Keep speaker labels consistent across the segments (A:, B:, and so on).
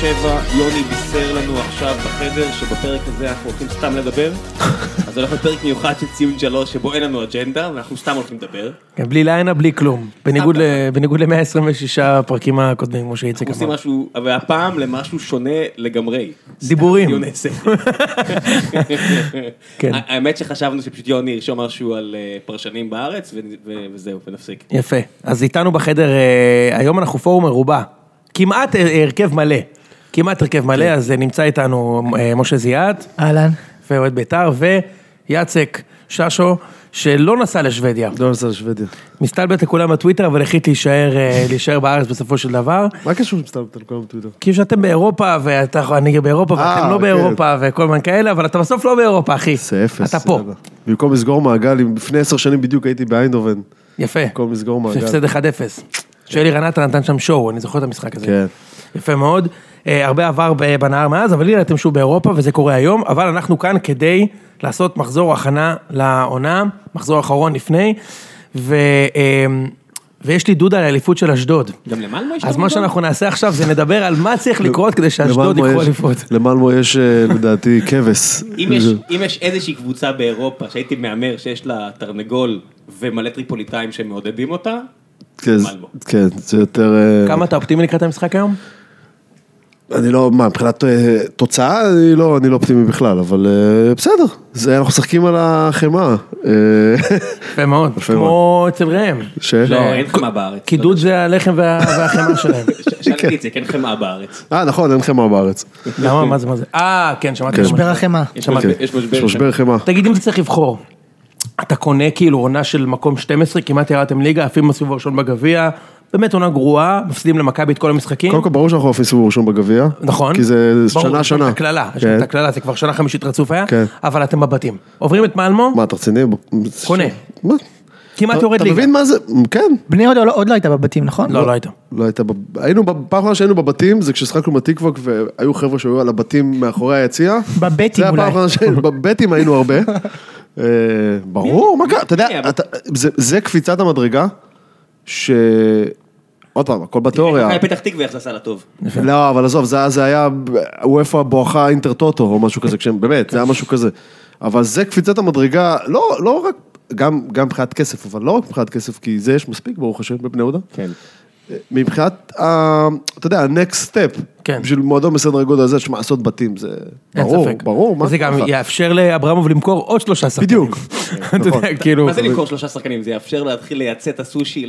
A: שבע, יוני בישר לנו עכשיו בחדר שבפרק הזה אנחנו הולכים סתם לדבר. אז זה הולך להיות פרק מיוחד של ציון שלוש שבו אין לנו אג'נדה ואנחנו סתם הולכים לדבר.
B: כן, בלי לילה, בלי כלום. בניגוד ל- בניגוד ל-126 הפרקים הקודמים, כמו שאיציק
A: אנחנו עושים
B: אמר.
A: משהו, אבל הפעם למשהו שונה לגמרי.
B: דיבורים.
A: דיוני ספר.
B: כן.
A: ה- האמת שחשבנו שפשוט יוני ירשום משהו על אה, פרשנים בארץ ו- ו- וזהו, ונפסיק.
B: יפה. אז איתנו בחדר, אה, היום אנחנו פורום מרובע. כמעט אה, הרכב מלא. כמעט הרכב מלא, אז אה, נמצא איתנו אה, משה זיאת,
C: אהלן.
B: ואוהד בית"ר, ויאצק ששו, שלא נסע לשוודיה.
D: לא נסע לשוודיה.
B: מסתלבט לכולם בטוויטר, אבל החליט להישאר, אה, להישאר בארץ בסופו של דבר.
D: מה קשור שמסתלבט על כל בטוויטר?
B: כאילו שאתם באירופה, ואני באירופה, ואתם לא
D: אוקיי.
B: באירופה, וכל מיני כאלה, אבל אתה בסוף לא באירופה, אחי.
D: זה אפס.
B: אתה פה.
D: סבבה. במקום לסגור מעגל, אם לפני עשר שנים בדיוק הייתי באיינדובן.
B: יפה.
D: במקום לסגור מעגל.
B: שהפסד 1-0. שאלירן עטר נתן שם שואו, אני זוכר את המשחק הזה.
D: כן.
B: יפה מאוד. אה, הרבה עבר ב- בנהר מאז, אבל הנה אתם שוב באירופה וזה קורה היום, אבל אנחנו כאן כדי לעשות מחזור הכנה לעונה, מחזור אחרון לפני, ו... אה, ויש לי דוד על האליפות של אשדוד.
A: גם לא למעלה יש
B: אז
A: לנו
B: מה
A: גם?
B: שאנחנו נעשה עכשיו זה נדבר על מה צריך לקרות כדי שאשדוד
D: למלמו
B: יקחו
D: יש-
B: אליפות.
D: למלמו יש אה, לדעתי כבש.
A: אם יש, אם יש איזושהי קבוצה באירופה שהייתי מהמר שיש לה תרנגול ומלא טריפוליטאים שמעודדים אותה,
D: כן, זה-
A: מלמו.
D: כן, זה יותר... אה,
B: כמה אתה אופטימי לקראת המשחק היום?
D: אני לא, מה, מבחינת אה, תוצאה, אני לא, אני לא אופטימי בכלל, אבל אה, בסדר. זה, אנחנו משחקים על החמאה. אה,
B: יפה מאוד,
D: יפה
B: כמו אצל ראם.
D: ש...
A: לא, אין חמאה בארץ.
B: כי דוד זה הלחם וה- והחמאה שלהם.
A: ש- שאלתי את זה, כן חמאה בארץ.
D: אה, נכון, אין חמאה בארץ.
B: למה, מה זה, מה זה? אה, כן, שמעתי.
D: כן.
B: גם על זה.
C: משבר החמאה.
A: יש
B: שמעתי.
A: משבר- יש
D: אוקיי. יש משבר חמאה.
B: תגיד אם אתה צריך לבחור, אתה קונה כאילו עונה של מקום 12, כמעט ירדתם ליגה, עפים בסיבוב הראשון בגביע, באמת עונה גרועה, מפסידים למכבי את כל המשחקים.
D: קודם כל, ברור שאנחנו עושים סיבוב ראשון בגביע.
B: נכון,
D: כי זה
B: ברור,
D: שנה
B: יש לנו
D: שנה.
B: את הקללה, יש לנו
D: כן.
B: את הקללה, זה כבר שנה חמישית רצוף היה,
D: כן.
B: אבל אתם בבתים. עוברים את מלמו,
D: מה, אתה רציני?
B: קונה.
D: מה?
B: כמעט יורד
D: אתה
B: ליגה.
D: מבין מה זה? כן.
C: בני יהודה לא- עוד לא הייתה בבתים, נכון?
B: לא, לא הייתה.
D: לא הייתה, בב- היינו, בפעם האחרונה שהיינו בבתים, זה כששחקנו בתקווה, והיו חבר'ה שהיו על הבתים מאחורי היציע.
C: בבטים
D: זה הפעם
C: אולי.
D: האחרונה שהיינו, בבטים היינו הרבה. אה, ברור, מה קרה, אתה
A: מי
D: יודע,
A: היה
D: אתה- זה- זה קפיצת המדרגה, ש... עוד פעם, הכל בתיאוריה.
A: מכבי פתח תקווה יחסה לטוב.
D: לא, אבל עזוב, זה, זה היה וופא בואכה אינטר טוטו או משהו כזה, כשהם, באמת, זה היה משהו כזה. אבל זה קפיצת המדרגה, לא, לא רק, גם, גם מבחינת כסף, אבל לא רק מבחינת כסף, כי זה יש מספיק, ברוך השם, בבני יהודה.
A: כן.
D: מבחינת, ה- אתה יודע, ה-next step,
B: כן.
D: בשביל מועדון בסדר הגודל הזה, שמע, לעשות בתים, זה
B: אין
D: ברור,
B: ספק.
D: ברור, מה
B: זה גם
D: אכפת לך?
B: יאפשר לאברמוב למכור עוד שלושה שחקנים.
D: בדיוק.
B: אתה
D: נכון.
B: יודע, כאילו,
A: מה זה למכור שלושה שחקנים? זה יאפשר להתחיל לייצא את הסושי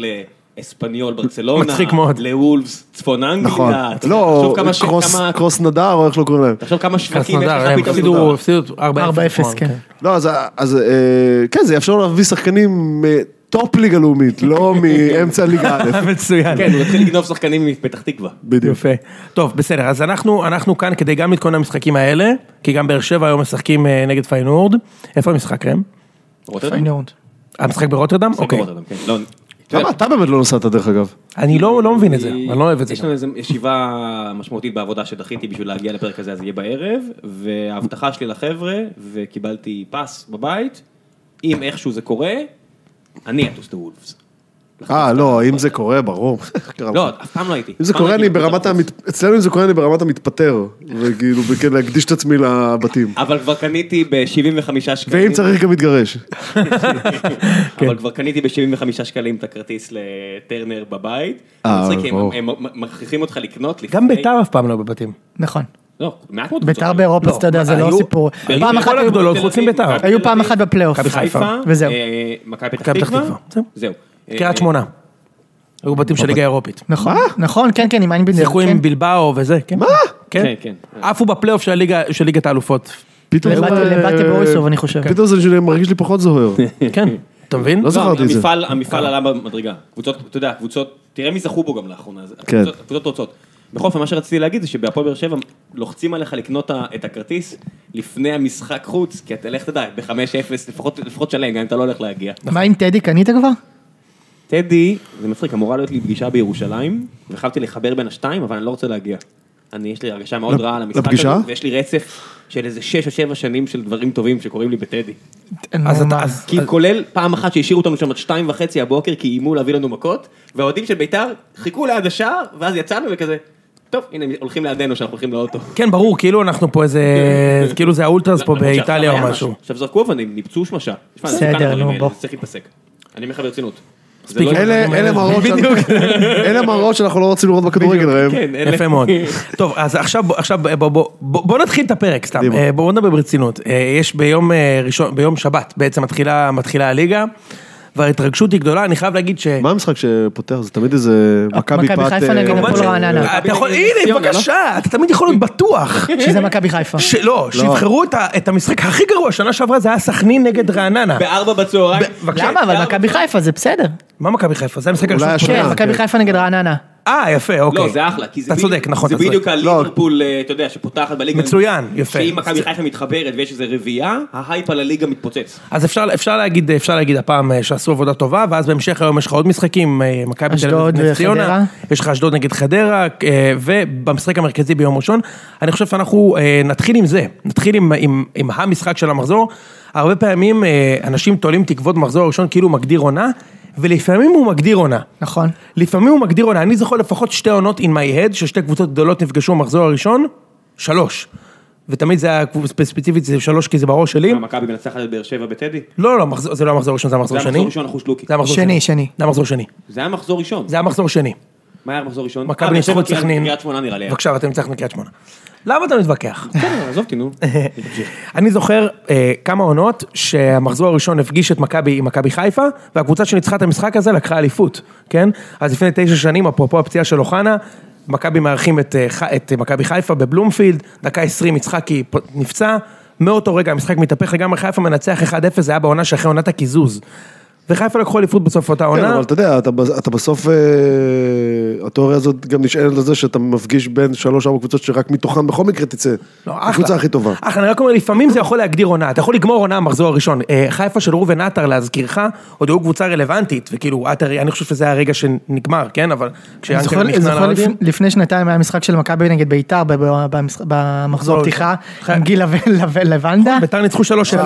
A: לאספניול, ברצלונה,
B: מצחיק מאוד.
A: לוולפס, צפון אנגליה,
D: נכון,
A: אתה יודע,
D: לא,
A: תחשוב כמה ש-
D: קרוס-
A: כמה-
D: קרוס נדר, או איך לא קוראים להם?
A: תחשוב כמה שווקים יש
B: קרסנדר,
A: לך
B: הם
A: פתאום.
B: הפסידו
A: לדבר.
B: הפסידו 4-0.
C: 4-0, כן.
D: לא, אז, אז אה, כן, זה יאפשר להביא שחקנים מטופ ליגה לאומית, לא מאמצע ליגה א'.
B: מצוין.
A: כן, הוא התחיל לגנוב שחקנים מפתח תקווה.
D: בדיוק.
B: יפה. טוב, בסדר, אז אנחנו, אנחנו כאן כדי גם להתכונן למשחקים האלה, כי גם באר שבע היום משחקים אה, נגד פיינורד. איפה המשחק, ראם? אוקיי.
A: רוטרדם?
C: פיינורד.
B: המשחק ברוטרדם? אוקיי.
A: רוטרדם, כן. לא, אתה יודע,
D: למה אתה באמת לא נסעת דרך אגב?
B: אני לא, לא מבין את זה, אני לא אוהב את זה.
A: אה, יש לנו איזו ישיבה משמעותית בעבודה שדחיתי בשביל להגיע לפרק הזה, אז יהיה בערב, וההבטחה שלי לחבר'ה, וקיבלתי פס בבית, אם איכשהו זה קורה, אני אטוס דה וולפס.
D: אה, לא, אם זה קורה, ברור. קרה
A: לא,
D: לך.
A: אף פעם לא הייתי.
D: אוקיי. אם זה
A: אף פעם לא
D: קורה, אני
A: הייתי
D: ברמת
A: בטוס.
D: המת... אצלנו אם זה קורה, אני ברמת המתפטר, וכאילו, וכן להקדיש את עצמי לבתים.
A: אבל כבר קניתי ב-75 שקלים.
D: ואם צריך כן. גם להתגרש.
A: אבל כבר קניתי ב-75 שקלים את הכרטיס לטרנר בבית.
D: אה,
A: מצחיק, הם-
D: ברור.
A: הם מ- מכריחים אותך לקנות לפני...
B: גם ביתר אף פעם לא בבתים.
C: נכון.
A: לא, מעט מאוד
C: ביתר
A: קבוצות.
C: באירופה,
B: לא,
C: אז אתה יודע, זה
B: היו-
C: לא סיפור.
A: באר-
C: פעם אחת
B: בכל
C: היו-
B: הגדולות,
A: תל
B: חוץ
A: אביב,
B: מביתר.
A: מכבי
C: היו
A: תל
C: פעם
A: אביב,
C: אחת בפלייאוף.
B: מכבי חיפה.
C: וזהו.
A: אה, מכבי פתח
B: מכבי פתח
A: תקווה,
B: תקווה, זהו.
A: זהו.
B: קריית
A: אה,
B: שמונה. היו בתים של ליגה אירופית.
C: נכון. נכון, כן, כן, עם איינבינדר.
B: שיחקו עם בלבאו וזה, כן. מה? כן,
A: כן, כן.
B: עפו בפלייאוף של הליגה- של ליגת האלופות.
D: פתאום...
C: לבטה-
D: אה,
C: לבטה בוריסוב, אני חושב.
D: פתאום זה מרגיש לי פחות זוהר.
B: כן, אתה מבין?
D: לא זכרתי את זה.
A: אה, המפעל, המפעל עלה במדרגה. קבוצות, אתה יודע, קבוצות, תראה מי זכו בו גם לאחרונה. אז
D: כן.
A: הקבוצות- הקבוצות רוצות. בכל אופן, מה שרציתי להגיד זה שבהפועל באר שבע לוחצים עליך לקנות ה- את הכרטיס לפני המשחק חוץ, כי אתה לך תדע, ב-5-0 לפחות לפחות שלם, גם אם אתה לא הולך להגיע.
B: נכון.
C: מה עם טדי, קנית כבר?
A: טדי, זה מצחיק, אמורה להיות לי פגישה בירושלים, וחייבתי לחבר בין השתיים, אבל אני לא רוצה להגיע. אני, יש לי הרגשה מאוד רעה על המשחק
D: לפגישה?
A: הזה, ויש לי רצף של איזה 6 או 7 שנים של דברים טובים שקורים לי בטדי.
B: אז
C: נו,
B: אתה-
C: מה?
B: אז-
A: כי כולל פעם אחת שהשאירו אותנו שם עד שתיים וחצי הבוקר כי איימו להביא לנו מכות, והאוהדים של ביתר חיכו ליד השער, ואז יצאנו וכזה, טוב, הנה, הולכים לידינו שאנחנו הולכים לאוטו.
B: כן, ברור, כאילו אנחנו פה איזה, כאילו זה האולטרס פה
A: למרות שעכשיו
B: באיטליה או
A: היה
B: משהו.
A: עכשיו זרקו אבנים, ניפצו שמשה. תשמע, זה
C: בסדר,
A: מסוכן הדברים
C: נו,
A: האלה,
C: בוא.
A: זה צריך להתעסק. אני אומר לך ברצינות. זה
B: מספיק.
A: לא-
D: אלה אלה מראות שאנחנו- אלה מראות שאנחנו לא רוצים לראות בכדורגל, ראם.
A: כן, אלה-
B: יפה מאוד. טוב, אז עכשיו, בוא- עכשיו אה, בוא, בוא, בוא, בוא נתחיל את הפרק סתם,
D: קדימה.
B: אה, בואו נדבר ברצינות. אה, יש ביום אה, ראשון, ביום שבת בעצם מתחילה, מתחילה הליגה, וההתרגשות היא גדולה, אני חייב להגיד ש...
D: מה המשחק שפותח? זה תמיד איזה מכבי
C: מכבי
D: פת...
C: חיפה
D: אה,
C: נגד
D: כמובן
C: הפועל
D: ש-
C: רעננה.
B: אה, אתה יכול, הנה,
A: לא ציונה, לא?
B: בבקשה, אתה תמיד יכול להיות בטוח.
C: שזה מכבי חיפה.
B: שלא, שיבחרו את ה- את המשחק הכי גרוע, שנה שעברה זה היה סכנין נגד רעננה.
A: בארבע בצהריים.
B: בבקשה.
C: למה? אבל
A: ארבע-
C: מכבי חיפה זה בסדר.
B: מה מכבי חיפה? זה המשחק הראשון.
D: אולי
B: שפותח.
C: כן,
D: כן.
C: מכבי חיפה נגד רעננה.
B: אה, יפה, אוקיי.
A: לא, זה אחלה, כי זה
B: אתה
A: בדיוק-
B: צודק, נכון,
A: זה
B: אתה צודק.
A: בדיוק הליברפול, אה, אתה יודע, שפותחת בליגה.
B: מצוין, יפה.
A: שאם מכבי חיפה מתחברת ויש איזה רביעייה, ההייפ על הליגה מתפוצץ.
B: אז אפשר, אפשר להגיד, אפשר להגיד הפעם אה, שעשו עבודה טובה, ואז בהמשך היום יש לך עוד משחקים, אה, מכבי תל
C: אשדוד
B: אביב נגד ציונה,
C: וחדרה.
B: יש לך אשדוד נגד חדרה, אה, ובמשחק המרכזי ביום ראשון, אני חושב שאנחנו אה, נתחיל עם זה, נתחיל עם, עם, עם המשחק של המחזור. הרבה פעמים אה, אנשים תולים תקוות במחזור הראשון כאילו הוא מגדיר עונה, ולפעמים הוא מגדיר עונה.
C: נכון.
B: לפעמים הוא מגדיר עונה, אני זוכר לפחות שתי עונות in my head, ששתי קבוצות גדולות נפגשו במחזור הראשון, שלוש. ותמיד זה היה ספציפית, זה שלוש כי זה בראש שלי.
A: מה, מכבי מנצחת את באר שבע בטדי?
B: לא, לא, מחזור- זה לא המחזור הראשון, זה המחזור
A: זה
B: השני.
A: המחזור ראשון החושלוקי.
B: זה המחזור
C: שני, שני.
B: זה המחזור שני.
A: זה היה מחזור ראשון.
B: זה המחזור שני.
A: אה, מה היה מחזור ראשון?
B: מכבי
A: אה, באר שבע
B: ניצחו את
A: קריית-
B: סכנין.
A: קריית שמונה נראה לי. היה.
B: בבקשה, ואתם ניצחתם קריית שמונה. למה אתה מתווכח?
A: בסדר, עזוב אותי, נו.
B: אני זוכר אה, כמה עונות שהמחזור הראשון הפגיש את מכבי עם מכבי חיפה, והקבוצה שניצחה את המשחק הזה לקחה אליפות, כן? אז לפני תשע שנים, אפרופו הפציעה של אוחנה, מכבי מארחים את, אה, ח- את אה, מכבי חיפה בבלומפילד, דקה עשרים יצחקי פ- נפצע, מאותו רגע המשחק מתהפך לגמרי, חיפה מנצח 1-0, זה היה בעונה שאחרי עונת הקיזוז. וחיפה לקחו אליפות בסוף אותה
D: כן,
B: עונה.
D: אבל אתה יודע, אתה בס- אתה בסוף, אה, התיאוריה הזאת גם נשענת על זה שאתה מפגיש בין שלוש-ארבע קבוצות שרק מתוכן בכל מקרה תצא.
B: לא, אחלה.
D: הקבוצה הכי טובה.
B: אחלה, אני רק אומר, לפעמים זה יכול להגדיר עונה, אתה יכול לגמור עונה במחזור הראשון. אה, חיפה של ראובן עטר, להזכירך, עוד היו קבוצה רלוונטית, וכאילו, עטר, אני חושב שזה הרגע שנגמר, כן? אבל
C: אני
B: כשאנקל
C: זוכר
B: נכנע
C: זוכר לפ-
B: לאוהדים...
C: לפני שנתיים היה משחק של מכבי נגד ביתר ב- ב- במשחק-
B: לא,
C: במחזור פתיחה, עם גיל לב- לב- לבנדה.
B: ביתר ניצחו 3-0,
C: 3-0,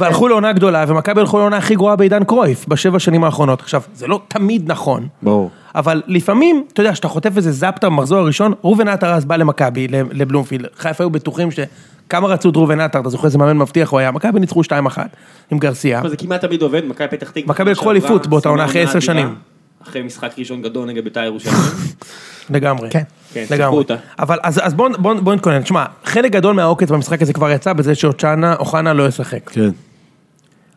B: והלכו לעונה גדולה, ומכבי הלכו לעונה הכי גרועה בעידן קרויף, בשבע שנים האחרונות. עכשיו, זה לא תמיד נכון.
D: ברור.
B: אבל לפעמים, אתה יודע, כשאתה חוטף איזה זפטה במחזור הראשון, ראובן עטר אז בא למכבי, ל- לבלומפילד. חיפה היו בטוחים ש... כמה רצו את ראובן עטר, אתה זוכר איזה מאמן מבטיח הוא היה, מכבי ניצחו 2-1 עם גרסיה.
A: אבל זה כמעט תמיד עובד, מכבי פתח תקווה.
B: מכבי לקחו
A: שעברה,
B: אליפות באותה עונה
A: סיימה
B: אחרי עשר
A: אדירה,
B: שנים.
A: אחרי משחק ראשון גדול נגד בית"ר ירושלים.
B: לגמרי.
C: כן.
A: כן, שיחקו
B: לגמרי.
A: אותה.
B: אבל אז, אז בואו בוא, בוא נתכונן. תשמע, חלק גדול מהעוקץ במשחק הזה כבר יצא בזה שאוחנה אוחנה לא ישחק.
D: כן.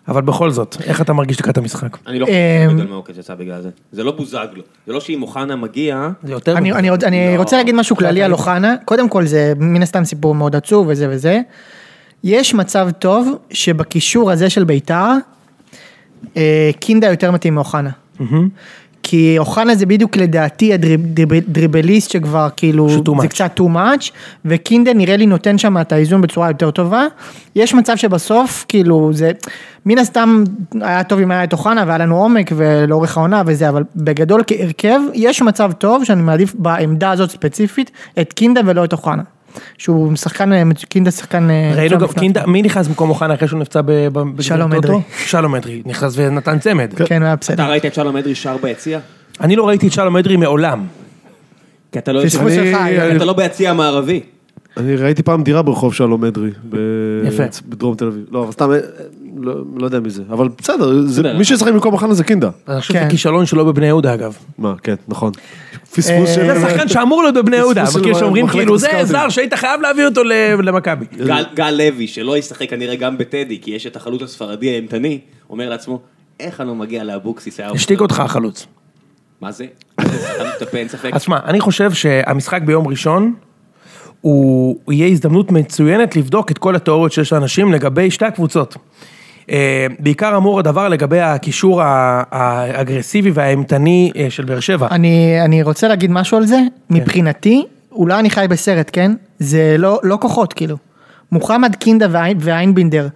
B: אבל בכל זאת, איך אתה מרגיש לקראת המשחק?
A: אני לא חושב
C: אמ,
A: שגדול מהעוקץ יצא בגלל זה. זה לא בוזגלו. זה לא שאם אוחנה מגיע,
B: זה יותר...
C: אני, אני, עוד- אני
A: לא.
C: רוצה להגיד משהו כללי על אוחנה, קודם כל זה מן הסתם סיפור מאוד עצוב וזה וזה. יש מצב טוב שבקישור הזה של ביתר, אה, קינדה יותר מתאים מאוחנה. כי אוחנה זה בדיוק לדעתי הדריבליסט שכבר כאילו,
B: שהוא too
C: זה
B: much.
C: קצת too much, וקינדה נראה לי נותן שם את האיזון בצורה יותר טובה. יש מצב שבסוף כאילו זה, מן הסתם היה טוב אם היה את אוחנה והיה לנו עומק ולאורך העונה וזה, אבל בגדול כהרכב יש מצב טוב שאני מעדיף בעמדה הזאת ספציפית את קינדה ולא את אוחנה. שהוא שחקן, אה, מצ- קינדה שחקן... אה,
B: ראינו
C: מצוין
B: גם
C: בפני
B: קינדה,
C: עצמו.
B: מי נכנס במקום אוחנה אחרי שהוא נפצע ב... ב-
C: שלום
B: בגביע הטוטו?
C: אדרי.
B: שלום אדרי, נכנס ונתן צמד.
C: כן, הוא היה בסדר.
A: אתה ראית את שלום אדרי שר ביציע?
B: אני לא ראיתי את שלום אדרי מעולם.
A: כי אתה לא
C: פספוס
A: יושב-
C: שלך,
A: כי
C: אגב.
A: אתה לא ביציע המערבי.
B: אה,
D: אני ראיתי פעם דירה ברחוב שלום אדרי, ב-
B: יפה.
D: בדרום תל אביב. לא, אבל סתם, אה, לא לא יודע מי זה. אבל בסדר, זה-
A: בסדר.
D: מי שישחק במקום החנה זה קינדה.
B: אני חושב שזה
C: כן.
B: כישלון שלו בבני יהודה אגב.
D: מה, כן, נכון.
C: אה,
D: פספוס של...
B: זה אה, לא, שחקן שאמור להיות בבני יהודה,
D: פספוס
B: אבל כאילו
D: של
B: שאומרים
D: מחלקת
B: כאילו זה
D: הסקאוטינג.
B: זר שהיית חייב להביא אותו ל- למכבי.
A: גל- גל לוי, שלא ישחק כנראה גם בטדי, כי יש את החלוץ הספרדי האימתני, אומר לעצמו, איך אני לא מגיע לאבוקסיס היה...
B: השתיק אותך החלוץ.
A: מה זה? אתה מטפל, אין ספק.
B: אז שמע, אני חושב שהמשחק ביום ראשון, הוא הוא יהיה הזדמנות מצוינת לבדוק את כל התיאוריות שיש לאנשים לגבי שתי הקבוצות. אה, בעיקר אמור הדבר לגבי הקישור ה- האגרסיבי והאימתני אה, של באר שבע.
C: אני, אני רוצה להגיד משהו על זה,
A: כן.
C: מבחינתי, אולי אני חי בסרט, כן? זה לא, לא כוחות, כאילו. מוחמד קינדה ואי- ואיינבינדר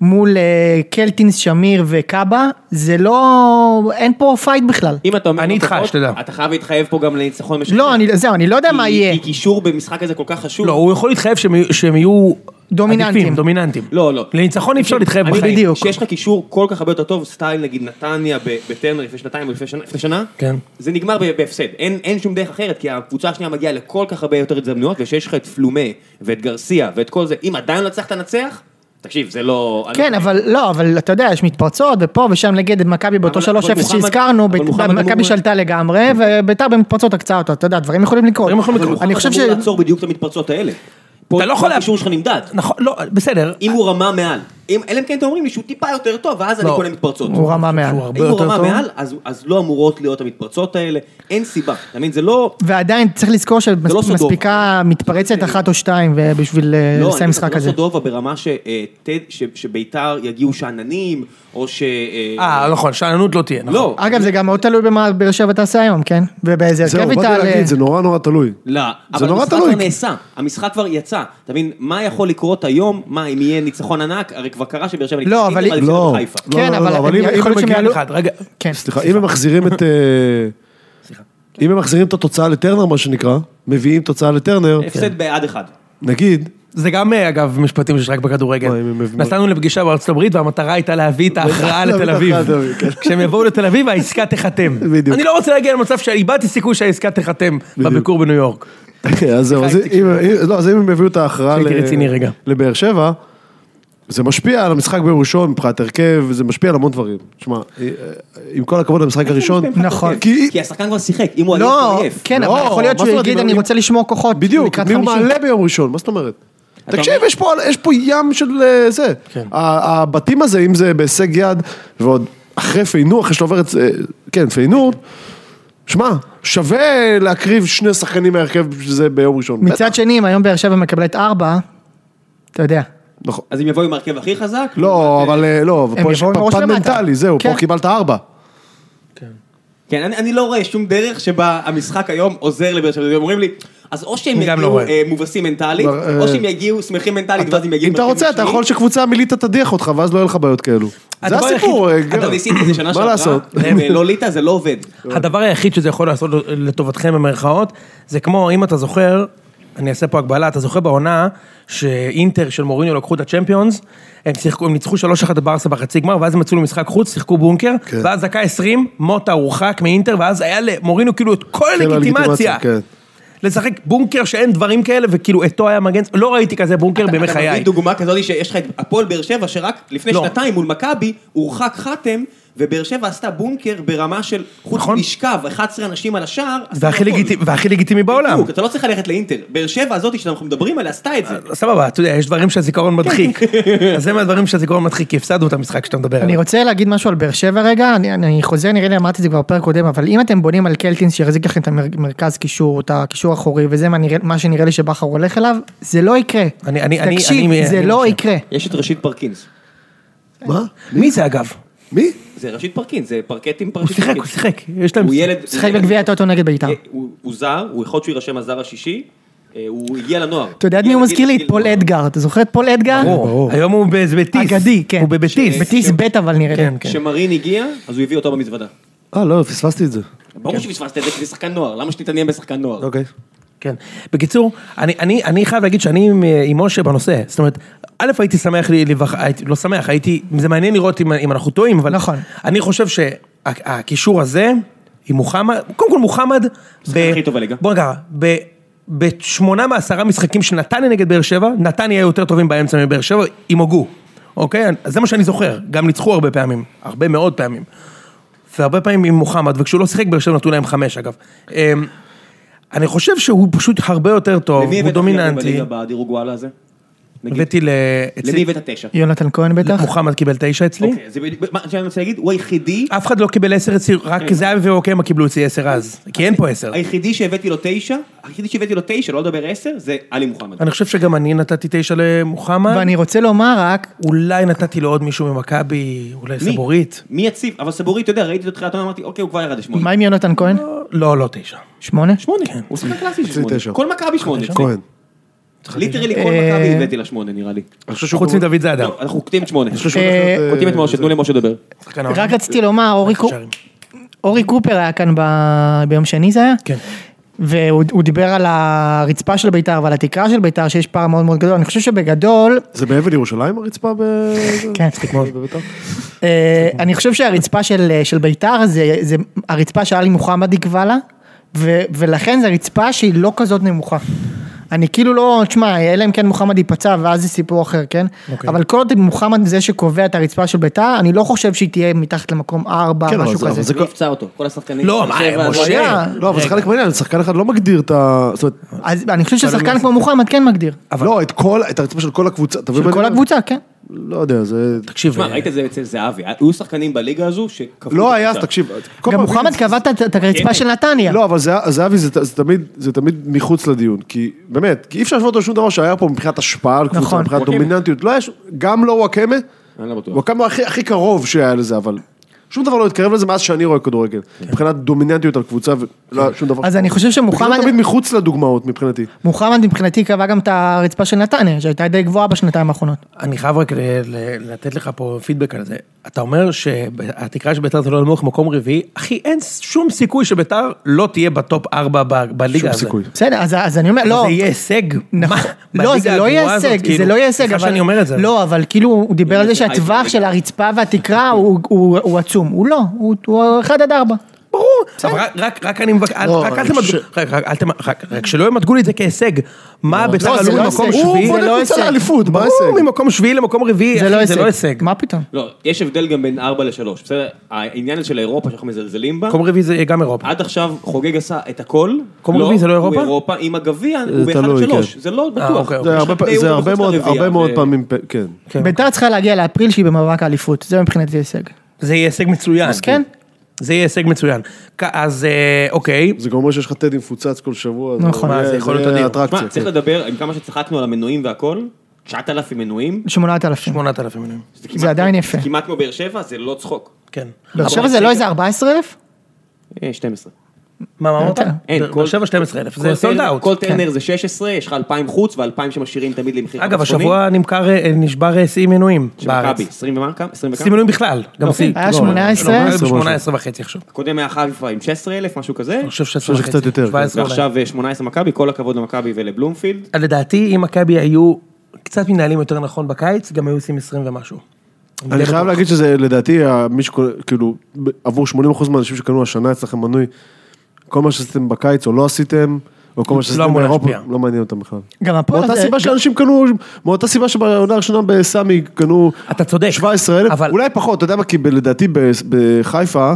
C: מול אה, קלטינס, שמיר וקאבה, זה לא, אין פה פייט בכלל.
A: אם אתה אומר...
B: אני איתך,
A: לפחות,
B: שתדע.
A: אתה חייב להתחייב פה גם לניצחון משחק.
C: לא, אני, זהו, אני לא יודע מה יהיה.
A: כי קישור במשחק הזה כל כך חשוב.
B: לא, הוא יכול להתחייב שהם יהיו- שהם יהיו
C: דומיננטים. אוקיי.
B: עדיפים, דומיננטים.
A: לא, לא.
B: לניצחון אי אפשר להתחייב
A: אני
B: בחיים.
A: בדיוק.
C: בדיוק.
A: שיש לך קישור כל כך הרבה יותר טוב, סטייל נגיד נתניה ב- בטרנר לפני שנתיים או לפני שנה- לפני שנה,
B: כן.
A: זה נגמר ב- בהפסד. אין אין שום דרך אחרת, כי הקבוצה השנייה מגיעה לכל כך הרבה יותר הזדמנויות, ושיש לך את פלומה ואת גרסיה ואת כל זה, אם עדיין לא הצלחת לנצח, תקשיב, זה לא...
C: כן, אבל לא, אבל אתה יודע, יש מתפרצות, ופה ושם נגד מכבי באותו
A: אבל-
C: 3-0
A: אבל מוחמד-
C: שהזכרנו,
A: אבל
C: בית-
A: מוחמד אמור-
C: מכבי שלטה לגמרי, וביתר במתפרצות הקצה אותו, אתה יודע, דברים יכולים לקרות.
B: דברים יכולים לקרות.
C: אני חושב ש...
A: אתה אמור לעצור בדיוק את המתפרצות האלה. פה
B: אתה לא יכול... לה-
A: הקישור שלך נמדד.
B: נכון, לא, בסדר.
A: אם הוא רמה מעל. אם- אלא אם כן אתם אומרים לי שהוא טיפה יותר טוב, ואז אני
B: לא.
A: קונה מתפרצות.
C: הוא רמה מעל.
B: שהוא הרבה
A: אם הוא
B: יותר
A: רמה
B: טוב.
A: מעל, אז- אז לא אמורות להיות המתפרצות האלה, אין סיבה. אתה מבין, זה לא...
C: ועדיין צריך לזכור
A: לא סודוב.
C: שמספיקה מתפרצת אחת או שתיים ו- בשביל אה,
A: לא,
C: לסיים משחק
A: לא
C: כזה.
A: סודובה ברמה ש- אה, טד- ש- שביתר יגיעו שאננים, או ש...
B: אה, נכון, שאננות לא תהיה, נכון.
A: לא.
C: אגב, זה גם מאוד תלוי במה באר שבע תעשה היום, כן? ובאיזה
D: זהו,
C: הרכב היא
D: באתי
C: תעלה.
D: להגיד,
B: אה.
D: זה נורא נורא תלוי.
A: לא,
D: אה, זה
A: אבל
D: נורא
A: המשחק
D: תלוי.
A: כבר נעשה, המשחק כבר יצא, אתה מבין, מה יכול לקרות היום, מה אם יהיה ניצחון ענק, הרי כבר קרה שבאר שבע
C: לא, אבל-
A: הפסידה
D: לא.
A: בחיפה.
D: לא,
C: כן,
D: לא,
C: אבל
D: לא, אבל
C: הם-
D: אם-
C: יכול
D: אם
C: להיות שהם
B: מגיע
C: יעלו...
B: אחד, רגע.
C: כן.
D: סליחה, אם הם מחזירים את... אה, אם הם מחזירים את התוצאה לטרנר, מה שנקרא, מביאים תוצאה לטרנר,
A: הפסד בעד אחד.
D: נגיד,
B: זה גם, אה, אגב, משפטים שיש רק בכדורגל.
D: וואי, הם- הם-
B: נסענו לפגישה בארצות הברית, והמטרה הייתה להביא את ההכרעה
D: להביא את
B: לתל אביב.
D: ההכרעה לתל אביב, כן.
B: כשהם יבואו לתל אביב, העסקה תיחתם.
D: בדיוק.
B: אני לא רוצה להגיע למצב שאיבדתי סיכוי שהעסקה תיחתם בביקור בניו יורק.
D: אוקיי, אז זהו, אז אם- אם- לא, אז אם הם יביאו את ההכרעה
B: הייתי
D: ל-
B: רציני רגע.
D: לבאר שבע, זה משפיע על המשחק ביום ראשון מבחינת הרכב, זה משפיע על המון דברים. תשמע, אה, אה, עם כל הכבוד למשחק הראשון,
C: נכון.
D: כי
A: כי השחקן כבר שיחק, אם הוא עייף, הוא
C: לא,
A: עייף.
C: כן,
D: לא,
C: אבל יכול להיות
D: מה
C: שהוא
D: זאת אומרת,
C: יגיד,
D: אם-
C: אני רוצה לשמור כוחות.
D: בדיוק,
C: לקראת
D: מי הוא
C: 50."
D: מעלה ביום ראשון, מה זאת אומרת? תקשיב,
A: אומר-
D: יש פה, יש פה ים של אה, זה.
B: כן.
D: ה- הבתים הזה, אם זה בהישג יד, ועוד אחרי פענוח, יש לו עוברת, אה, כן, פענוח, שמע, שווה להקריב שני שחקנים מהרכב בשביל זה ביום ראשון.
C: מצד שני, אם היום באר שבע מקבלת ארבע, אתה יודע.
D: בטח, נכון.
A: אז אם יבואו עם הרכב הכי חזק,
D: לא, אבל אה, לא,
C: הם
D: פה יש
C: יבואו עם ראש
D: פן
C: למטה.
D: מנטלי, זהו,
C: כן.
D: פה קיבלת ארבע.
A: כן, אני, אני לא רואה שום דרך שבה המשחק היום עוזר לבאר שבע, הם אומרים לי, אז או שהם
B: אני גם לא
A: יגיעו
B: רואה.
A: אה, מובסים מנטלית,
D: לא, אה,
A: או שהם יגיעו שמחים מנטלית, ואז הם יגיעו...
D: אם אתה
A: עם הרכב
D: רוצה, אתה
A: משני.
D: יכול שקבוצה מילית תדיח אותך, ואז לא יהיה לך בעיות כאלו. זה
B: הדבר
D: הסיפור, אה,
A: אתה
D: גר.
A: ניסיתי את זה שנה
D: מה
A: שעברה,
D: לעשות?
A: ולא ליטא זה לא עובד.
B: הדבר היחיד שזה יכול לעשות לטובתכם במרכאות, זה כמו, אם אתה זוכר, אני אעשה פה הגבלה, אתה זוכר בעונה שאינטר של מוריניו לקחו את הצ'מפיונס, הם שיחקו, הם ניצחו 3-1 את ברסה בחצי גמר, ואז הם יצאו למשחק חוץ, שיחקו בונקר,
D: כן.
B: ואז דקה 20, מוטה הורחק מאינטר, ואז היה למוריניו כאילו את כל
D: כן, הלגיטימציה,
B: הלגיטימציה.
D: כן.
B: לשחק בונקר שאין דברים כאלה, וכאילו אתו היה מגן, לא ראיתי כזה בונקר בימי
A: אתה מביא
B: חיי.
A: דוגמה כזאת שיש לך את הפועל באר שבע, שרק לפני
B: לא.
A: שנתיים מול מכבי, הורחק חתם, ובאר שבע עתה בונקר ברמה של חוץ
B: נכון.
A: מלשכב, 11 אנשים על השער, עשתה
B: והכי
A: הכל.
B: לגיטימי- והכי לגיטימי בעולם.
A: בדיוק, אתה לא צריך ללכת לאינטר. באר שבע הזאת שאנחנו מדברים עליה, עשתה את זה.
B: סבבה, אתה יודע, יש דברים שהזיכרון מדחיק.
A: כן,
B: אז זה מהדברים שהזיכרון מדחיק, כי הפסדנו את המשחק שאתה מדבר
C: אני
B: עליו.
C: רוצה להגיד משהו על באר שבע רגע, אני, אני חוזר, נראה לי אמרתי את זה כבר בפרק קודם, אבל אם אתם בונים על קלטינס שיחזיק לכם את המרכז קישור, את הקישור האחורי, וזה מה, נראה, מה שנראה לי שבכר הולך אליו, זה לא יקרה.
B: אני- אני- אני-
C: תקשיב,
B: אני-
C: זה
B: אני
C: לא
B: חושב.
C: יקרה.
A: יש את ראשית פרקינס.
D: מה?
B: מי זה אגב?
D: מי?
A: זה ראשית פרקינס, זה פרקטים
B: הוא
A: פרשית
B: שיחק, הוא שיחק, יש להם...
A: הוא ילד... אה,
C: שיחק בגביע הטוטו נגד בית"ר.
B: אה,
A: הוא- הוא זר, הוא יכול להיות שהוא יירשם הזר השישי, אה, הוא הגיע לנוער.
C: אתה יודע את מי
B: אה,
A: הגיע
C: הוא
A: לגיל-
C: מזכיר לי? את
A: לגיל
C: פול
A: נוער.
C: אדגר, אתה זוכר את פול אדגר?
B: ברור. היום הוא בבטיס.
C: אגדי, כן.
B: הוא בבטיס.
C: בטיס ב' אבל נראה לי.
B: כן, כן.
A: כשמרין הגיע, אז הוא הביא אותו במזוודה.
D: אה, לא, פספסתי את זה.
A: ברור שפספסת את זה, כי זה שחקן נוער, למה שתתעניין בשחקן נוער?
D: אוקיי.
B: כן. בקיצור, אני, אני, אני חייב להגיד שאני עם, אה, עם משה בנושא. זאת אומרת, א', הייתי שמח, לי, לבח... הייתי, לא שמח, הייתי, זה מעניין לראות אם, אם אנחנו טועים, אבל...
C: נכון.
B: אני חושב שהקישור הזה, עם מוחמד, קודם כל מוחמד...
A: השחקן הכי טוב בליגה.
B: בוא נגע, ב... בשמונה מעשרה משחקים של נתניה נגד באר שבע, נתניה היו יותר טובים באמצע מבאר שבע, עם הוגו. אוקיי? אז זה מה שאני זוכר. גם ניצחו הרבה פעמים, הרבה מאוד פעמים. והרבה פעמים עם מוחמד, וכשהוא לא שיחק באר שבע נתנו להם חמש אגב. אמ, אני חושב שהוא פשוט הרבה יותר טוב,
A: למי הבאת הכי
B: הוא
A: הרבה
B: דומיננטי.
A: בליגה בדירוג וואלה הזה? נגיד,
B: הבאתי ל... אצלי-
A: למי הבאת תשע?
C: יונתן כהן בטח.
B: מוחמד קיבל תשע אצלי.
A: אוקיי, זה בדיוק, מה שאני רוצה להגיד, הוא היחידי,
B: אף אחד לא קיבל עשר אצלי,
A: אוקיי.
B: רק זהבי ואוקמה קיבלו אצלי עשר אז. כי אין פה עשר.
A: היחידי שהבאתי לו תשע, היחידי שהבאתי לו תשע, לא לדבר עשר, זה עלי מוחמד.
B: אני חושב שגם אני נתתי תשע למוחמד.
C: ואני רוצה לומר רק,
B: אולי נתתי לו עוד מישהו ממכבי, אולי
A: מי?
B: סבורית.
A: מי יציב? אבל סבורית, אתה יודע, ראיתי אותו תחילת העונה, אמרתי, אוקיי, הוא כבר ירד לשמונה.
C: מה עם יונתן כהן?
B: לא, לא תשע. כן.
C: שמונה?
A: שמונה, הוא שחקן קלאסי של שמונה.
D: תשע.
A: כל מכבי שמונה. אצלי.
D: כהן.
A: ליטרלי כל
C: אה,
A: מכבי הבאתי לה שמונה, נראה לי.
D: אני חושב שהוא
B: חוץ
D: גם-
B: מדוד זאדה.
A: לא, אנחנו קוטעים את שמונה.
D: שהוא הולך
C: אה,
D: להיות, אה,
A: קוטעים את משה, תנו למשה לדבר.
B: שחקן העונה.
C: רק רציתי לומר, אורי קו-
B: שערים.
C: אורי קופר היה כאן ב- ביום שני זה היה?
B: כן.
C: והוא הוא דיבר על הרצפה של ביתר ועל התקרה של ביתר, שיש פער מאוד מאוד גדול. אני חושב שבגדול,
D: זה באבן ירושלים הרצפה ב...
C: כן,
D: בביתר?
C: אה, אני חושב שהרצפה של, אה, של ביתר זה, זה הרצפה שאלי מוחמד יקבע לה, ו, ולכן זו רצפה שהיא לא כזאת נמוכה. אני כאילו לא, תשמע, אלא אם כן מוחמד ייפצע ואז זה סיפור אחר, כן?
B: אוקיי.
C: אבל כל עוד מוחמד זה שקובע את הרצפה של ביתר, אני לא חושב שהיא תהיה מתחת למקום 4,
D: כן, אבל
C: משהו
D: זה-
C: כזה.
D: אבל זה-
E: מי יפצע אותו? כל השחקנים.
B: לא, מה,
E: שבע,
B: משה?
E: זה-
C: אה,
D: לא, אבל זה חלק מהעניין, שחקן אחד לא מגדיר את ה... זאת אומרת,
C: אז אני חושב ששחקן כמו מוחמד כן מגדיר.
D: לא, את כל, את הרצפה של כל הקבוצה. אתה מבין מה
C: של
D: אני
C: כל
D: אומר?
C: הקבוצה, כן.
D: לא יודע, זה...
B: תקשיב,
A: תשמע,
B: אה,
A: ראית את זה אצל זהבי, היו שחקנים בליגה הזו שקבעו... את
D: לא היה,
A: הקבוצה.
D: תקשיב. כל
C: גם
D: פעם-
C: מוחמד קבע את- את הרצפה
A: כן.
C: של נתניה.
D: לא, אבל זה- זהבי זה ת- זה תמיד, זה תמיד מחוץ לדיון, כי באמת, כי אי אפשר להשוות לו לשום דבר שהיה פה מבחינת השפעה על קבוצה,
C: נכון.
D: מבחינת
A: וואקמה.
D: דומיננטיות, לא היה, ש- גם לא וואקמה,
A: אני לא בטוח.
D: וואקמה הכי הכי קרוב שהיה לזה, אבל שום דבר לא התקרב לזה מאז שאני רואה כדורגל, מבחינת דומיננטיות על קבוצה, ולא היה שום דבר.
C: כן. אז אני חושב
D: מוחמד...
C: שמוחמד...
D: תמיד מחוץ לדוגמאות מבחינתי.
C: מוחמד מבחינתי קבע גם את הרצפה של נתניה, שהייתה די גבוהה בשנתיים האחרונות.
B: אני חייב רק ל- ל- לתת לך פה פידבק על זה. אתה אומר שהתקרה של ביתר תלוי נמוך מקום רביעי, אחי, אין שום סיכוי שביתר לא תהיה בטופ ארבע ב- בליגה הזאת.
D: שום
A: אוקיי.
D: סיכוי.
C: בסדר, אז, אז אני אומר,
B: אבל
C: לא.
B: זה יהיה הישג.
C: נכון.
B: מה?
C: לא,
B: בליגה
C: זה לא יהיה
B: הגרועה הזאת,
C: הישג, זה
B: כאילו,
C: לא יהיה הישג,
B: סליחה
C: אבל...
B: שאני אומר את זה.
C: לא, אבל כאילו, הוא דיבר על זה
A: זה הייפר
C: שהטווח
A: בליגה.
C: של הרצפה והתקרה הוא- הוא הוא עצום. הוא לא, הוא- הוא 1 עד 4.
B: ברור, אבל רק- רק רק אני מבקש, אל-
D: לא,
B: רק אל
D: אני
B: תמדגו,
D: חושב-
B: רק- רק אל תמ- רק- רק שלא ימדגו לי את זה כהישג. מה ביתר
C: לא, זה
B: עלו
C: לא
B: ממקום
C: הישג.
B: שביעי?
D: הוא
C: זה
D: בונה
C: לא
D: קבוצה
C: הישג.
D: לאליפות, מה
B: ברור,
D: ההישג?
B: ממקום שביעי למקום רביעי, אחי, זה לא הישג.
C: מה פתאום?
A: לא, יש הבדל גם בין ארבע לשלוש, בסדר? העניין הזה של אירופה שאנחנו מזלזלים בה,
B: מקום רביעי זה יהיה גם אירופה.
A: עד עכשיו חוגג עשה את הכל.
B: מקום רביעי זה לא אירופה?
A: הוא אירופה עם הגביע, הוא באחד עד
D: תלוי,
A: שלוש.
D: כן.
A: זה לא בטוח.
B: אוקיי,
D: זה
A: יש
D: הרבה
A: לך
D: פ-
A: שני
D: זה
A: אירופה
D: הרבה
A: מחוץ
D: מאוד-
A: לרביעייה,
D: הרבה מאוד
A: ו-
D: פעמים, פ- כן.
B: כן.
C: ביתר צריכה להגיע לאפריל שהיא במאבק האליפות, זה מבחינתי הישג.
B: זה יהיה הישג מצוין.
C: אז כן.
B: זה יהיה הישג מצוין. כ- אז אה, אוקיי,
D: זה גם אומר שיש לך טדי מפוצץ כל שבוע.
C: נכון.
B: מה, זה יכול להיות אדיר.
D: אטרקציה. כן.
A: תשמע, צריך לדבר, עם כמה שצחקנו על המנויים והכל, 9,000 מנויים,
C: 8,000.
B: 8,000 מיליון.
A: כמעט-
C: זה עדיין יפה.
A: זה כמעט כמו באר שבע, זה לא צחוק.
B: כן.
C: באר שבע זה לא איזה 14,000?
A: אה, 12.
B: מה, מה אמרת?
D: כן.
C: יותר.
A: אין,
B: באר
A: כל-
B: שבע 12,000,
A: כל
B: זה סולד
A: טרנר-
B: אאוט.
A: כל טרנר זה 16, יש לך 2,000 חוץ ו2,000 שמשאירים תמיד למחיר
B: אגב, השבוע נמכר, אה, נשבר אה, שיא מינויים
A: של
B: בארץ.
A: מכבי, 20 ומה? כמה? 20
B: שיא
A: וכמה?
B: מינויים בכלל,
D: אוקיי.
B: גם שיא.
C: היה 18?
B: לא, היה
D: 18,
B: ב-18 וחצי עכשיו.
A: הקודם היה חיפה עם 16,000, משהו כזה,
B: אני חושב
D: חושב
B: ש-17
D: שקצת
B: וחצי.
D: יותר, כן.
B: 17 אולי.
A: ועכשיו אה, 18 מכבי, כל הכבוד למכבי ולבלומפילד.
B: אה, לדעתי, אם מכבי היו קצת מנהלים יותר נכון בקיץ, גם היו עושים 20 ומשהו.
D: אני חייב להגיד שזה לדעתי, ה- מי שקונה, כאילו, ב- עבור 80% מהאנשים שקנו השנה אצלכם מנוי, כל מה שעשיתם בקיץ או לא עשיתם, או כל מה שעשיתם
B: אמור
D: באירופה,
B: להשפיע.
D: לא מעניין אותם בכלל.
C: גם הפועל...
D: מאותה
C: הזה-
D: סיבה שאנשים קנו, מאותה סיבה שבעונה הראשונה בסמי קנו
B: אתה צודק,
D: 17,000,
B: אבל-
D: אולי פחות, אתה יודע מה, כי ב- לדעתי ב- בחיפה,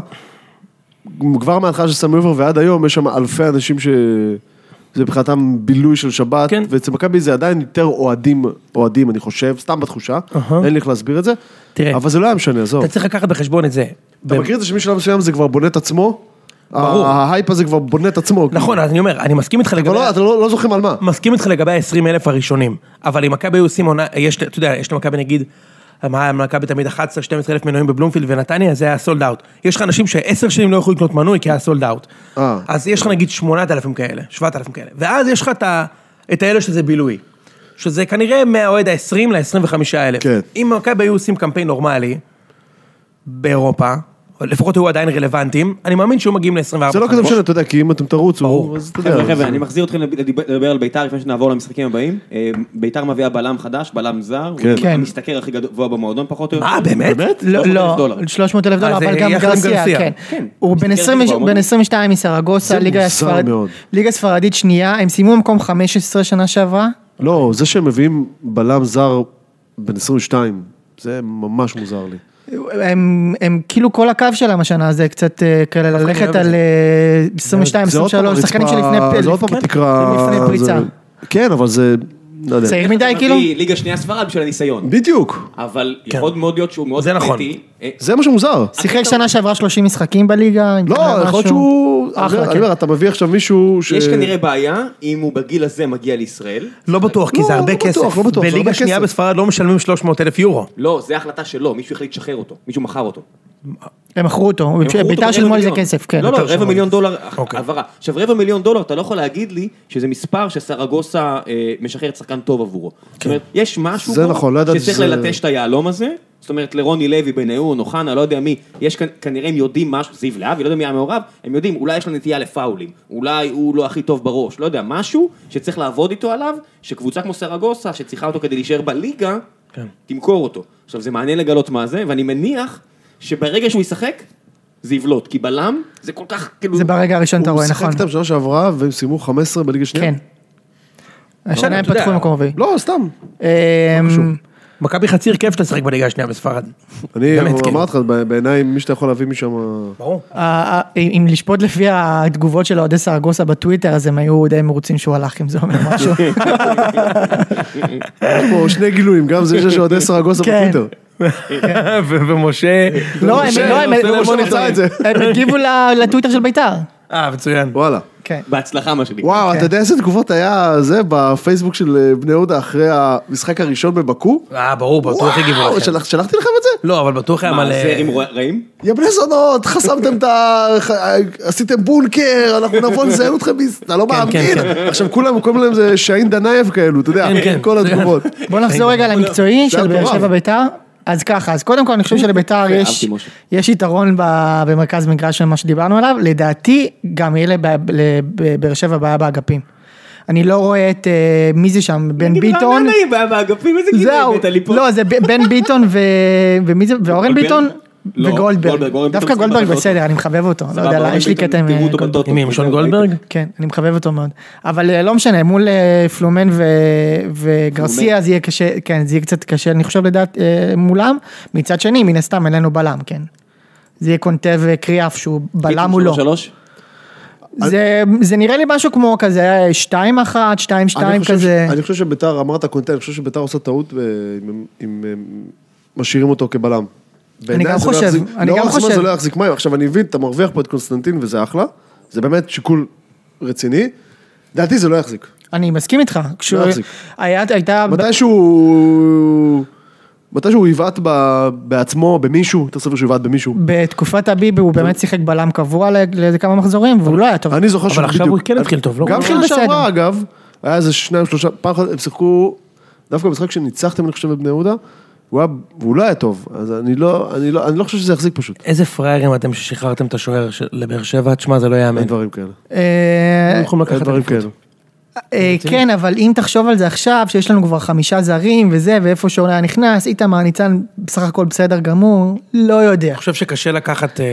D: כבר מההתחלה של סמי עופר ועד היום, יש שם אלפי אנשים ש... זה מבחינתם בילוי של שבת,
B: כן.
D: ואצל מכבי זה עדיין יותר אוהדים, אוהדים אני חושב, סתם בתחושה,
B: אהה.
D: אין לי איך להסביר את זה,
B: תראה.
D: אבל זה לא היה משנה, עזוב.
B: אתה צריך לקחת בחשבון את זה.
D: אתה מכיר את זה שמשלב מסוים זה כבר בונה את עצמו?
B: ברור.
D: ההייפ הזה כבר בונה את עצמו.
B: נכון, אז אני אומר, אני מסכים איתך לגבי...
D: אבל לא, אתה לא לא זוכרים על מה.
B: מסכים איתך לגבי ה-20 אלף הראשונים, אבל אם מכבי היו עושים עונה, יש, אתה יודע, יש למכבי נגיד, מה, מכבי תמיד 11-12 אלף מנויים בבלומפילד ונתניה, זה היה סולד אאוט. יש לך אנשים שעשר שנים לא יכלו לקנות מנוי כי היה סולד אאוט.
D: אה.
B: אז יש לך נגיד 8,000 כאלה, 7,000 כאלה, ואז יש לך את, ה- את האלה שזה בילוי. שזה כנראה מהאוהד ה-20 ל-25 אלף.
D: כן.
B: אם מכבי היו עושים קמפיין נורמלי באירופה, או לפחות היו עדיין רלוונטיים, אני מאמין שהיו מגיעים ל-24.
D: זה לא כזה משנה, אתה יודע, כי אם אתם תרוצו, אז אתה יודע.
A: חבר'ה,
D: כן, זה-
A: חבר'ה, אני מחזיר אתכם לב- לדיב- לדבר על ביתר לפני שנעבור למשחקים הבאים. אה, ביתר מביאה בלם חדש, בלם זר,
D: כן.
A: הוא
C: כן.
A: המשתכר הכי גבוה במועדון פחות או יותר.
B: מה, באמת?
C: לא,
A: 300,000
C: לא,
A: דולר.
C: 300 אלף דולר,
B: אה, זה
C: אבל גם
B: יחד עם
C: גרסיה,
B: גרסיה.
C: כן.
A: כן.
C: הוא בן
A: מסתכל
C: עשרים וש-
A: גבוה מאוד.
C: בן 22 מסרגוסה,
D: זה
C: ליגה
D: מוזר
C: ספרד-
D: מאוד.
C: ליגה ספרדית שנייה, הם סיימו במקום 15 שנה שעברה.
D: לא, זה שהם מביאים בלם זר בן 22, זה ממש מוזר לי.
C: הם, הם כאילו כל הקו שלהם השנה זה קצת אה, כאלה ללכת
B: אוהב את
C: על
B: זה.
C: אה,
D: זה עוד
C: 22,
D: פעם
C: 23,
D: הרצפה-
C: שחקנים שלפני
D: זה עוד פעם
A: כן,
C: לפני-
D: התקרה...
C: לפני
D: זה-
C: פריצה.
D: כן, אבל זה... לא יודע.
C: צעיר מדי
A: אתה
C: כאילו?
A: מביא ליגה שנייה ספרד בשביל הניסיון.
D: בדיוק,
A: אבל
B: כן.
A: יכול מאוד להיות שהוא מאוד
B: זה נכון.
A: קריטי. אה,
D: זה מה שמוזר.
C: שיחק שנה שעברה 30 משחקים בליגה. אם
D: לא,
C: קרה
D: יכול להיות
C: משהו.
D: שהוא...
C: אחלה,
D: אני
C: כן.
D: אומר, אתה מביא עכשיו מישהו ש...
A: יש כנראה בעיה אם הוא בגיל הזה מגיע לישראל.
B: לא בטוח, כי
D: לא,
B: זה הרבה
D: לא
B: כסף.
D: בטוח, לא בטוח, זה
B: בליגה
D: הרבה
B: שנייה
D: כסף.
B: בספרד לא משלמים 300 אלף יורו.
A: לא, זו החלטה שלו, מישהו החליט לשחרר אותו, מישהו מכר אותו.
C: הם מכרו אותו,
A: הם מכרו אותו
C: ביתר
A: ברבע
C: שילמו על זה
A: מיליון.
C: כסף, כן.
A: לא, לא,
B: ביתר שילמו
A: רבע
B: על
A: מיליון
B: זה.
A: דולר
B: אוקיי.
A: העברה. עכשיו, רבע מיליון דולר, אתה לא יכול להגיד לי שזה מספר שסרגוסה אה, משחרר שחקן טוב עבורו. זאת אומרת, יש משהו
D: כן. זה
A: פה
D: נכון, לא ידעתי
A: שצריך
D: שזה-
A: ללטש את היהלום הזה, זאת אומרת, לרוני לוי, בניון, אוחנה, לא יודע מי, יש כאן, כנראה הם יודעים משהו, זיו להבי, לא יודע מי היה מעורב, הם יודעים, אולי יש לו נטייה לפאולים, אולי הוא לא הכי טוב בראש, לא יודע, משהו שצריך לעבוד איתו עליו, שקבוצה כמו סרגוסה, שצריכה אותו כדי להישאר בליגה,
B: כן.
A: תמכור אותו. עכשיו, זה מעניין לגלות מה זה, ואני מניח שברגע שהוא ישחק, זה יבלוט, כי בלם, זה כל כך, כאילו...
C: זה ברגע הראשון אתה רואה, נכון.
D: הוא שיחק איתם שנה שעברה והם סיימו 15 בליגה שנייה?
C: כן. השנה הם
B: אתה יודע.
C: פתחו מקום רביעי.
D: לא, סתם.
C: אמ,
B: מכבי חציר כיף לשחק בליגה השנייה בספרד.
D: אני אמ-
B: באמת, כן.
D: אמרתי לך, ב- בעיניי מי שאתה יכול להביא משם...
B: ברור.
C: ה- ה- אם אם לשפוט לפי התגובות של אוהדי סרגוסה בטוויטר, אז הם היו די מרוצים שהוא הלך, אם זה אומר משהו.
D: יש פה שני גילויים, גם זה שיש אוהדי סרגוסה
C: כן.
D: בטוויטר.
B: ו- ומשה...
C: לא, הם-
B: ומשה
C: לא, הם-
B: עושה
C: הוא
B: להם
D: משה
B: מוניטורינג.
D: מצא את זה.
C: הם הגיבו ל- לטוויטר של ביתר.
B: אה, מצוין.
D: וואלה.
C: כן.
A: בהצלחה, מה שנקרא.
B: אוקיי.
D: וואו, אתה יודע איזה תגובות היה זה בפייסבוק של אה, בני יהודה אחרי המשחק הראשון בבקו?
B: אה, ברור, בטוח הגיבו
D: וואו,
B: לכם.
D: שלח- שלחתי לכם את זה?
B: לא, אבל בטוח היה
A: מה,
B: מלא...
C: אה,
A: זה עם רעים?
D: יא בני זונות, חסמתם את ה... ח- עשיתם בונקר, אנחנו נבוא לזיין אתכם, ביס- אתה לא מאמין.
B: כן.
D: עכשיו כולם, כל מיני זה שאין דנייב כאלו, אתה יודע,
B: כן, כן.
D: כל התגובות.
C: בוא נחזור רגע למקצועי
D: זה
C: של באר
D: מטורף.
C: שבע ביתר. אז ככה, אז קודם כל אני חושב שלביתר
A: אהבתי,
C: יש,
A: משה.
C: יש יתרון ב- במרכז מגרש של מה שדיברנו עליו, לדעתי גם יהיה לבע- לבאר שבע בעיה באגפים. אני לא רואה את, אה, מי זה שם, בן ביטון,
A: רעננה היא באה לא באגפים, איזה גיל
C: זהו,
A: הבאת לי פה.
C: לא, זה ב- בן ביטון ו... ומי זה, ואורן
A: גולדברג?
C: ביטון?
A: לא,
C: וגולדברג,
A: גולדברג, גולדברג
C: דווקא
A: משחק
C: גולדברג
A: בטוטו.
C: בסדר, אני מחבב אותו, לא
A: סבבה,
C: יודע,
A: אורן
C: לה- יש לי
A: ביטון,
C: קטע עם
A: תראו
C: אה,
A: אותו
C: גולדברג.
A: בטוטו.
B: עם מי, עם שון גולדברג?
C: כן, אני מחבב אותו מאוד. אבל אה, לא משנה, מול אה, פלומן ו- וגרסיה זה יהיה קשה, כן, זה יהיה קצת קשה, אני חושב לדעת, אה, מולם. מצד שני, מן הסתם, אין לנו בלם, כן. זה יהיה קונטה וקריאף שהוא בלם הוא לא.
A: כן, שלוש?
C: זה- זה נראה לי משהו כמו כזה אה, 2-1, 2-2
D: אני חושב ש-
C: כזה.
D: אני חושב שביתר, אמרת קונטה, אני חושב שביתר עושה טעות אה, אם- אם אה, משאירים אותו כבלם. בעיניי
C: גם
D: זה לא
C: חושב,
D: יחזיק-
C: אני גם
D: לאורך זמן
C: חושב.
D: זה לא יחזיק מים. עכשיו אני מבין, אתה מרוויח פה את קונסטנטין וזה אחלה, זה באמת שיקול רציני. לדעתי זה לא יחזיק.
C: אני מסכים
A: לא
C: איתך. כשהוא-
D: יחזיק.
C: היה- הייתה...
D: מתישהו... מתישהו הוא יבעט ב- בעצמו, במישהו, יותר סביר שהוא יבעט במישהו.
C: בתקופת הביבי הוא באמת שיחק בלם קבוע ל- לאיזה כמה מחזורים, והוא לא היה טוב.
D: אני זוכר
B: אבל עכשיו הוא כן התחיל טוב, לא?
D: גם
C: התחיל
D: שנה שעברה
C: בסדר.
D: אגב, היה איזה שניים שלושה, פעם אחת הם שיחקו, דווקא במשחק שניצחתם אני חושב בבני יהודה, הוא היה, והוא לא היה טוב, אז אני לא, אני לא, אני לא חושב שזה יחזיק פשוט,
B: איזה פראיירים אתם ששחררתם את השוער של- לבאר שבע, תשמע, זה לא
D: אין
B: ייאמן.
D: דברים כאלה,
C: אה,
B: הם יכולים
D: אין
B: לקחת
D: דברים
B: אליפות.
D: כאלה.
C: אה, כן, אבל אם תחשוב על זה עכשיו, שיש לנו כבר חמישה זרים וזה, ואיפה שעולה היה נכנס, איתמר ניצן בסך הכל בסדר גמור, לא יודע.
B: אני חושב שקשה לקחת אה,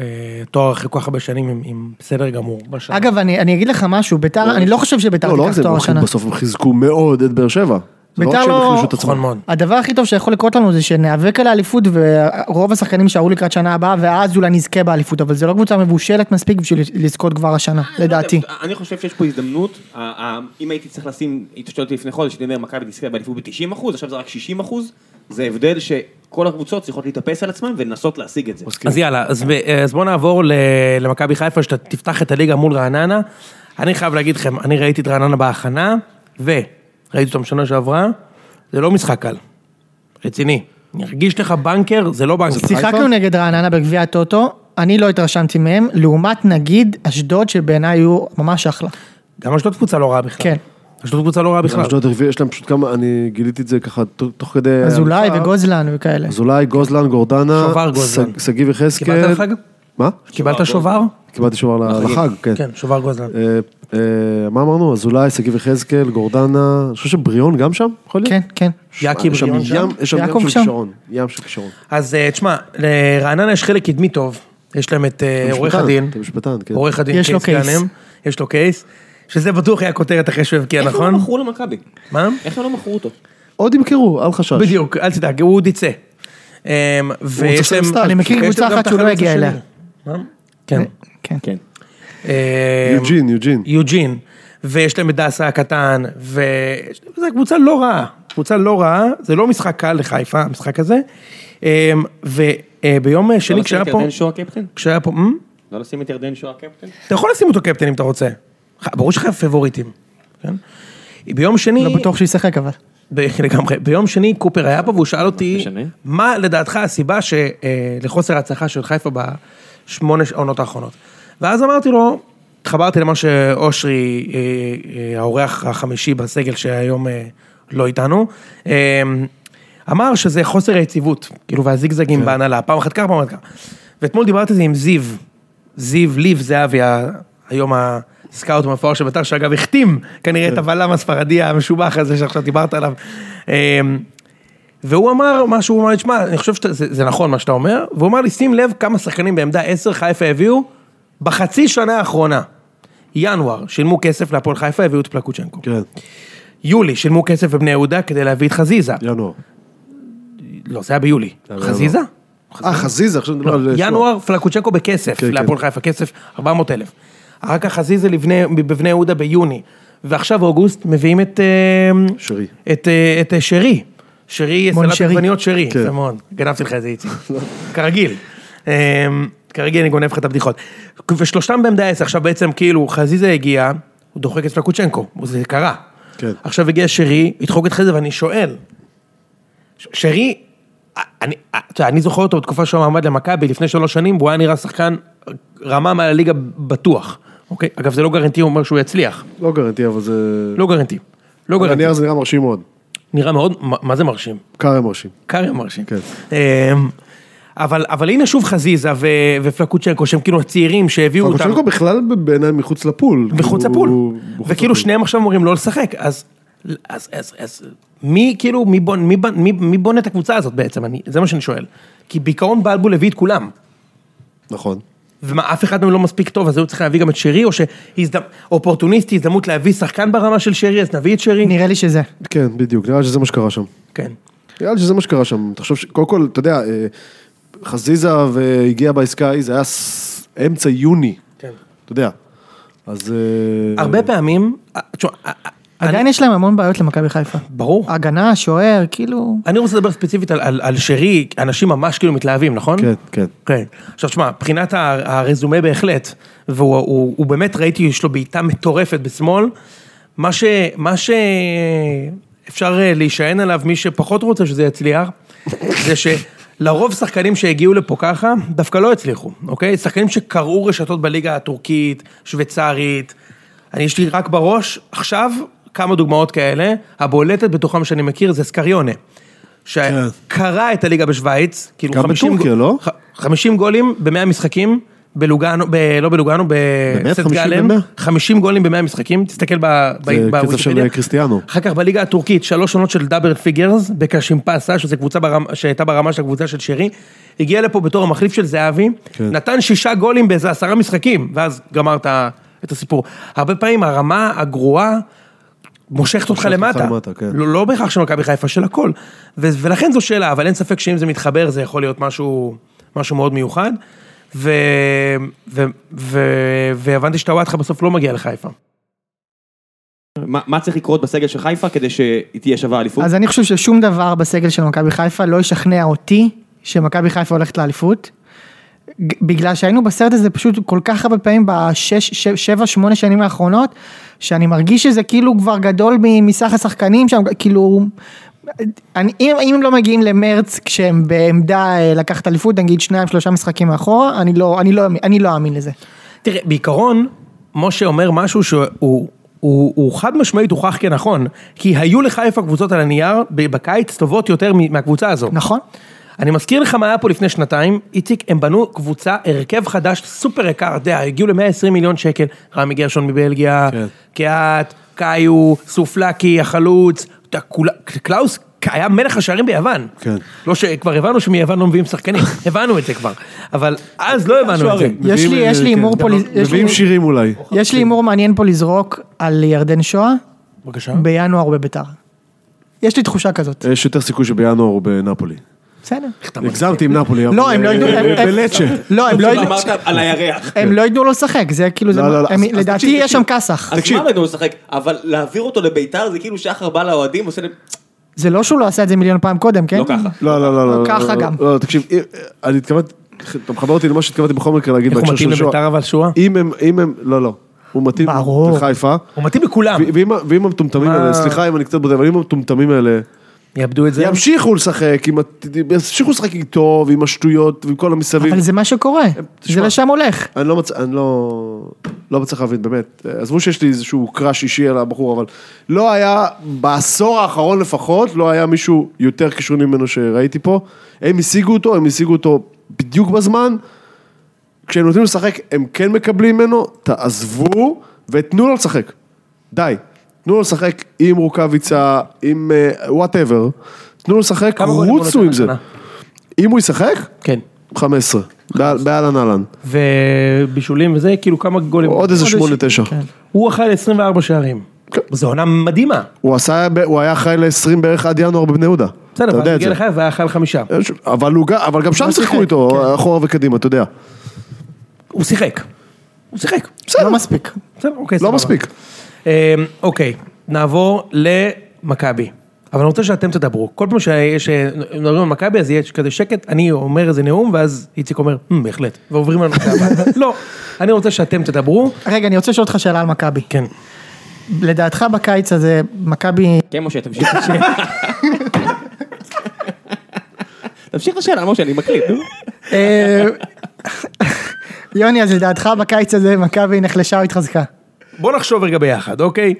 B: אה, תואר אחרי כל כך הרבה שנים עם- עם בסדר גמור. בשנה.
C: אגב, אני אני אגיד לך משהו, ביתר, אני לא חושב שביתר
D: לא, לא רק
C: תיקח
D: זה,
C: תואר
D: הם
C: השנה.
D: בסוף הם חיזקו מאוד את באר שבע. זה לא רק
C: ביתר
D: שהם
C: לא-
D: החלישו את
B: נכון
D: עצמם.
B: מאוד.
C: הדבר הכי טוב שיכול לקרות לנו זה שניאבק על האליפות ורוב השחקנים שערו לקראת שנה הבאה ואז אולי נזכה באליפות אבל זה לא קבוצה מבושלת מספיק בשביל לזכות כבר השנה לדעתי.
A: אני לא חושב שיש פה הזדמנות, ה- ה- אם הייתי צריך לשים, התשתתתי לפני חודש, הייתי אומר, מכבי תזכה באליפות ב-90 אחוז, עכשיו זה רק 60 אחוז, זה הבדל שכל הקבוצות צריכות להתאפס על עצמן ולנסות להשיג את זה.
D: מסכים.
B: אז יאללה, אז, ב- אז בואו נעבור ל- למכבי חיפה, שאתה תפתח את הליגה מול רעננה. אני חייב להגיד לכם, אני ראיתי את רעננה בהכנה, וראיתי אותם שנה שעברה, זה לא משחק קל. רציני. אני ארגיש לך בנקר, זה לא בנקר.
C: שיחקנו נגד רעננה בגביע הטוטו, אני לא התרשמתי מהם, לעומת נגיד אשדוד שבעיניי היו ממש אחלה.
B: גם אשדוד קבוצה לא רעה בכלל.
C: כן.
B: אשדוד קבוצה לא רעה בכלל.
D: אשדוד הרביעי, יש להם פשוט כמה, אני גיליתי את זה ככה ת- תוך כדי...
C: אזולאי
D: המשחק.
C: וגוזלן וכאלה.
D: אה. אזולאי, גוזלן, גורדנה,
B: שובר גוזלן.
D: ש- שגיב יחזקאל.
B: קיבלת לחג?
D: מה?
B: קיבלת שובר?
D: קיבלתי שובר לחג, כן.
B: כן, שובר גוזלן.
D: אה, אה, מה אמרנו? אזולאי, שגיב יחזקאל, גורדנה, אני חושב שבריאון גם שם, יכול להיות?
C: כן, כן.
B: יאקי
D: יש שם
B: בריאון שם?
D: ים- יש שם
C: יעקב
D: ים של
C: שם.
D: כישרון, ים של כישרון.
B: אז אה, תשמע, לרעננה יש חלק קדמי טוב, יש להם את אה,
D: אתה
B: עורך
D: משפטן,
B: הדין,
D: אתה משפטן, כן.
B: עורך הדין
C: יש לו קייס.
B: גאנם, יש לו קייס, שזה בטוח היה כותרת אחרי שהוא הבקיע,
A: איך הם
B: נכון?
A: לא מכרו למכבי?
B: מה?
A: איך הם לא מכרו אותו?
D: עוד ימכרו, אל חשש.
B: בדיוק, אל תדאג, הוא עוד יצא. אה, ויש
D: צריך
B: להם...
D: סטאז'.
C: אני מכיר
B: ויש להם
C: קבוצה
B: גם
C: אחת
B: את
C: שהוא לא
B: החלוץ
C: הגיע
B: השני.
C: אליה.
B: מה? כן.
C: כן.
A: כן.
B: אה,
D: יוג'ין, יוג'ין.
B: יוג'ין, ויש להם את דסה הקטן, ו- זו קבוצה לא רעה, קבוצה לא רעה, זה לא משחק קל לחיפה, המשחק הזה. אמ, וביום שני כשהיה
A: לא לשים את
D: כן,
B: פה,
A: ירדן שואה קפטן?
B: כשהיה פה, מ?
A: לא לשים את ירדן שואה קפטן?
B: אתה יכול לשים אותו קפטן אם אתה רוצה. ח- ברור שלך פבוריטים, כן? ביום שני,
C: לא בטוח שהוא ישחק אבל.
B: ב- לגמרי, ביום שני קופר היה פה והוא שאל אותי,
A: משנה.
B: מה לדעתך הסיבה ש- אה, לחוסר ההצלחה של חיפה בשמונה ש- העונות האחרונות. ואז אמרתי לו, התחברתי למה שאושרי, אה, אה, האורח החמישי בסגל שהיום אה, לא איתנו, אה, אמר שזה חוסר היציבות, כאילו, והזיגזגים בהנהלה, פעם אחת ככה, פעם אחת ככה. ואתמול דיברתי על זה עם זיו, זיו ליב זהבי, ה- היום הסקאוט המפואר של בית"ר, שאגב החתים כנראה את הבלם הספרדי המשובח הזה שעכשיו דיברת עליו. אמ, והוא אמר מה שהוא אמר, לי, שמע, אני חושב שזה זה נכון מה שאתה אומר, והוא אמר לי, שים לב כמה שחקנים בעמדה 10 חיפה הביאו בחצי שנה האחרונה. ינואר, שילמו כסף להפועל חיפה, הביאו את פלקוצ'נקו.
D: כן,
B: יולי, שילמו כסף בבני יהודה כדי להביא את חזיזה.
D: ינואר.
B: לא, זה היה ביולי.
D: ינואר.
B: חזיזה? לא,
D: אה, חזיזה, עכשיו נדבר על... אה,
B: ינואר, פלקוצ'נקו בכסף,
D: כן, כן.
B: להפועל חיפה, כסף 400 אלף. אחר כך חזיזה לבני- בבני יהודה ביוני, ועכשיו אוגוסט מביאים את... אה,
D: שרי.
B: את, אה, את אה, שרי. שרי,
C: מון
B: סלט
C: שרי.
B: עגבניות שרי.
D: כן.
B: יפה מאוד. גנבתי לך את זה, איציק. כרגיל. אמ, כרגיל אני גונב לך את הבדיחות. ושלושתם בעמדה 10, עכשיו בעצם כאילו חזיזה הגיע, הוא דוחק את פלקוצ'נקו, זה קרה.
D: כן.
B: עכשיו הגיע שרי, ידחוק את חזיזה, ואני שואל, ש- שרי, אה, אני, אתה יודע, אני זוכר אותו בתקופה שהוא עמד למכבי לפני שלוש שנים, והוא היה נראה שחקן רמה מעל הליגה בטוח. אוקיי? אגב, זה לא גרנטי, הוא אומר שהוא יצליח.
D: לא גרנטי, אבל זה...
B: לא גרנטי. לא
D: על
B: גרנטי.
D: הנייר זה נראה מרשים מאוד.
B: נראה מאוד, מה- מה זה מרשים?
D: קארי מרשים.
B: קריה מרשים.
D: כן.
B: אמ, אבל, אבל הנה שוב חזיזה ו, ופלקוצ'נקו, שהם כאילו הצעירים שהביאו אותם.
D: פרקושנקו בכלל בעיניי מחוץ לפול.
B: מחוץ
D: כאילו,
B: לפול.
D: הוא- מחוץ
B: וכאילו
D: לפול.
B: שניהם עכשיו אמורים לא לשחק, אז, אז, אז, אז מי כאילו, מי, בונ, מי, בנ- מי, מי בונה את הקבוצה הזאת בעצם? אני, זה מה שאני שואל. כי בעיקרון בלבול הביא את כולם.
D: נכון.
B: ומה, אף אחד מהם לא מספיק טוב, אז היו צריכים להביא גם את שרי, או שאופורטוניסטי, הזדמנות להביא שחקן ברמה של שרי, אז נביא את שרי.
C: נראה לי שזה.
D: כן, בדיוק, נראה לי שזה מה שקרה שם.
B: כן.
D: נראה לי שזה מה שקרה שם. תחשוב, ש- קודם כל, אתה יודע, אה, חזיזה והגיע בעסקה ההיא, זה היה ס- אמצע יוני,
B: כן.
D: אתה יודע. אז... אה,
B: הרבה פעמים, אה, תשמע, אה, אה,
C: עדיין יש להם המון בעיות למכבי חיפה.
B: ברור.
C: הגנה, שוער, כאילו...
B: אני רוצה לדבר ספציפית על, על, על שרי, אנשים ממש כאילו מתלהבים, נכון?
D: כן, כן.
B: כן. עכשיו תשמע, מבחינת ה- הרזומה בהחלט, והוא הוא, הוא באמת, ראיתי, יש לו בעיטה מטורפת בשמאל, מה, ש, מה שאפשר אה, להישען עליו, מי שפחות רוצה שזה יצליח, זה שלרוב שחקנים שהגיעו לפה ככה, דווקא לא הצליחו, אוקיי? שחקנים שקרעו רשתות בליגה הטורקית, שוויצרית, אני יש לי רק בראש, עכשיו, כמה דוגמאות כאלה, הבולטת בתוכם שאני מכיר זה סקריונה. שקרע את הליגה בשוויץ, כאילו
D: כן. גם
B: 50
D: בטורקיה,
B: גו-
D: לא?
B: ח- 50 גולים ב-100 משחקים, בלוגאנו, ב... לא בלוגאנו,
D: באמת?
B: בסט
D: 50
B: גלן,
D: ב-100?
B: 50 גולים ב-100 משחקים, תסתכל ב... ב-
D: זה קצב
B: בוויקיפדיה.
D: של קריסטיאנו.
B: אחר כך בליגה הטורקית, שלוש עונות של דאבר פיגרס, בקשימפסה, שזו קבוצה ברמה, שהייתה ברמה של הקבוצה של שרי, הגיע לפה בתור המחליף של זהבי, כן. נתן שישה גולים באיזה עשרה משחקים, ואז גמר את ה- את הסיפור. הרבה פעמים הרמה הגרועה מושכת אותך
D: מושכת אותך
B: למטה.
D: למטה, כן.
B: לא, לא בהכרח של מכבי חיפה, של הכל. ו- ולכן זו שאלה, אבל אין ספק שאם זה מתחבר זה יכול להיות משהו, משהו מאוד מיוחד. ו- ו- ו- והבנתי שטוואטחה בסוף לא מגיע לחיפה.
A: מה מה צריך לקרות בסגל של חיפה כדי שהיא תהיה שווה אליפות?
C: אז אני חושב ששום דבר בסגל של מכבי חיפה לא ישכנע אותי שמכבי חיפה הולכת לאליפות. ג- בגלל שהיינו בסרט הזה פשוט כל כך הרבה פעמים בשש, ש- שבע, שמונה שנים האחרונות, שאני מרגיש שזה כאילו כבר גדול מ- מסך השחקנים שם, כאילו... אני, אם, אם הם לא מגיעים למרץ כשהם בעמדה אה, לקחת אליפות, נגיד שניים שלושה משחקים מאחורה, אני לא, אני לא, אני לא אאמין לזה.
B: תראה, בעיקרון, משה אומר משהו שהוא הוא, הוא, הוא חד משמעית הוכח כנכון, כי היו לחיפה קבוצות על הנייר ב- בקיץ טובות יותר מ- מהקבוצה הזו.
C: נכון?
B: אני מזכיר לך מה היה פה לפני שנתיים, איציק, הם בנו קבוצה, הרכב חדש, סופר יקר, אתה יודע, הגיעו ל-120 מיליון שקל, רמי גרשון מבלגיה,
D: כן.
B: קיאט, קאיו, סופלקי, החלוץ, אתה יודע, כולה- קלאוס היה מלך השערים ביוון.
D: כן.
B: לא שכבר הבנו שמיוון לא מביאים שחקנים, הבנו את זה כבר, אבל אז לא הבנו את זה.
A: שוערים.
C: יש
D: מביאים,
C: לי,
D: אה,
C: יש לי
D: כן,
C: הימור פה, לז- יש לי-
D: מביאים שירים אולי.
C: יש לי הימור מעניין פה לזרוק על ירדן שואה,
B: בבקשה.
C: בינואר הוא בביתר. יש לי תחושה כזאת.
D: יש יותר סיכוי שבינואר הוא בנפולי.
C: בסדר.
D: הגזמתי עם נפולי. אבל,
C: לא, הם לא
D: אה,
C: ידעו... הם- הם-
D: בלצ'ה.
C: לא, הם לא ידעו...
A: אמרת על הירח.
C: הם לא ידעו לו לשחק, זה כאילו, זה-
D: לא, לא, לא,
C: הם-
D: אז- אז
C: לדעתי
D: תקשיב,
C: יש שם
D: תקשיב.
C: כסח.
A: אז מה לנו לשחק? אבל להעביר אותו לביתר זה כאילו שחר בא לאוהדים ועושה להם...
C: זה לא שהוא לא עשה את זה מיליון פעם קודם, כן?
A: לא ככה.
D: לא, לא, לא, לא.
C: לא, ככה
D: לא,
C: גם.
D: לא, תקשיב, אה, אה, אני התכוונתי, אתה מחבר אותי למה שהתכוונתי בכל מקרה להגיד
B: איך הוא
D: בהקשר
B: מתאים
D: של שואה.
B: לביתר אבל שואה?
D: אם הם, אם הם, לא, לא. הוא מתאים
C: ברור.
D: לחיפה.
B: הוא מתאים לכולם.
D: ו- ואם ה- ואם המטומטמים
B: אה. מה?
D: האלה, סליחה אם אני קצת בודה, אבל אם המטומטמים האלה
B: יאבדו את זה.
D: ימשיכו לשחק, עם הת- ימשיכו לשחק איתו ועם השטויות ועם כל המסביב.
C: אבל זה מה שקורה,
D: תשמע.
C: זה לשם הולך.
D: אני לא מצ... אני לא... לא מצליח להבין, באמת. עזבו שיש לי איזשהו קראש אישי על הבחור, אבל לא היה, בעשור האחרון לפחות, לא היה מישהו יותר קישוני ממנו שראיתי פה. הם השיגו אותו, הם השיגו אותו בדיוק בזמן. כשהם נותנים לו לשחק, הם כן מקבלים ממנו, תעזבו ותנו לו לשחק. די. תנו לו לשחק עם רוקאביצה, עם וואטאבר. תנו לו לשחק,
B: כמה גולים הוא
D: רוצו
B: נותן
D: עם זה.
B: השנה?
D: אם הוא ישחק,
B: כן.
D: 15. באל- באהלן אהלן.
B: ובישולים וזה, כאילו כמה גולים.
D: עוד איזה
B: איזה כן.
D: שמונה,
B: ש-
D: תשע.
C: כן.
B: הוא אחראי ל-24 שערים.
D: כן.
B: זו עונה מדהימה.
D: הוא עשה, הוא היה אחראי ל-20 בערך עד ינואר בבני יהודה.
B: בסדר,
D: אתה
B: אבל
D: יודע
B: הוא
D: את זה. לא
B: הגיע לחיפה והיה חייל חמישה.
D: אין ש- אבל, הוא, גם- אבל גם שם
C: הוא
D: שיחקו
C: שיחק,
D: איתו, אחורה וקדימה, אתה יודע.
B: הוא שיחק. הוא שיחק.
C: לא מספיק.
B: בסדר, אוקיי,
D: לא
B: סבבה.
D: מספיק.
B: אה, אוקיי, נעבור למכבי. אבל אני רוצה שאתם תדברו. כל פעם שיש- שמדברים על מכבי, אז יש כזה שקט, אני אומר איזה נאום, ואז איציק אומר, "מ, בהחלט, ועוברים לנושא הבא. לא, אני רוצה שאתם תדברו.
C: רגע, אני רוצה לשאול אותך שאלה על מכבי.
B: כן.
C: לדעתך בקיץ הזה, מכבי...
A: כן, משה, תמשיך את השאלה. תמשיך את השאלה, משה, אני מקליט. נו.
C: אה, יוני, אז לדעתך בקיץ הזה מכבי נחלשה או התחזקה?
B: בוא נחשוב רגע ביחד, אוקיי?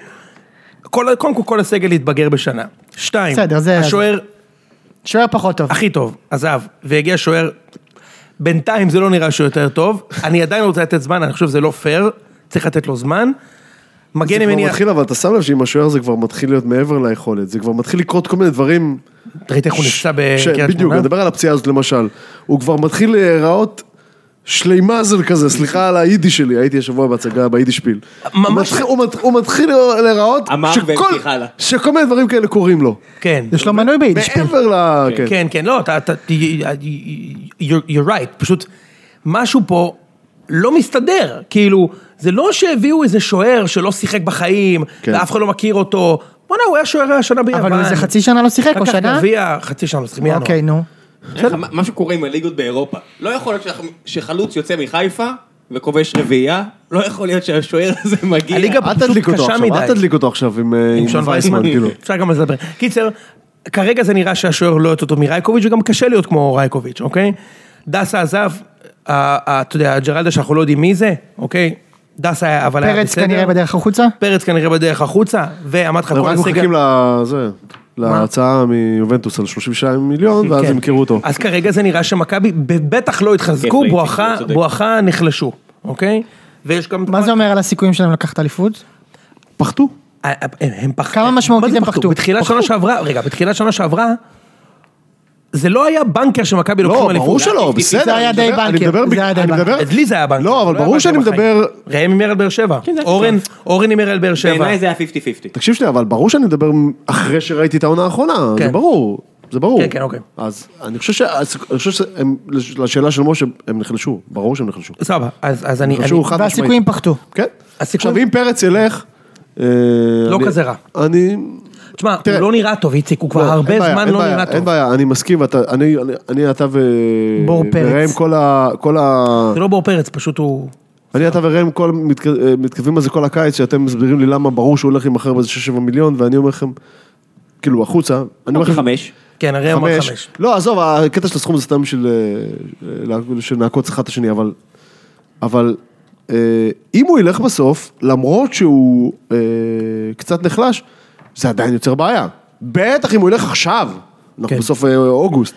B: כל- קודם כל, כל הסגל התבגר בשנה. שתיים,
C: בסדר, זה-
B: השוער
C: שוער פחות טוב.
B: הכי טוב, עזב, והגיע שוער, בינתיים זה לא נראה שהוא יותר טוב, אני עדיין רוצה לתת זמן, אני חושב שזה לא פייר, צריך לתת לו זמן.
D: זה
B: מגן
D: כבר
B: ימיני,
D: מתחיל, אבל אתה שם לב שעם השוער זה כבר מתחיל להיות מעבר ליכולת. זה כבר מתחיל לקרות כל מיני דברים.
B: ראית איך הוא
D: ש-
B: נפצע
D: ש-
B: בקריית
D: בדיוק,
B: שמונה?
D: נדבר על הפציעה הזאת למשל. הוא כבר מתחיל אה, להיראות שלימזל כזה, סליחה על היידיש שלי, הייתי השבוע בהצגה ביידיש פיל.
B: ממש-
D: הוא מתחיל- הוא מת- הוא מתחיל אה, להיראות
A: אמר
D: שכל-
A: והמשיך הלאה.
D: שכל מיני דברים כאלה קורים לו.
B: כן,
C: יש לו מנוי ביידיש.
D: מעבר ל... כן.
B: כן, כן, לא, אתה, אתה, you're you're right, פשוט משהו פה לא מסתדר, כאילו, זה לא שהביאו איזה שוער שלא שיחק בחיים,
D: כן.
B: ואף אחד לא מכיר אותו, בוא'נה, הוא היה שוער השנה ביוון.
C: אבל הוא איזה חצי שנה לא שיחק, או
B: לקח
C: שנה?
B: גביע, חצי שנה, לא משחקים מינואר.
C: אוקיי, נו.
A: אני אומר לך, מה- משהו קורה עם הליגות באירופה. לא יכול להיות שאנחנו- שחלוץ יוצא מחיפה וכובש רביעייה, לא יכול להיות שהשוער הזה מגיע.
B: הליגה
D: אל
B: פשוט
D: תדליק אותו
B: קשה
D: עכשיו,
B: מדי.
D: אל תדליק אותו עכשיו עם אה, עם
B: עם שון
D: וייסמן,
B: וייסמן,
D: כאילו.
B: אפשר גם על זה לדבר. קיצר, כרגע זה נראה שהשוער לא יותר טוב מרייקוביץ', וגם קשה להיות כמו רייקוביץ', אוקיי? דסה עזב, ה- ה- אתה יודע, ג'רלדה שאנחנו לא יודעים מי זה, אוקיי? דסה היה, אבל היה
C: פרץ
B: בסדר.
C: כנראה בדרך החוצה?
B: פרץ כנראה בדרך החוצה, ועמד לך
D: הם
B: כל
D: רק
B: הסגל.
D: מחכים לזה, להצעה מיובנטוס על 32 מיליון, ואז
B: כן.
D: הם ימכרו אותו.
B: אז כרגע זה נראה שמכבי בטח לא
A: כיף
B: התחזקו,
A: לאיציק,
B: בואכה-
A: הוא צודק.
B: בואכה נחלשו, אוקיי? ויש גם...
C: מה זה אומר על הסיכויים שלהם לקחת אליפות?
D: פחתו.
B: אה, אה, הם הם פחדו.
C: כמה משמעותית
B: מה זה
C: הם פחדו?
B: בתחילת שנה שעברה, רגע, בתחילת שנה שעברה, זה לא היה בנקר שמכבי
D: לא,
B: לוקחים
D: ברור
B: אליפות.
D: שלא,
A: זה
D: בסדר.
C: היה
D: אני
C: די
D: מדבר- אני
C: בנקר,
D: מדבר
C: זה
D: בק-
C: היה די
D: אני
C: בנקר.
D: מדבר-
B: אצלי זה היה בנקר.
D: לא, אבל
B: היה
D: ברור
B: בנקר
D: שאני
B: בחיים.
D: מדבר...
B: ראם הימר על באר שבע.
A: כן, זה היה
B: אורן, אורן הימר על באר שבע.
A: בעיניי זה היה 50-50.
D: תקשיב שנייה, אבל ברור שאני מדבר אחרי שראיתי את העונה האחרונה, זה
B: כן.
D: ברור. זה ברור.
B: כן, כן, אוקיי.
D: אז אני חושב ש... אז אני חושב שהם, לשאלה של משה, הם נחלשו, ברור שהם נחלשו.
B: סבבה, אז אז אני...
D: נחלשו
B: אני-
D: חד משמעית.
C: והסיכויים פחתו.
D: כן.
B: הסיכויים-
D: עכשיו, אם פרץ ילך... לא
B: כזה רע.
D: אני...
B: תשמע, הוא
D: תראה-
B: לא נראה טוב, איציק, הוא כבר
D: לא, אין
B: הרבה
D: בעיה,
B: זמן
D: אין
B: לא
D: בעיה,
B: נראה
D: אין
B: טוב.
D: בעיה, אני מסכים, ואתה- אני, אני- אני, אתה ו...
C: בור פרץ.
D: וראם כל ה... כל ה...
B: זה לא בור פרץ, פשוט הוא...
D: אני, אתה וראם כל... מתק- אה, מתכתבים על זה כל הקיץ, שאתם מסבירים לי למה ברור שהוא הולך עם אחר באיזה 6-7 מיליון, ואני אומר לכם, כאילו, החוצה, אני אומר
A: אמרתי
D: לכם,
A: חמש.
B: כן, הרי אמר חמש.
D: לא, עזוב, הקטע של הסכום זה סתם בשביל אה, אה, שנעקוץ אחד את השני, אבל... אבל אה, אם הוא ילך בסוף, למרות שהוא אה, קצת נחלש, זה עדיין יוצר בעיה. בטח אם הוא ילך עכשיו, אנחנו
B: כן.
D: בסוף אה, אוגוסט.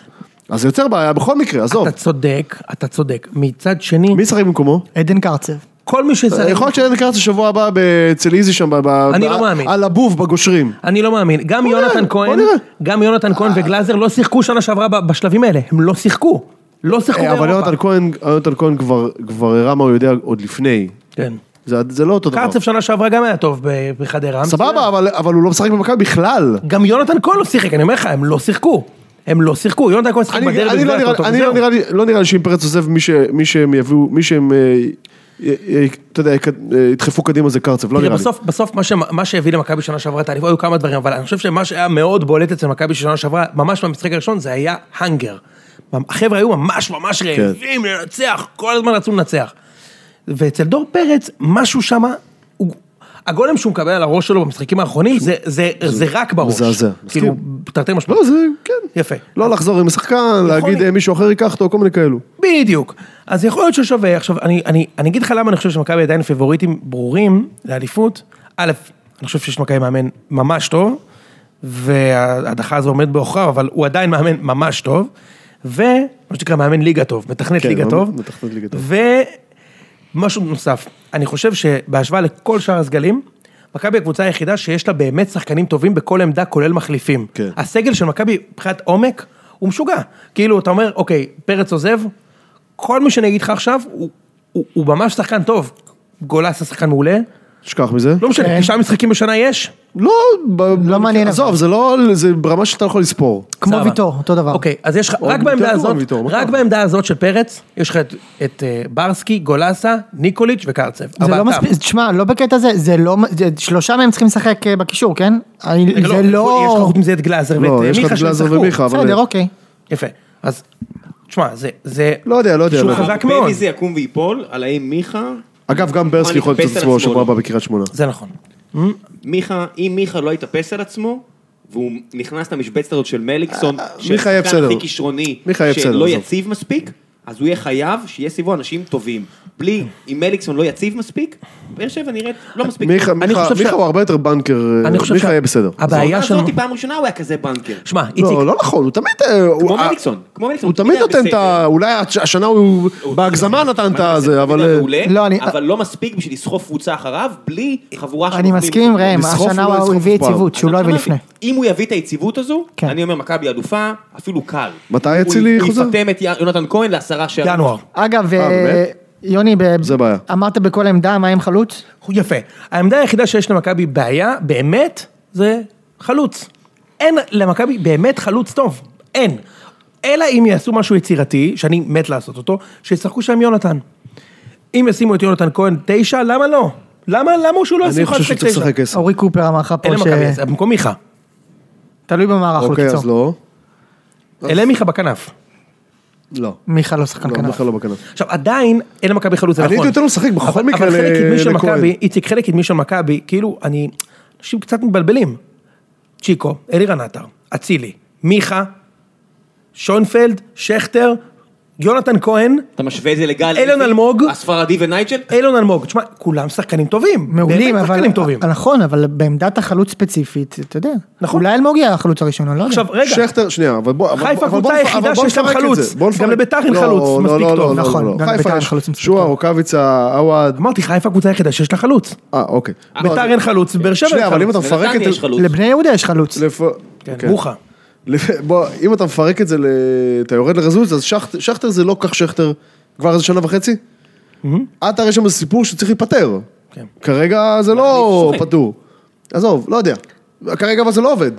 D: אז זה יוצר בעיה בכל מקרה, עזוב.
B: אתה צודק, אתה צודק. מצד שני,
D: מי ישחק במקומו?
C: עדן קרצב.
B: כל מי שצריך...
D: יכול להיות שאין קרץ השבוע הבא ב- אצל איזי שם, ב- ב-
B: אני
D: ב-
B: לא מאמין.
D: על הבוב בגושרים.
B: אני לא מאמין. גם
D: נראה,
B: יונתן
D: בוא
B: כהן,
D: נראה.
B: גם יונתן כהן וגלאזר לא שיחקו שנה שעברה ב- בשלבים האלה. הם לא שיחקו. לא שיחקו
D: אה, אבל
B: באירופה.
D: יונתן כהן- יונתן כהן כבר- כבר הראה מה הוא יודע עוד לפני.
B: כן.
D: זה זה לא אותו דבר.
B: קרצב שנה שעברה גם היה טוב ב- בחדרה.
D: סבבה, אבל, אבל הוא לא משחק במכבי בכלל.
B: גם יונתן כהן לא שיחק, אני אומר לך, הם לא שיחקו. הם לא שיחקו, יונתן כהן שיחק
D: אני,
B: בדרבי.
D: אני,
B: וזה
D: לא,
B: היה
D: נראה,
B: טוב,
D: אני
B: זהו.
D: לא, נראה לי, לא נראה לי שאם פרץ עוזב, מי, ש, מי שהם יביאו, מי שהם, אה, י- י- אתה יודע, יקד- אה, ידחפו קדימה זה קרצב, לא
B: תראה,
D: נראה
B: בסוף, בסוף מה, ש, מה שהביא למכבי שנה שעברה את האליפות, היו כמה דברים, אבל אני חושב שמה שהיה מאוד בולט אצל מכבי שנה שעברה, ממש במשחק הראשון, זה היה האנגר. החבר'ה היו ממש ממש
D: כן.
B: רעבים לנצח, כל הזמן רצו לנצח. ואצל דור פרץ, משהו שמה, הוא, הגולם שהוא מקבל על הראש שלו במשחקים האחרונים, זה- זה- זה רק בראש.
D: מזעזע,
B: כאילו, תרתי משמעות.
D: לא, זה, כן.
B: יפה.
D: לא לחזור עם השחקן, להגיד
B: להיות.
D: "אה, מישהו אחר ייקח אותו, כל מיני כאלו.
B: בדיוק. אז יכול להיות ששווה, עכשיו, אני, אני, אני אגיד לך למה אני חושב שמכבי עדיין פיבוריטים ברורים לאליפות. א', אני חושב שיש למכבי מאמן ממש טוב, וההדחה הזו עומדת בעוכריו, אבל הוא עדיין מאמן ממש טוב, ומה שנקרא מאמן ליגה טוב, מתכנת
D: כן,
B: ליגה
D: מאמן-
B: טוב.
D: מתכנת ליגה טוב.
B: ומשהו נוסף, אני חושב שבהשוואה לכל שאר הסגלים, מכבי הקבוצה היחידה שיש לה באמת שחקנים טובים בכל עמדה, כולל מחליפים.
D: כן.
B: הסגל של מכבי מבחינת עומק, הוא משוגע. כאילו, אתה אומר, אוקיי, פרץ עוזב, כל מי שאני אגיד לך עכשיו, הוא, הוא, הוא ממש שחקן טוב. גולס זה שחקן מעולה,
D: תשכח מזה.
B: לא משנה,
C: כן.
B: תשעה משחקים בשנה יש?
D: לא, ב-
C: לא מעניין,
D: עזוב,
C: אבל.
D: זה לא, זה ברמה שאתה לא יכול לספור.
C: כמו
B: סבבה.
C: ויטור, אותו דבר.
B: אוקיי, אז יש לך,
D: הוא
B: רק
D: יותר
B: בעמדה
D: טוב
B: הזאת,
D: מוויטור, מה
B: רק
D: קרה?
B: בעמדה הזאת של פרץ, יש לך את- את אה, ברסקי, גולסה, ניקוליץ' וקרצב.
C: זה
B: אבל
C: לא
B: אתה-
C: מספיק, תשמע, לא בקטע הזה, זה לא, זה- שלושה מהם צריכים לשחק אה, בקישור, כן? אני-
B: רגע,
C: זה
B: יש לך
C: לא...
B: חוץ מזה את גלאזר ואת אה,
D: לא,
B: מיכה
D: יש לך את
B: שהם
D: גלאזר
B: שחקו.
D: ומיכה, אבל...
C: בסדר, אוקיי.
B: יפה, אז, תשמע, זה, זה...
D: לא יודע, לא יודע.
B: שהוא
D: לא יודע.
B: חזק מאוד.
A: בייבי זה יקום וייפול, על האם מיכה,
D: אגב, גם ברסקי
A: אני
D: יכול למצוא את
A: אתפס על
D: עצמו
A: עצמו,
D: שבוע
A: לא.
D: הבא בקריית שמונה.
B: זה נכון.
A: מיכה, אם מיכה לא יתאפס על עצמו, והוא נכנס למשבצת הזאת של מליקסון, של
D: אה, מיכה יהיה
A: השחקן
D: בסדר.
A: הכי כישרוני,
D: מיכה יהיה בסדר,
A: שלא
D: עזוב.
A: יציב מספיק, אז הוא יהיה חייב שיהיה סביבו אנשים טובים. בלי, אם מליקסון לא יציב מספיק, באר שבע נראית לא מספיק.
D: מיכה
B: אני
D: מיכה-
B: חושב ש-
D: מיכה הוא הרבה יותר בנקר, אה,
B: אני חושב
D: מיכה
B: שה-
D: יהיה בסדר.
B: הבעיה
A: זו
B: שלנו...
A: הזאת פעם ראשונה הוא היה כזה בנקר.
B: שמע, איציק,
D: לא, לא נכון, הוא תמיד... אה, הוא-
A: כמו
D: אה,
A: מליקסון, כמו מליקסון.
D: הוא תמיד
A: היה
D: נותן את ה...
A: בסדר.
D: אולי הש- השנה הוא בהגזמה נתן את
A: בסדר,
D: הזה, אבל...
A: הוא
D: אה,
A: מעולה,
C: לא, אני-
A: אבל לא מספיק בשביל לסחוף קבוצה אחריו, בלי חבורה של...
C: אני
A: נותנים-
C: מסכים עם ראם,
D: לסחוף
C: השנה
D: הוא לא
C: הוא
D: יסחוף
C: הביא
D: אף פעם.
C: יציבות שהוא לא
D: אה,
C: הביא
A: אמרתי,
C: לפני.
A: אם הוא יביא את היציבות הזו,
C: כן.
A: אני אומר מכבי אלופה, אפילו קל.
D: מתי
A: הוא-
D: אצילי חוזר?
A: הוא יפטם את י- יונתן כהן לעשרה שערים.
B: ינואר.
C: אגב,
D: אה,
C: אה,
D: באמת?
C: יוני, ב-
D: זה בעיה.
C: אמרת בכל עמדה, מה עם חלוץ?
B: הוא יפה. העמדה היחידה שיש למכבי בעיה, באמת, זה חלוץ. אין למכבי באמת חלוץ טוב. אין. אלא אם יעשו משהו יצירתי, שאני מת לעשות אותו, שישחקו שם יונתן. אם ישימו את יונתן כהן תשע, למה לא? למה, למה שהוא לא
D: אני
B: ישים
D: חושב
B: לך
D: שהוא צריך לשחק עשר.
C: אורי קופר אמר לך פה
B: אלה
C: ש...
B: מכבי, זה במקום מיכה.
C: תלוי במערך,
D: אוקיי, אז
C: בקיצור.
D: לא. אוקיי.
B: אלה מיכה בכנף.
D: לא.
C: מיכה לא שחקן
D: לא,
C: כנף.
D: מיכה לא בכנף.
B: עכשיו עדיין אין למכבי חלוץ, זה
D: אני
B: נכון.
D: הייתי נותן לו לשחק בכל
B: אבל-
D: מקרה
B: אבל חלק
D: ל-
B: קדמי של
D: לכהן.
B: מכבי, איציק, חלק קדמי של מכבי, כאילו, אני, אנשים קצת מתבלבלים. צ'יקו, אלירן עטר, אצילי, מיכה, שונפלד, שכטר, יונתן כהן,
A: אתה משווה את זה לגל...
B: אילון
A: לוי,
B: אלמוג.
A: הספרדי ונייג'ל?
B: אילון אלמוג. תשמע, כולם שחקנים טובים.
C: מעולים,
B: באמת
C: אבל...
B: שחקנים טובים.
C: נכון, אבל בעמדת החלוץ ספציפית, אתה יודע.
B: נכון.
C: אולי אלמוג יהיה החלוץ הראשון, אני לא יודע.
B: עכשיו, רגע,
D: שכטר, שנייה, אבל בוא... אבל-
B: חיפה
D: אבל בוא
B: הקבוצה
D: נפ-
B: היחידה
D: אבל בוא
B: שיש להם
D: נפרק את
B: חלוץ.
D: זה, בוא
B: גם
D: נפרק.
B: לביתר אין
D: לא,
B: חלוץ,
D: לא,
B: מספיק
D: לא,
B: טוב.
D: לא, לא,
C: נכון,
D: לא.
C: גם
D: חיפה
C: לביתר
D: יש
C: יש חלוץ מספיק
D: שועה,
C: טוב.
D: רוקאביצה, עווד.
B: אמרתי, חיפה הקבוצה היחידה שיש לה חלוץ.
D: אה, אוקיי. לא,
B: ביתר
D: אז-
B: אין חלוץ, באר שבע
D: שנייה,
B: אין
D: אבל אם אתה
B: חלוץ.
D: מפרק את
A: לנתניה יש
D: זה...
A: חלוץ.
C: לבני יהודה יש חלוץ.
D: לפ-
B: כן,
D: כן.
B: ברוכה.
D: לפ- בוא, אם אתה מפרק את זה, ל... אתה יורד לרזולוציה, אז שכט- שכטר זה לא כך שכטר כבר איזה שנה וחצי? עטר יש שם איזה סיפור שצריך להיפטר.
B: Mm-hmm. כן.
D: כרגע זה לא
A: סוחק.
D: פטור. עזוב, לא יודע. כרגע אבל זה לא עובד.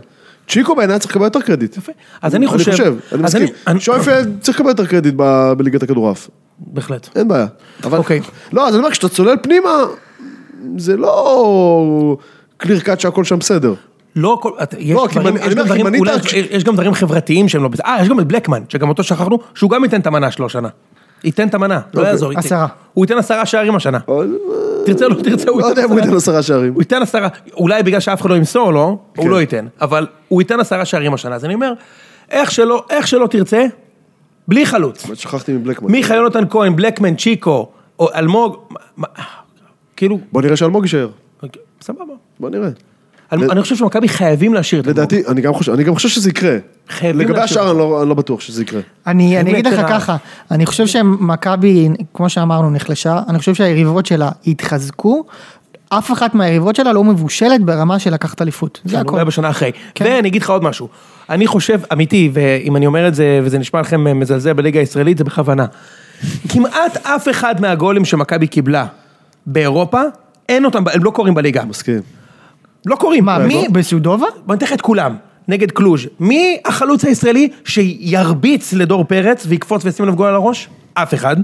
D: צ'יקו בעיניי צריך לקבל יותר קרדיט.
B: יפה. אז אני חושב...
D: אני חושב, אני
B: אז
D: מסכים. שויפלד צריך לקבל יותר קרדיט ב- בליגת הכדורעף.
B: בהחלט.
D: אין בעיה. אבל...
B: אוקיי.
D: לא, אז אני אומר, כשאתה צולל פנימה, זה לא קליר קאט שהכל שם בסדר.
B: לא כל, את- יש
D: לא, כי
B: דברים,
D: מנ-
B: יש
D: אני אומר,
B: גם
D: כי
B: דברים,
D: מנית-
B: אולי יש- יש גם דברים חברתיים שהם לא בסדר, אה, יש גם את בלקמן, שגם אותו שכחנו, שהוא גם ייתן את המנה שלו השנה. ייתן את המנה, לא
D: אוקיי.
B: יעזור. ייתן-
C: עשרה.
B: הוא ייתן עשרה שערים השנה.
D: אבל-
B: תרצה או לא תרצה, הוא
D: לא יודע אם הוא ייתן עשרה שערים.
B: הוא ייתן עשרה, אולי בגלל שאף אחד לא ימסור לו, הוא
D: כן.
B: לא ייתן, אבל הוא ייתן עשרה שערים השנה, אז אני אומר, איך שלא, איך שלא תרצה, בלי חלוץ.
D: שכחתי מבלקמן.
B: מיכה יונתן כהן, בלקמן, צ'יקו, או אלמוג, מה- מה- כאילו, אוקיי,
D: בוא נראה שאלמוג יישאר.
B: סבבה.
D: בוא נראה.
B: אל- אני חושב שמכבי חייבים להשאיר את אלמוג.
D: לדעתי, אני גם חושב, אני גם חושב שזה יקרה.
B: חייבים
D: לגבי
B: להשאיר
D: השאר אני לא- אני לא בטוח שזה יקרה.
C: אני,
B: חייבים
C: אני אגיד לך
B: לייצר רעב.
C: ככה, אני חושב שמכבי, כמו שאמרנו, נחלשה, אני חושב שהיריבות שלה התחזקו, אף אחת מהיריבות שלה לא מבושלת ברמה של לקחת אליפות, זה
B: כן,
C: הכל.
B: אולי בשנה אחרי.
C: כן.
B: ואני אגיד לך עוד משהו. אני חושב, אמיתי, ואם אני אומר את זה, וזה נשמע לכם אה, מזלזל בליגה הישראלית, זה בכוונה. כמעט אף אחד מהגולים שמכבי קיבלה באירופה, אין אותם, ב- הם לא קורים בליגה.
D: מסכים.
B: לא קורים.
C: מה, מי? בסודובה?
B: בוא נתן לך את כולם. נגד קלוז'. מי החלוץ הישראלי שירביץ לדור פרץ ויקפוץ וישים עליו גול על הראש? אף אחד.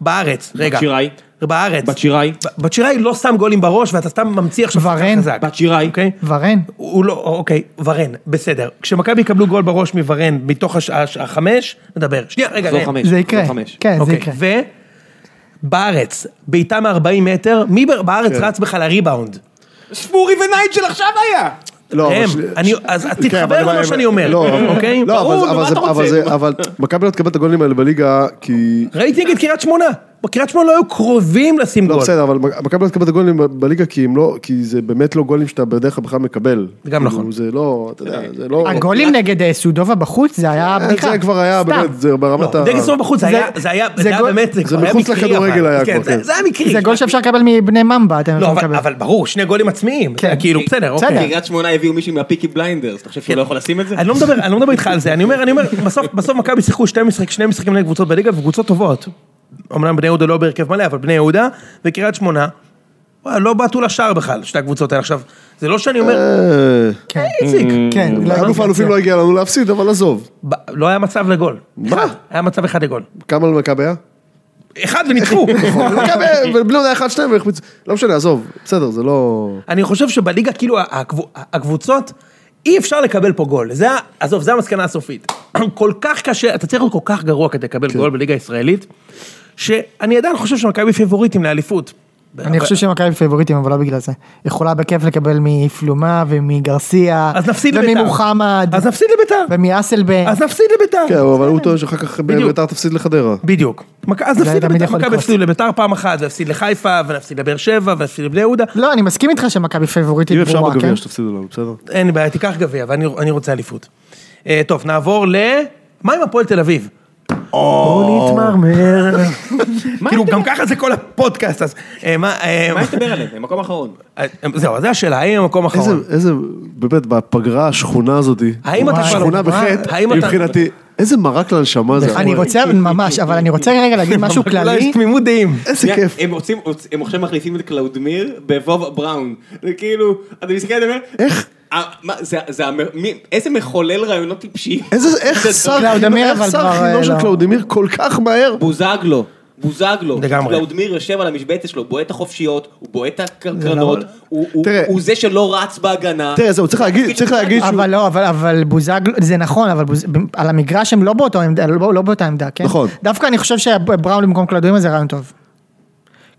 B: בארץ, רגע.
A: שיראי.
B: בארץ.
A: בת שיראי.
B: ב- בת שיראי לא שם גולים בראש, ואתה סתם ממציא עכשיו שחקן
C: ורן.
B: חזק.
A: בת שיראי.
B: אוקיי?
C: ורן?
B: הוא לא, אוקיי, ורן, בסדר. כשמכבי יקבלו גול בראש מוורן מתוך הש- הש- החמש, נדבר. שנייה, רגע,
A: מחזור
B: רגע.
A: חמש.
C: זה
A: מחזור
C: יקרה.
A: חמש.
C: כן, זה
B: אוקיי,
C: יקרה.
D: כן.
B: ובארץ, בעיטה מ-40 מטר, מי ב- בארץ רץ בכלל לריבאונד?
A: ספורי ונייג'ל עכשיו היה!
D: לא, אבל
B: הם,
D: ש-
B: אני-
D: ש-
B: אז
D: כן, אבל
B: תתחבר
D: הם-
B: למה שאני אומר,
D: לא, אבל-
B: אוקיי?
D: לא, אבל-
A: ברור,
D: אבל
A: מה
D: זה-
A: אתה
D: אבל
A: רוצה?
D: זה, אבל מכבי לא תקבל את הגולים האלה בליגה, כי...
B: ראיתי נגד קריית שמונה, בקריית שמונה לא היו קרובים לשים
D: לא,
B: גול.
D: בסדר, אבל מכבי לא תקבל את הגולים ב- בליגה, כי הם לא, כי זה באמת לא גולים שאתה בדרך כלל בכלל מקבל.
B: זה גם
D: כאילו,
B: נכון.
D: זה לא, אתה יודע, זה לא... אה,
C: הגולים נגד אה, סודובה בחוץ זה היה
B: אה,
C: בדיחה.
D: זה כבר היה,
C: סתם.
D: באמת, זה ברמת ה...
B: דגל סוף לא, בחוץ, זה
C: זה-
B: היה- זה היה
C: זה
B: זה היה
C: גול-
B: באמת,
D: זה
B: כבר היה
D: מחוץ
B: מקרי,
D: לכדורגל
B: אבל.
D: היה
B: כן,
D: כבר,
B: זה-
D: כן.
B: זה היה מקרי.
C: זה גול שאפשר לקבל מבני ממבה, אתם
B: לא,
C: יכולים
B: אבל-
C: לקבל.
B: אבל ברור, שני גולים עצמיים,
C: כן.
B: כאילו, בסדר, אוקיי.
C: בסדר.
A: קריית שמונה הביאו מישהו מהפיקי בליינדרס, אתה חושב שהוא לא יכול לשים את זה?
B: אני לא מדבר, אני לא מדבר איתך על זה, אני אומר, אני אומר, בסוף, בסוף מכבי שיחקו שתי משחק, שני משחקים נגד קבוצות בליגה וקבוצות טובות. אמנם בני יהודה לא בהרכב מלא, אבל בני יהודה וקריית שמונה, וואי, לא בעטו לשער בכלל, שתי הקבוצות האלה עכשיו. זה לא שאני אומר,
D: אה,
C: כן.
B: איציק,
C: כן, לא,
D: אלוף האלופים לא הגיע לנו להפסיד, אבל עזוב.
B: ב- לא היה מצב לגול.
D: מה?
B: אחד, היה מצב אחד לגול.
D: כמה למכבי היה?
B: אחד וניצחו.
D: נכון. מכבי, ובני יהודה אחד שתיים, והחמיץ- לא משנה, עזוב, בסדר, זה לא...
B: אני חושב שבליגה, כאילו, הקבו- הקבוצות, אי אפשר לקבל פה גול. זה, ה- עזוב, זה המסקנה הסופית. כל כך קשה, אתה צריך להיות כל כך גרוע כדי לקבל
D: כן.
B: גול בליגה הישראלית, שאני עדיין חושב שמכבי פיבוריטים לאליפות.
C: אני חושב שמכבי פיבוריטים, אבל לא בגלל זה. יכולה בכיף לקבל מפלומה ומגרסיה,
B: אז נפסיד לביתר.
C: וממוחמד,
B: אז נפסיד לביתר.
C: ומאסלבן.
B: אז נפסיד לביתר.
D: כן, אבל הוא טוען שאחר כך
B: בדיוק.
D: ביתר תפסיד לחדרה.
B: בדיוק. מכ- אז
C: אולי
B: נפסיד
C: תמיד
B: לביתר,
C: יכול
B: מכבי
C: לקרוס.
B: הפסידו לביתר פעם אחת, ונפסיד לחיפה, ונפסיד לבאר שבע, ונפסיד לבני יהודה.
C: לא, אני מסכים איתך שמכבי פיבוריטית
D: אם אפשר
C: ברורה, כן?
D: בגביע שתפסידו לנו, בסדר?
B: אין לי בעיה, תיקח גביע, ואני אני רוצה אליפות. אה, טוב, נעבור ל... מה עם הפועל תל אביב? בואו נתמרמר. כאילו, גם ככה זה כל הפודקאסט, אז... אה, מה...
C: לא-
B: אה,
A: מה יש לדבר עליהם? הם מקום אחרון.
B: אה, זהו, אז זו השאלה, האם המקום
D: איזה,
C: נכון.
B: האחרון?
D: איזה, באמת, בפגרה השחונה הזאת,
B: האם אתה כבר-
D: שכונה
B: וואי.
D: בחטא,
B: האם אתה-
D: מבחינתי, איזה מרק להנשמה זה.
C: אני רוצה, ממש, אבל אני רוצה רגע להגיד משהו
B: אולי
C: כללי.
B: יש תמימות דעים.
D: איזה כיף.
A: הם רוצים, הם עכשיו מחליפים את קלאודמיר בבוב בראון. זה כאילו, אתה מסתכל, אתה אומר, איך? זה, זה, המ- מי- איזה מחולל רעיונות טיפשי.
D: איזה, איך
A: זה
D: שר
C: קלאודמיר,
D: איך
C: אבל
D: שר
C: כבר,
D: החינוך
C: אה,
D: של
C: לא.
D: קלאודמיר כל כך מהר?
A: בוזגלו, בוזגלו.
B: לגמרי.
A: קלאודמיר יושב על המשבצת שלו, בועט את החופשיות, הוא בועט את הקרנות, הוא- הוא-
D: נכון. תראה.
A: הוא זה שלא רץ בהגנה.
D: תראה, זהו, צריך להגיד, צריך להגיד שהוא...
C: אבל לא, אבל, אבל בוזגלו, זה נכון, אבל בוז, על המגרש הם לא באותו עמדה, לא, לא באותה עמדה, כן?
D: נכון.
C: דווקא אני חושב שבראון במקום קלאודמיר זה רעיון טוב.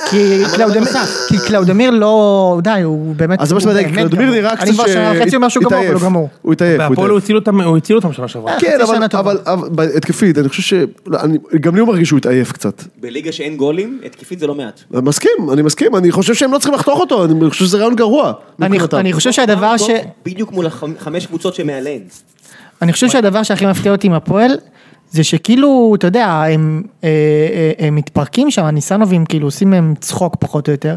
B: אה,
C: כי קלאודמיר, כי קלאודמיר לא, די, הוא באמת,
D: אז זה מה
C: הוא
D: שבדק,
C: באמת
D: קלאודמיר
C: גמור.
D: נראה קצת
C: אני כבר שנה וחצי אומר שהוא גמור, אבל הוא לא
D: התעייף.
C: גמור.
D: הוא התעייף, הוא
B: והפועל
D: התעייף.
B: הוא הציל אותם- הוא הציל אותם שנה שעברה.
D: כן,
C: חצי
D: אבל,
C: שנה טובה.
D: אבל, אבל, אבל התקפית, אני חושב ש... לא, אני, גם לי הוא מרגיש שהוא התעייף קצת.
A: בליגה שאין גולים, התקפית זה לא מעט.
D: מסכים, אני מסכים, אני חושב שהם לא צריכים לחתוך אותו, אני חושב שזה רעיון גרוע.
C: אני,
D: מבחינתם.
C: אני חושב שהדבר ש...
A: בדיוק מול החמש קבוצות שמעליהן.
C: אני חושב
D: אוקיי.
C: שהדבר שהכי מפתיע אותי עם הפועל, זה שכאילו, אתה יודע, הם, אה, אה, הם מתפרקים שם, הניסנובים כאילו עושים מהם צחוק פחות או יותר,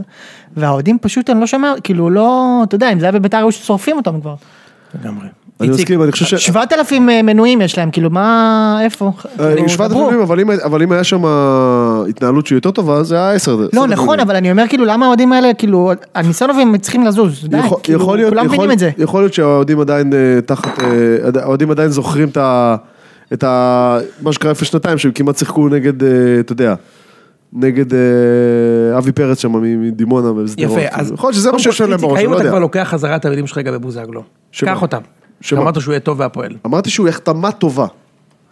C: והאוהדים פשוט, אני לא שומע, כאילו לא, אתה יודע, אם זה היה בביתר היו שורפים אותם כבר.
B: לגמרי.
D: אני
B: איציק,
D: מסכים, אני חושב ש...
C: 7,000 אה, מנויים יש להם, כאילו מה, איפה? כאילו,
D: אה, שבעת
C: דברו.
D: אלפים, אבל אם- אבל אם היה שם התנהלות שהיא יותר טובה, זה היה עשר.
C: לא, נכון, אבל אני אומר, כאילו, למה האוהדים האלה, כאילו, הניסנובים צריכים לזוז, די, כאילו, כולם מבינים את זה.
D: יכול להיות שהאוהדים עדיין אה, תחת, אה, עד- האוהדים עדיין זוכרים את ה... את ה... מה שקרה לפני שנתיים, שהם כמעט שיחקו נגד, אה, אתה יודע, נגד אה, אבי פרץ שם מ- מדימונה ושדרות.
B: יפה, אז...
D: יכול להיות שזה מה
B: קודם
D: שיושב
B: כל,
D: להם
B: איציק,
D: בראש, אני
B: האם
D: לא
B: אתה
D: יודע.
B: כבר לוקח חזרה את הילדים שלך לגבי בוזגלו?
D: שמה?
B: קח אותם.
D: שמה?
B: אמרת שהוא יהיה טוב והפועל.
D: אמרתי שהוא החתמה טובה. אה,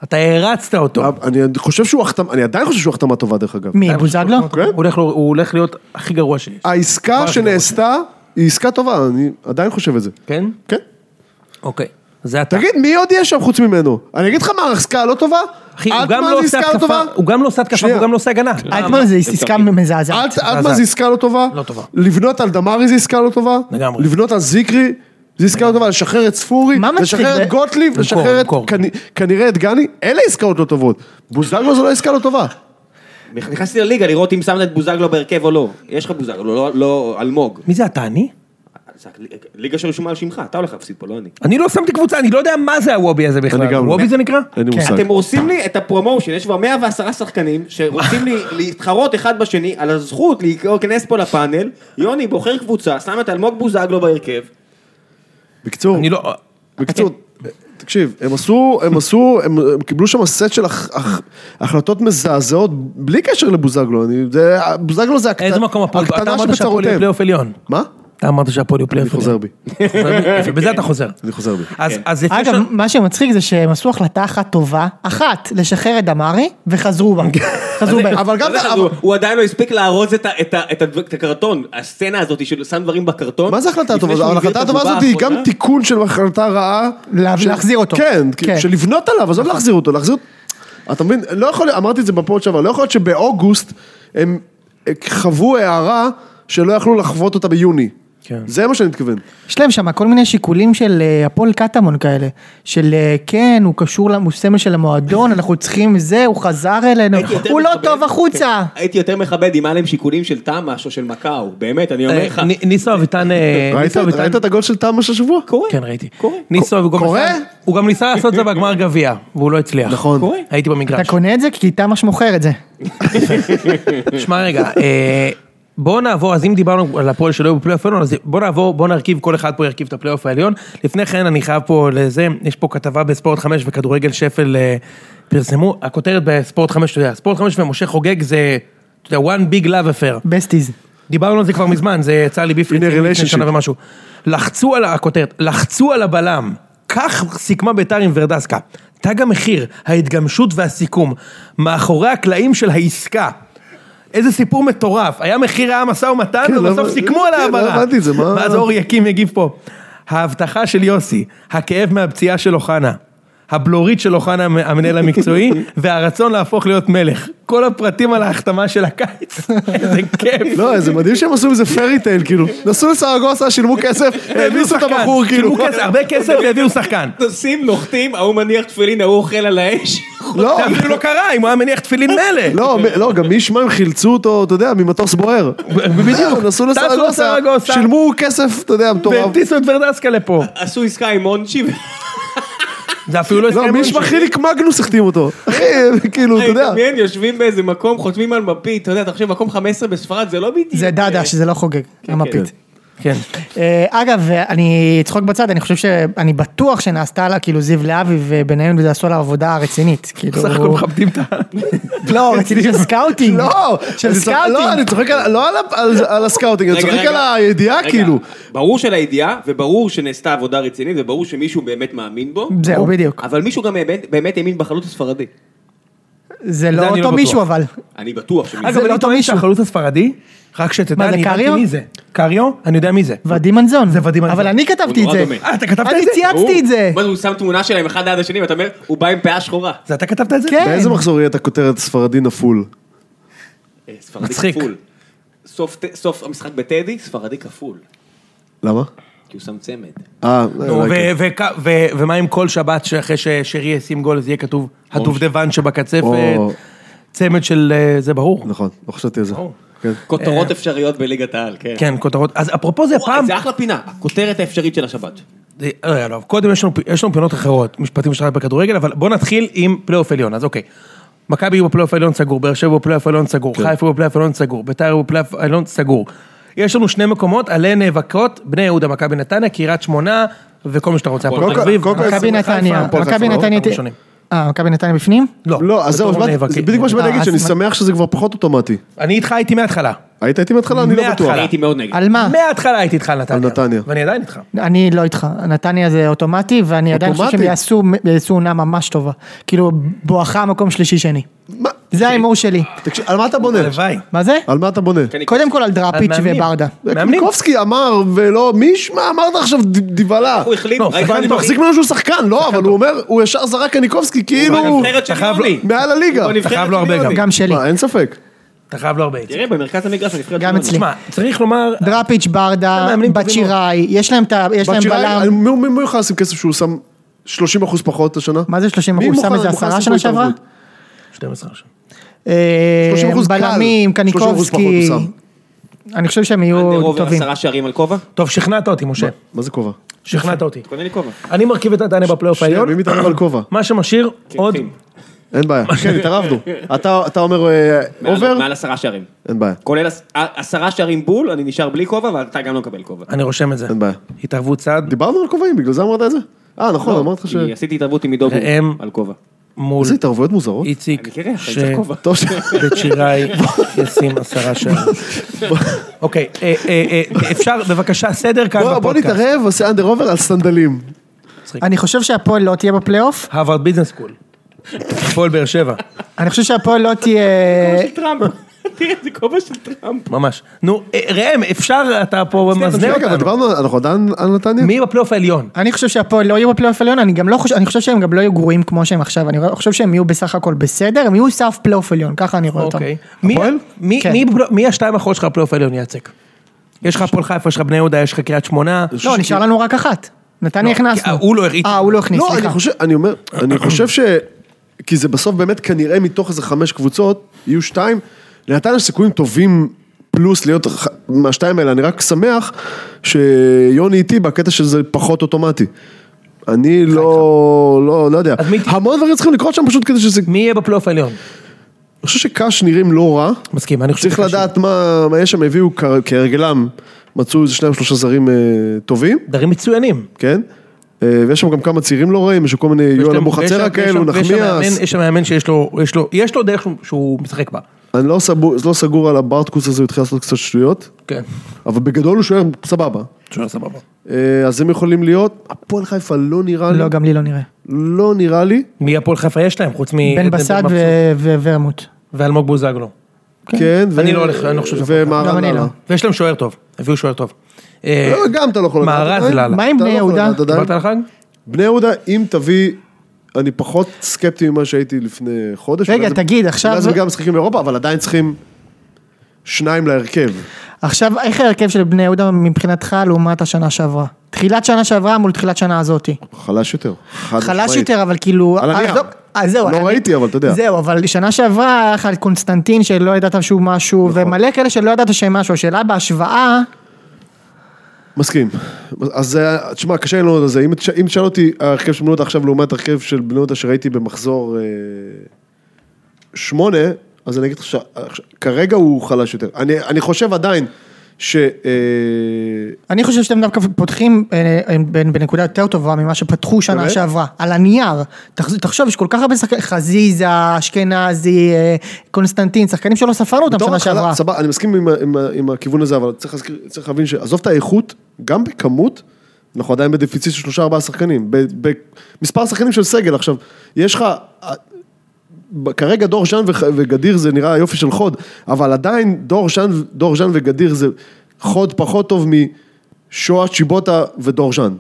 B: אתה הערצת אותו.
D: אני חושב שהוא החתמה, אני עדיין חושב שהוא החתמה טובה דרך אגב.
C: מי, בוזגלו?
D: כן.
B: הוא הולך לו- הוא הולך להיות הכי גרוע שיש.
D: העסקה שנעשתה היא עסקה טובה, אני עדיין חושב את זה.
B: כן?
D: כן.
B: אוקיי. זה אתה.
D: תגיד, מי עוד יש שם חוץ ממנו? אני אגיד לך מה, העסקה לא טובה?
B: אחי, הוא
D: אלטמן
B: גם לא
D: זה
B: עושה
D: עסקה לא
B: התקפה,
D: טובה?
B: הוא גם לא עושה התקפה,
D: שנייה. אה,
B: הוא גם לא עשה הגנה.
C: אלטמן זה עסקה מזעזעת.
D: אלט- אלטמן
B: זה-
D: זה עסקה לא טובה?
B: לא טובה.
D: לבנות על דמרי זה עסקה לא טובה?
B: לגמרי.
D: לבנות על זיקרי? זה עסקה לא טובה, לשחרר את ספורי,
C: מה מצחיק?
D: לשחרר
C: זה-
D: את גוטליב,
B: למכור,
D: לשחרר את
B: למכור.
D: כנ- כנראה את גני, אלה עסקאות לא טובות. בוזגלו זו לא עסקה לא טובה.
A: נכנסתי לליגה לראות אם שמת את בוזגלו בהרכב או לא. יש לך בוזגלו, לא- לא אלמוג.
B: מי זה אתה, אני?
A: זה הליג- ליגה שרשומה על שמך, אתה הולך להפסיד פה, לא אני.
B: אני לא שמתי קבוצה, אני לא יודע מה זה הוובי הזה
D: אני
B: בכלל.
D: גם לא.
B: וובי זה נקרא?
D: אין לי
C: כן.
D: מושג.
A: אתם הורסים לי את הפרומושן, יש כבר 110 שחקנים שרוצים לי להתחרות אחד בשני על הזכות להיכנס פה לפאנל. יוני בוחר קבוצה, שם את אלמוג בוזגלו בהרכב.
D: בקיצור,
B: אני לא...
D: בקיצור, כן. תקשיב, הם עשו, הם עשו, הם, הם קיבלו שם סט של הח, הח, החלטות מזעזעות בלי קשר לבוזגלו, אני, זה, בוזגלו זה הקטנה,
B: איזה מקום הפועל? אתה
D: הקטנה
B: אמרת שהפועל יהיה
D: שבצרותיהם.
B: פלייאוף עליון.
D: מה?
B: אתה אמרת שהפועל יהיה
D: אני
B: פלייאוף
D: חוזר
B: עליון.
D: בי, כן.
B: יפה, בזה אתה חוזר.
D: אני חוזר בי.
B: אז- אז לפני
C: אגב,
B: ש...
C: מה שמצחיק זה שהם עשו החלטה אחת טובה, אחת, לשחרר את דמארי, וחזרו בה. חזרו
B: אה,
C: בהם.
D: אבל גם-
A: לא יודע,
D: אבל-
A: הוא- הוא עדיין לא הספיק לארוז את ה- את ה- את ה- את הקרטון, הסצנה הזאת של שם דברים בקרטון.
D: מה זה החלטה
A: לפני
D: טובה?
A: שהוא
D: אבל
A: מביא את
D: ההחלטה הטובה
A: הבובה
D: הזאת היא גם
A: האחרונה.
D: תיקון של החלטה רעה.
C: לה-
D: של-
C: להחזיר אותו.
D: כן, כי-
C: כן.
D: של לבנות עליו, עזוב להחזיר אותו, להחזיר אותו. אתה מבין, לא יכול, להיות- אמרתי את זה בפוד שעבר, לא יכול להיות שבאוגוסט הם אה, חוו הערה שלא יכלו לחוות אותה ביוני.
B: כן.
D: זה מה שאני מתכוון.
C: יש להם שם כל מיני שיקולים של אה, הפועל קטמון כאלה, של אה, כן, הוא קשור, למ- הוא סמל של המועדון, אנחנו צריכים זה, הוא חזר אלינו,
A: הייתי יותר
C: הוא לא
A: מכבד-
C: טוב החוצה.
A: כן, הייתי יותר מכבד אם היה להם שיקולים של תמ"ש או של מקאו, באמת, אני אומר
B: אה,
A: לך.
B: נ- ניסו אביטן... אה,
D: ראית
B: ניסו אביטן-
D: ראית את הגול של תמ"ש השבוע?
A: קורה.
B: כן, ראיתי.
A: קורה.
B: ניסו, הוא גם
D: קורה?
B: ניסה- הוא גם ניסה לעשות את זה בגמר גביע, והוא לא הצליח.
D: נכון.
A: קורה.
B: הייתי
C: אתה
B: במגרש.
C: קונה את זה? כי תמ"ש מוכר את זה.
B: שמע רגע, אה, בוא נעבור, אז אם דיברנו על הפועל שלא היו בפלייאוף העליון, אז בוא נעבור, בוא נרכיב, כל אחד פה ירכיב את הפלייאוף העליון. לפני כן אני חייב פה לזה, יש פה כתבה בספורט 5 וכדורגל שפל אה, פרסמו, הכותרת בספורט 5, אתה יודע, ספורט 5 ומשה חוגג זה, אתה יודע, one big love affair.
C: בסטיז.
B: דיברנו על זה כבר מזמן, זה יצא לי
D: הנה
B: בפנים
D: relationship.
B: שנה ומשהו. לחצו על הכותרת, לחצו על הבלם. כך סיכמה ביתר עם ורדסקה. תג המחיר, ההתגמשות והסיכום. מאחורי הקלעים של העסקה. איזה סיפור מטורף. היה מחיר, היה משא ומתן,
D: כן,
B: ובסוף
D: למה-
B: סיכמו על
D: כן, לא
B: ההעברה.
D: הבנתי את זה, מה-
B: ואז אור יקים יגיב פה. ההבטחה של יוסי, הכאב מהפציעה של אוחנה. הבלורית של אוחנה המנהל המקצועי, והרצון להפוך להיות מלך. כל הפרטים על ההחתמה של הקיץ, איזה כיף.
D: לא, זה מדהים שהם עשו מזה פרי טייל, כאילו. נסעו לסרגוסה, שילמו כסף, העמיסו את
B: שחקן,
D: הבחור, כאילו.
B: שילמו כסף, הרבה כסף והביאו שחקן.
A: נוסעים, נוחתים, ההוא מניח תפילין, ההוא אוכל על האש.
D: לא,
B: זה אפילו לא קרה, אם הוא היה מניח תפילין מלך.
D: לא, מ- לא, גם מי ישמע הם חילצו אותו, אתה יודע, ממטוס בוער. בדיוק. נסעו
B: טסו
D: לסרגוסה,
B: לסרגוסה.
D: שילמו כסף, אתה יודע, מטורף.
B: והטיסו את ורדסקה לפה.
A: עשו עסקה עם מונצ'י,
B: זה אפילו לא
D: לא,
B: הסכם
D: מי
B: עונשין.
D: ישמע חיליק מגנוס החתים אותו. אחי, כאילו, אתה יודע.
A: מדמיין, יושבים באיזה מקום, חותמים על מפית, אתה יודע, אתה חושב, מקום 15 בספרד, זה לא בדיוק.
C: זה דאדה, שזה לא חוגג, המפית.
B: כן.
C: אה, אגב, אני צחוק בצד, אני חושב ש... אני בטוח שנעשתה לה, כאילו, זיו להבי ובניון וזה עשו לה עבודה רצינית. כאילו...
B: בסך הכל מכבדים את ה...
C: לא, רצינית של סקאוטינג.
D: לא,
C: של
D: אני צוחק- לא, אני
C: סקאוטינג.
D: צוחק על- לא על ה- על- על הסקאוטינג, אני
A: רגע,
D: צוחק
A: רגע.
D: על הידיעה,
A: רגע, כן.
D: כאילו.
A: ברור של הידיעה, וברור שנעשתה עבודה רצינית, וברור שמישהו באמת מאמין בו.
C: זהו, בדיוק.
A: אבל מישהו גם באמת- באמת האמין בחלוץ הספרדי.
C: זה
B: זה
C: לא
B: אני לא
C: אותו
B: בטוח.
C: מישהו אבל.
A: אני בטוח
C: זה
A: שמישהו...
B: אגב,
C: לא
B: אני
C: אותו
B: טוען
C: מישהו.
B: שהחלוץ הספרדי, רק שתדע,
C: מה, זה
B: אני הבנתי
C: קריו?
B: מי זה. קריו? אני יודע מי זה.
C: ועדי מנזון.
B: זה ועדי מנזון.
C: אבל אני כתבתי
A: הוא
C: את
A: נורא
C: זה.
A: דומה.
B: אה, אתה כתבת את
C: אני
B: זה?
C: צייצתי את זה.
A: מה זה, הוא שם תמונה שלהם אחד ליד השני, ואתה אומר, הוא בא עם פאה שחורה.
B: זה אתה כתבת את זה?
C: כן.
D: באיזה מחזור יהיה את הכותרת ספרדי נפול?
A: אה, ספרדי
B: מצחיק.
A: כפול. סוף ט- סוף המשחק בטדי, ספרדי כפול.
D: למה?
A: כי הוא שם צמד.
D: אה,
B: נו,
D: אולי כן.
B: ו- וכ- ו- ומה עם כל שבת שאחרי ששרי ישים גול אז יהיה כתוב הדובדבן שבקצפת,
D: או.
B: צמד של אה, זה ברור.
D: נכון, לא חשבתי על זה.
B: ברור.
D: כן.
A: כותרות אפשריות בליגת העל, כן.
B: כן, כותרות. אז אפרופו זה
A: וואי,
B: פעם...
A: זה אחלה פינה, הכותרת האפשרית של השבת.
B: זה- לא, לא, לא, קודם יש לנו, יש לנו פינות אחרות, משפטים שלך בכדורגל, אבל בוא נתחיל עם פלייאוף עליון, אז אוקיי. מכבי יהיו בפלייאוף עליון סגור, באר שבע בפלייאוף עליון
D: כן.
B: סגור, חיפה בפלייאוף עליון סגור, ביתר יהיו בפלייאוף עליון סגור. יש לנו שני מקומות עליהן נאבקות, בני יהודה, מכבי נתניה, קריית שמונה, וכל מה שאתה רוצה. הפועל
D: קודם
B: תל
D: כל-
B: אביב,
D: קודם כל-
B: מכבי
C: מכבי
D: חיפה,
C: נתניה.
D: הפועל חיפה,
C: מכבי
D: לא?
C: נתניה.
B: אנחנו ראשונים.
C: אה, מכבי נתניה בפנים?
B: לא,
D: לא, אז זהו,
B: בתור
D: אז באתי- זה
B: נאבקים.
D: בדיוק מה שבאתי
C: אה,
D: להגיד, שאני
C: אז מה-
D: שמח שזה כבר פחות אוטומטי.
B: אני איתך הייתי מההתחלה.
D: היית איתי מההתחלה? אני לא בטוח.
B: מההתחלה.
A: הייתי מאוד נגד.
C: על מה?
B: מההתחלה הייתי איתך על נתניה.
D: נתניה.
B: ואני עדיין איתך.
C: אני לא איתך, נתניה זה אוטומטי, ואני עדיין חושב שהם
D: אוטומטי?
C: יעשו יעשו עונה ממש טובה. כאילו, בואכה מקום שלישי-שני.
D: מה?
C: זה ההימור שלי.
D: תקשיב, על מה אתה בונה?
B: הלוואי.
C: מה זה?
D: על מה אתה בונה?
C: קודם כל על דראפיץ'
B: על מאמנים.
C: וברדה.
B: מאמנים.
D: קובסקי אמר, ולא, מי ישמע, אמרת עכשיו ד- דיבלה.
A: הוא החליט,
B: לא,
A: ראית
B: שחקן
D: אני
A: אותו?
D: מחזיק ממנו שהוא שחקן, לא, אבל הוא אומר, הוא ישר זרק הניקובסקי, כאילו,
A: בנבחרת של
B: אתה חייב
A: יוני.
B: לו-
D: מעל הליגה.
A: הוא בנבחרת
B: אתה חייב לו
A: של
B: הרבה
A: יוני.
B: גם.
C: גם לא- שלי.
D: מה, אין ספק.
B: אתה חייב לו הרבה את זה.
A: תראה, במרכז המגרש, הנבחרת
C: גם
A: של יוני.
C: אצלי.
B: תשמע, צריך לומר,
C: דראפיץ', ברדה,
B: מאמנים טובים
C: בת שיראי, יש להם את ה- יש להם
D: בת שיראי,
C: בלם.
D: אני- מי מי- מי יכול לשים כסף שהוא שם 30 אחוז פחות השנה?
C: מה זה 30
D: מי
C: אחוז? שם
D: מוכן-
C: איזה
D: מוכן
C: עשרה
D: לשים
C: שנה
D: פה
C: שעברה?
D: התערבות?
B: 12 עכשיו.
C: אה,
D: 30% קל.
C: בלמים,
D: 30% פחות
C: קניקובסקי.
D: הוא שם.
C: אני חושב שהם
A: אנדר
C: יהיו
A: עובר
C: טובים.
A: עשרה שערים על כובע?
B: טוב, שכנעת אותי, משה.
D: מה זה כובע?
B: שכנעת אותי.
A: קונה לי כובע.
B: אני מרכיב את נתניה בפלייאוף
D: שנייה,
B: העליון,
D: מי מתערב על כובע?
B: מה שמשאיר עוד...
A: פיפים.
D: אין בעיה. כן, התערבנו. אתה אתה אומר אה,
A: מעל-
D: אובר?
A: מעל עשרה שערים.
D: אין בעיה.
A: כולל עש- עשרה שערים בול, אני נשאר בלי כובע, ואתה גם לא מקבל כובע.
B: אני רושם את זה.
D: אין בעיה.
B: התערבות צד
D: דיברנו על כובעים, בגלל זה אמרת את זה? אה,
A: לא.
D: נכון, אמרת לך ש...
A: כי עשיתי התערבות עם עידו בול
B: ראם.
A: על כובע.
B: מול
D: איזה התערבויות מוזרות.
B: איציק,
A: אני מכיר, אתה
B: ש-
A: צריך כובע.
D: טוב ש...
B: בית שיראי ישים עשרה שערים. אוקיי, אה, אה, אה, אפשר בבקשה סדר כאן
D: בוא- בוא
B: בפודקאסט.
D: נתערב, עושה אנדר אובר על סנדלים.
C: אני חושב שהפועל לא תהיה בפלייאוף.
B: הרווארד ביזנס סקול. הפועל באר שבע,
C: אני חושב שהפועל לא תהיה...
A: כובע של טראמפ. תראה, זה כובע של טראמפ.
B: ממש. נו, אה, ראם, אפשר, אתה פה מזנה
D: רגע, אבל
B: אותנו.
D: דיברנו, אנחנו עדיין על נתניה?
B: מי בפלייאוף העליון?
C: אני חושב שהפועל לא יהיו בפלייאוף עליון, אני גם לא חושב, אני חושב שהם גם לא יהיו גרועים כמו שהם עכשיו, אני חושב שהם יהיו בסך הכל בסדר, הם יהיו סף פלייאוף עליון, ככה אני רואה אותם. לא,
B: אוקיי. מי-
C: הפועל?
B: מי-
C: כן.
B: מי בפלייאוף- מי השתיים האחרונות שלך בפלייאוף העליון יעצק? יש לך הפועל חיפה, יש לך בני יהודה, יש לך קריית שמונה.
C: לא, נשאר לנו רק אחת. נתניה
B: כי- אה,
C: הכנסנו.
B: הוא לא הריץ.
C: אה, הוא לא הכניס,
D: לא, אני
C: סליחה.
D: חושב, אני אומר, אני חושב ש... כי זה בסוף באמת כנראה מתוך איזה חמש קבוצות, יהיו שתיים. לנתניה יש סיכויים טובים פלוס להיות ח- מהשתיים האלה, אני רק שמח שיוני איתי בקטע שזה פחות אוטומטי. אני לא, לא, לא יודע.
B: אז מי-
D: המון דברים צריכים לקרות שם פשוט כדי שזה...
B: מי יהיה בפלייאוף העליון?
D: אני חושב שקאש נראים לא רע.
B: מסכים, אני חושב
D: צריך לדעת מה מה יש שם, הביאו כ- כהרגלם, מצאו איזה שניים שלושה זרים אה, טובים.
B: דברים מצוינים.
D: כן? אה, ויש שם גם כמה צעירים לא רעים, יש שם כל מיני
B: ויש
D: יואל
B: להם- ויש
D: אבוחצירא
B: להם-
D: כאלו,
B: ויש להם- ויש להם מאמן-
D: נחמיאס.
B: יש שם מאמן שיש לו, יש לו, יש לו דרך שהוא- שהוא משחק בה.
D: אני לא סבור- לא סגור על הברטקוס הזה, הוא התחיל לעשות קצת שטויות,
B: כן.
D: אבל בגדול הוא שוער סבבה.
B: שוער סבבה.
D: אה, אז הם יכולים להיות, הפועל חיפה לא נראה לי,
C: לא, גם לי לא נראה.
D: לא נראה לי,
B: מי הפועל חיפה יש להם, חוץ מ...
C: בן בסט
B: מבסוט
C: ו- ו- ורמוט.
B: ואלמוג בוזגלו.
D: כן, ו-
B: אני לא הולך- אני לא חושב שזה-
C: גם
D: ומהרן
C: אני לא.
D: לאללה.
B: ויש להם שוער טוב, הביאו שוער טוב. אה,
D: לא, גם אתה לא יכול לדעת.
B: מהרן
D: עדיין.
B: לאללה.
C: מה עם
D: אתה
C: בני
D: לא יכול
C: יהודה?
D: לדעת עדיין.
B: דיברת על חג?
D: בני יהודה, אם תביא, אני פחות סקפטי ממה שהייתי לפני חודש.
C: רגע,
D: אולי זה-
C: תגיד, עכשיו-
D: אולי זה גם משחקים באירופה, אבל עדיין צריכים שניים להרכב.
C: עכשיו, איך ההרכב של בני יהודה מבחינתך לעומת השנה שעברה? תחילת שנה שעברה מול תחילת שנה הזאתי.
D: חלש יותר. חד
C: חלש
D: משמעית.
C: יותר, אבל כאילו...
D: על הנייר.
C: אז לא- אז זהו.
D: לא
C: אני-
D: ראיתי, אבל אתה יודע.
C: זהו, אבל שנה שעברה היה לך את קונסטנטין שלא ידעת שהוא משהו,
D: נכון.
C: ומלא כאלה שלא ידעת שהם משהו. השאלה בהשוואה,
D: מסכים. אז אה, תשמע, קשה לנו על זה. אם תש- אם תשאל אותי, ההרכב של בני יהודה עכשיו לעומת הרכב של בני יהודה שראיתי במחזור אה, שמונה, אז אני אגיד לך שכרגע הוא חלש יותר. אני אני חושב עדיין ש... אה,
C: אני חושב שאתם דווקא פותחים אה, אה, בנ- בנקודה יותר טובה ממה שפתחו שנה
D: באמת?
C: שעברה, על הנייר. תחז- תחשוב, יש כל כך הרבה שחקנים, חזיזה, אשכנזי, אה, קונסטנטין, שחקנים שלא ספרנו אותם
D: בתור
C: שנה
D: התחלה,
C: שעברה.
D: סבבה, אני מסכים עם ה- עם ה- עם הכיוון הזה, אבל צריך להזכיר- צריך להבין שעזוב את האיכות, גם בכמות, אנחנו עדיין בדפיציט של שלושה ארבעה שחקנים. ב- במספר שחקנים של סגל, עכשיו, יש לך... אה, ב- כרגע דור ז'אן וח- וגדיר זה נראה יופי של חוד, אבל עדיין דור ז'אן, דור ז'אן וגדיר זה חוד פחות טוב משואה, צ'יבוטה ודור ז'אן.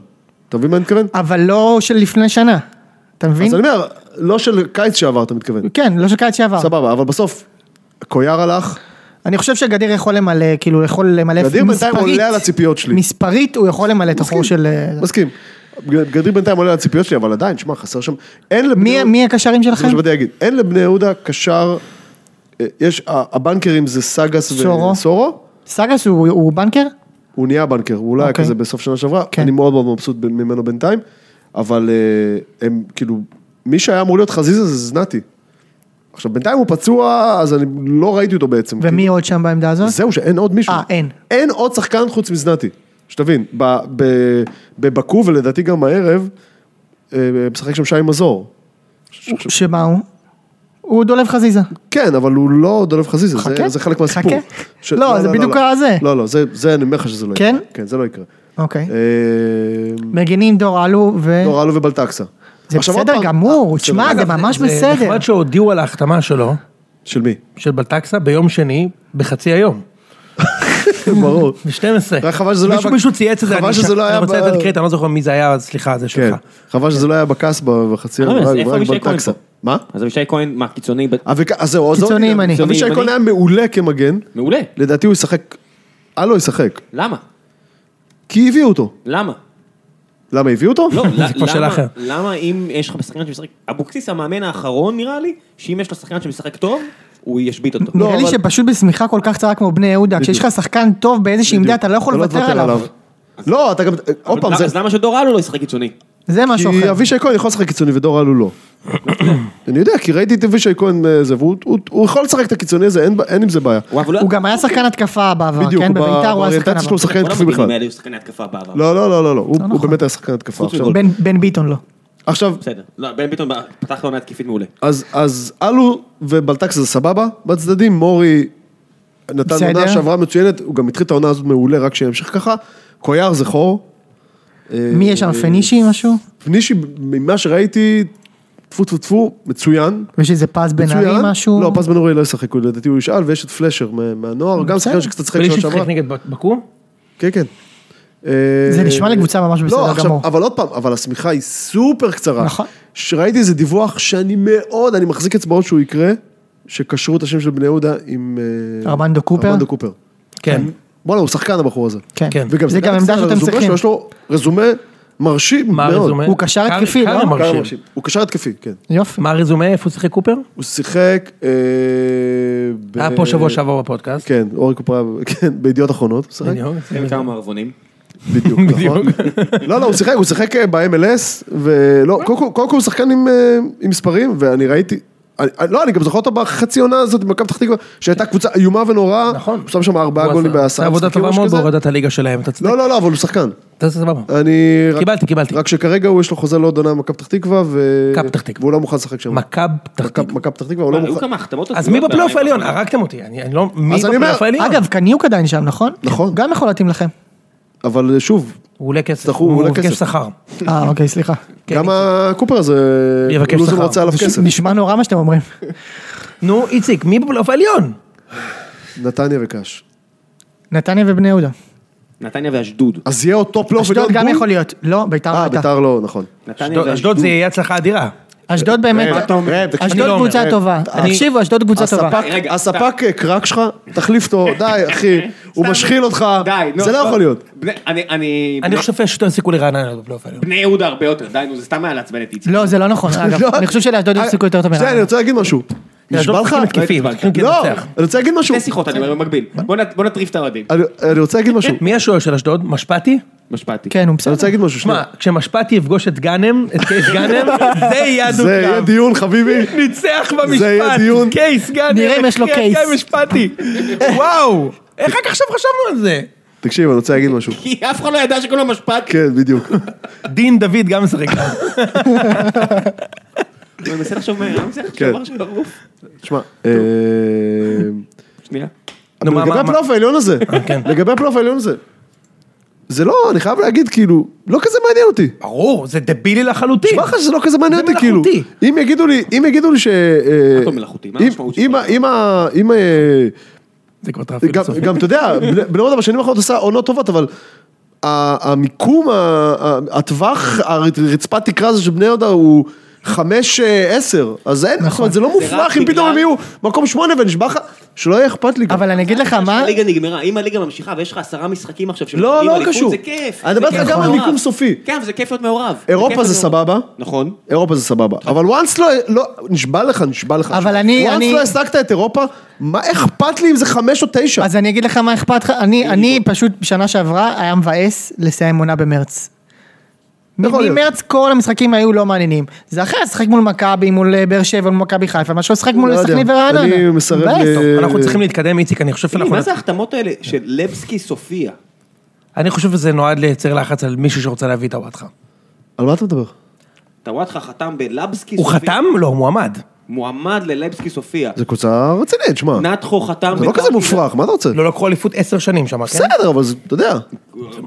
D: אתה מבין מה אני מתכוון?
C: אבל לא של לפני שנה, אתה מבין?
D: אז אני אומר, לא של קיץ שעבר אתה מתכוון.
C: כן, לא של קיץ שעבר.
D: סבבה, אבל בסוף, קויאר הלך,
C: אני חושב שגדיר יכול למלא, כאילו, יכול למלא
D: גדיר בינתיים עולה על הציפיות שלי.
C: מספרית הוא יכול למלא את
D: מסכים,
C: החור של... אה,
D: מסכים. ג- גדיר בינתיים עולה על הציפיות שלי, אבל עדיין, שמע, חסר שם. אין לבני...
C: מי- מי הקשרים
D: זה מה
C: שלכם?
D: שבאתי להגיד. אין לבני יהודה קשר... אה, יש, ה- הבנקרים זה סאגס
C: סורו.
D: וסורו.
C: סגס הוא- הוא בנקר?
D: הוא נהיה בנקר, הוא אולי היה
C: אוקיי.
D: כזה בסוף שנה שעברה,
C: כן.
D: אני מאוד מאוד מבסוט ב- ממנו בינתיים, אבל אה, הם כאילו, מי שהיה אמור להיות חזיזה זה זנתי. עכשיו בינתיים הוא פצוע, אז אני לא ראיתי אותו בעצם.
C: ומי עוד שם בעמדה הזאת?
D: כאילו, זהו שאין עוד מישהו.
C: אה, אין.
D: אין עוד שחקן חוץ מזנתי, שתבין, ב- ב- בבקו ולדעתי גם הערב, אה, משחק שם שי מזור.
C: שמה הוא? הוא דולב חזיזה.
D: כן, אבל הוא לא דולב חזיזה, זה-
C: חכה,
D: זה חלק מהסיפור.
C: חכה. לא, זה בדיוק הזה.
D: לא, לא, זה- זה אני אומר לך שזה לא יקרה.
C: כן?
D: כן, זה לא יקרה.
C: אוקיי.
D: אה,
C: מגנים דור אלו ו...
D: דורלו ובלטקסה.
C: זה
D: עכשיו, עוד
C: בסדר
D: פעם- אה,
C: גמור, תשמע,
B: אגב,
C: זה ממש
B: זה
C: בסדר.
B: נחמד שהודיעו על ההחתמה שלו,
D: של מי?
B: של בלטקסה, ביום שני, בחצי היום.
D: ברור.
B: ב-12.
D: רק חבל שזה לא היה
B: מישהו-
D: בק-
B: מישהו צייץ את זה,
D: חבל
B: אני
D: שזה
B: ש-
D: לא היה
B: אני רוצה לתת
D: ב-
B: קרדיט, אני לא זוכר מי זה היה, אז סליחה, זה
D: כן.
B: שלך.
D: חבל שזה לא היה בקסבה בחצי
A: אה, אז
D: רק-
A: איפה
D: רק
A: אבישי כהן
D: בלטקסה.
A: פה?
D: מה?
A: אז אבישי כהן, מה, קיצוני? ב-
D: אביק- אז זהו, אז
C: קיצוני
D: עוד-
C: ימני.
D: אבישי
A: קיצוני
D: כהן
A: ימני?
D: היה מעולה כמגן,
A: מעולה.
D: לדעתי הוא ישחק, אה לא ישחק,
A: למה?
D: כי הביאו אותו.
A: למה?
D: למה הביאו אותו?
A: לא,
B: זה
A: ל-
B: כבר שאלה
A: למה-
B: אחרת.
A: למה אם יש לך שחקן שמשחק... אבוקסיס המאמן האחרון נראה לי, שאם יש לו שחקן שמשחק טוב, הוא ישבית אותו.
C: נראה לי
D: לא, אבל-
C: שפשוט בשמיכה כל כך קצרה כמו בני יהודה, כשיש לך שחקן טוב באיזושהי עמדה, אתה לא יכול לוותר עליו.
D: לא, אתה גם, עוד פעם,
A: למה-
D: זה,
A: אז למה שדור אלו לא ישחק קיצוני?
C: זה משהו
D: כי
C: אחר.
D: אבישי כהן יכול לשחק קיצוני ודורלו לא. אני יודע, כי ראיתי את אבישי כהן, אה, זה, והוא הוא- הוא יכול לשחק את הקיצוני הזה, אין ב- אין עם זה בעיה.
A: הוא לא אבל לא-
C: הוא גם היה שחקן התקפה בעבר,
D: בדיוק,
C: כן?
D: הוא ב-
C: בביתר הוא היה שחקן
D: באוריינטציה שלו הוא
C: עבר.
D: שחקן
A: כל
D: התקפי כן בכלל.
A: המגנים האלה היו שחקני התקפה בעבר.
D: לא, לא, לא, לא, לא, הוא- הוא באמת היה שחקן התקפה.
A: חוץ
D: עכשיו,
A: מגולדברג.
C: נכון. בן- בן ביטון לא.
D: עכשיו,
A: בסדר. לא, בן ביטון ב- פתח לעונה התקפית מעולה.
D: אז, אז אלו ובלטקס זה סבבה בצדדים, מורי נתן
C: בסדר.
D: עונה שעברה מצוינת, הוא גם התחיל את העונה הזאת מעולה, רק שימשיך ככה. קויאר זה חור. אה,
C: מי יש שם? פנישי משהו?
D: פנישי, ממה שראיתי, טפו טפו טפו, מצוין.
C: יש איזה פס בן ארי
D: מצוין.
C: משהו?
D: לא, פז בן אורי לא ישחק, הוא- לדעתי הוא ישאל, ויש את פלשר מה- מהנוער, גם שחקן שקצת שחק
B: בלי
D: שנה
B: ששיחק
D: שעברה.
B: נגד בקו?
D: כן, כן.
C: זה
D: אה,
C: נשמע לקבוצה ממש
D: לא,
C: בסדר
D: עכשיו,
C: גמור.
D: אבל עוד פעם, אבל השמיכה היא סופר קצרה.
C: נכון.
D: שראיתי איזה דיווח שאני מאוד, אני מחזיק אצבעות שהוא יקרה, שקשרו את השם של בני יהודה עם... אה,
C: ארמנדו קופר?
D: ארמנדו קופר.
B: כן.
D: בואנה, הוא שחקן הבחור הזה.
C: כן.
B: כן.
D: וגם
C: זה
D: שחקן
C: גם עמדה
D: אקסטרה,
C: שאתם
D: הרזומה
C: צריכים.
D: שלו, יש לו רזומה מרשים מאוד.
B: מה הרזומה?
C: הוא קשר
B: קארי-
C: התקפי,
B: קארי
C: לא?
D: קשר
B: מרשים.
D: מרשים. הוא קשר התקפי, כן.
C: יופי.
B: מה הרזומה? איפה הוא שיחק קופר?
D: הוא שיחק... אה, ב-
B: היה פה שבוע שעבר בפודקאסט.
D: כן, אורי קופר, כן, בידיעות אחרונות. הוא שיחק.
B: בדיוק.
A: אין כמה מערבונים.
D: בדיוק, נכון. לא, לא, הוא שיחק, הוא שיחק אה, ב-MLS, ולא,
B: אוקיי.
D: קודם כל- קודם כל הוא שחקן עם, אה, עם מספרים, ואני ראיתי... אני- אני- לא, אני גם זוכר אותו בחצי עונה הזאת במכבי פתח תקווה, שהייתה קבוצה איומה ונוראה,
B: נכון.
D: הוא שם שם ארבעה
B: הוא
D: גולים
B: עשה-
D: בעשרה
B: עשה עבודה
D: משחקים,
B: טובה
D: משהו
B: מאוד
D: כזה.
B: בהורדת הליגה שלהם, אתה צודק.
D: לא, לא, לא, אבל הוא שחקן.
B: אתה סבבה.
D: אני... רק-
B: קיבלתי, קיבלתי.
D: רק שכרגע הוא יש לו חוזה לעוד עונה במכבי פתח תקווה, ו...
B: מכבי פתח תקווה.
D: והוא לא מוכן לשחק שם.
B: מכב תחתית.
D: מכבי מכבי פתח תקווה, הוא לא
A: היו
D: מוכן.
A: כמה החתמות
B: אז
A: הזויות
B: מי בפלייאוף
A: ב-2021?
B: העליון? הרגתם אותי, אני אני לא... מי
D: אז אני
B: בפלייאוף
D: אומר-
B: העליון?
C: אגב, קניוק עדיין שם, נכון?
D: נכון.
C: גם יכול להתאים לכם.
D: אבל אה, שוב,
B: הוא עולה כסף.
D: תצטרכו, הוא
B: הוא
D: עולה
B: מבקש
D: כסף.
B: שכר.
C: אה, אוקיי, סליחה.
B: כן.
D: גם הקופר הזה,
B: יבקש
D: לוזון
B: שכר.
D: רצה עליו כסף.
C: נשמע נורא מה שאתם אומרים.
B: נו, איציק, מי בפלייאוף העליון?
D: נתניה וקאש.
C: נתניה ובני יהודה.
A: נתניה ואשדוד.
D: אז יהיה עוד טופ פלייאוף
C: אשדוד גם
D: בול?
C: יכול להיות. לא, ביתר
D: אה,
C: הייתה.
D: ביתר לא, נכון.
A: נתניה
B: אשדוד
A: ואשדוד.
B: זה יהיה הצלחה אדירה.
C: אשדוד באמת,
D: רגע,
C: אה,
D: רגע, תקשיב.
B: אני לא
C: אשדוד
B: אומר,
C: קבוצה
B: רגע.
C: טובה.
B: אני-
C: אה, תקשיבו, אשדוד קבוצה טובה. אה,
D: הספק,
A: רגע,
D: הספק אה, קרק שלך, תחליף אותו, די אחי, הוא
A: סתם-
D: משחיל אותך,
A: די, נו,
D: זה לא
A: בוא.
D: יכול להיות.
A: בני- אני, אני,
B: אני
A: בני-
B: חושב שיש יותר סיכוי לרעננה בפלייאוף העליון.
A: בני יהודה הרבה יותר, די, נו, זה סתם היה לעצבן את איציק.
C: לא, זה לא נכון, אגב.
D: לא.
C: אני חושב שלאשדוד יש סיכוי יותר טוב
D: זה, אני
C: מרעננה.
D: רוצה להגיד משהו.
B: אשדוד
D: נשבע לך?
B: צריכים התקפים,
A: לא,
C: כן,
B: צריכים
D: לא, אה,
B: לנצח.
D: אני רוצה להגיד משהו.
A: שתי שיחות אני אומר במקביל. בוא נ- בוא נטריף את האוהדים.
D: אני- אני רוצה להגיד משהו.
B: מי השוער של אשדוד? משפטי?
A: משפטי.
C: כן, הוא
D: אני רוצה
C: בסדר.
D: להגיד משהו.
B: שמע,
D: שנייה.
B: כשמשפטי יפגוש את גאנם, את קייס גאנם, זה יהיה
D: זה יהיה
B: הדו-קרב.
D: דיון חביבי.
B: ניצח
D: זה יהיה
B: במשפט,
D: דיון.
B: קייס גאנם,
C: נראה אם יש לו
B: אחי,
C: קייס.
B: אחי, משפטי. וואו, איך רק עכשיו חשבנו על זה?
D: תקשיב, אני רוצה להגיד משהו.
A: כי אף אחד לא ידע שקוראים לו משפטי.
D: כן, בדיוק.
B: דין דוד גם משחק.
A: אני מנסה לחשוב מהר, אני מנסה
D: כן.
A: לחשוב משהו דחוף.
D: שמע, אה,
A: שנייה.
B: נו, מה,
D: לגבי
B: מה, מה?
D: הפלייאוף העליון הזה,
B: כן.
D: לגבי הפלייאוף העליון הזה, זה לא, אני חייב להגיד, כאילו, לא כזה מעניין אותי.
B: ברור, זה דבילי לחלוטין.
D: נשבע לך שזה לא כזה מעניין
B: כן. זה
D: אותי, כאילו.
B: מלאכותי.
D: אם יגידו לי, אם יגידו לי ש... אה,
A: הכל מלאכותי, מה
D: אם-
A: המשמעות של
D: אם ה-
A: מלאכותי?
D: אם ה... אם אה,
B: זה כבר טרף
D: גם-
B: פילוסופי.
D: גם, אתה יודע, בני- בני יהודה בשנים האחרונות עושה עונות טובות, אבל... ה- המיקום, ה- ה- הטווח, הרצפת תקרה הזו של בני יהודה הוא חמש אה, עשר, אז אין, זאת אומרת, זה לא מופרך אם
A: בגלל-
D: פתאום הם יהיו מקום שמונה ונשבע לך, שלא יהיה אכפת לי גם.
C: אבל אני אגיד לך מה,
A: הליגה נגמרה, אם הליגה ממשיכה ויש לך עשרה משחקים עכשיו
D: לא,
A: שמתחילים
D: לא
A: אליפות,
D: קשור.
A: זה כיף.
D: אני מדבר
A: זה
D: איתך
A: כיף
D: גם על
A: להיות
D: מיקום
A: מעורב.
D: סופי.
A: כן, אבל זה כיף להיות מעורב. זה כיף
D: אירופה
A: להיות
D: זה
A: מעורב.
D: סבבה.
A: נכון.
D: אירופה זה סבבה, אבל once לא, לא, נשבע לך, נשבע לך.
C: אבל אני-
D: once
C: אני-
D: לא הסדקת את אירופה, מה אכפת לי אם זה חמש או תשע?
C: אז אני אגיד לך מה אכפת לך, אני- אני פשוט בשנה שעברה היה מבאס לסיים עונה במרץ.
D: לא יכול להיות.
C: ממרץ כל המשחקים היו לא מעניינים. זה אחרי, לשחק מול מכבי, מול אה, באר שבע, מול מכבי חיפה, מאשר לשחק
D: לא
C: מול
D: יודע.
C: סכנין ורעננה.
D: אני מסרב
C: מבאס.
D: ל-
B: אנחנו צריכים להתקדם, איציק, אני חושב
A: תגיד,
B: שאנחנו...
A: מה זה ההחתמות האלה של לבסקי סופיה?
B: אני חושב שזה נועד לייצר לחץ על מישהו שרוצה להביא את הוואטחה.
D: על מה אתה מדבר?
A: טוואטחה חתם בלבסקי
B: הוא
A: סופיה.
B: חתם? לא, הוא מועמד.
A: מועמד ללבסקי סופיה.
D: זה קבוצה רצינית, שמע.
A: נתחו חתם...
D: זה לא כזה
A: בקרקעי-
D: מופרך, מה אתה רוצה?
B: לא לקחו אליפות עשר שנים שם, כן?
D: בסדר, אבל זה, אתה יודע.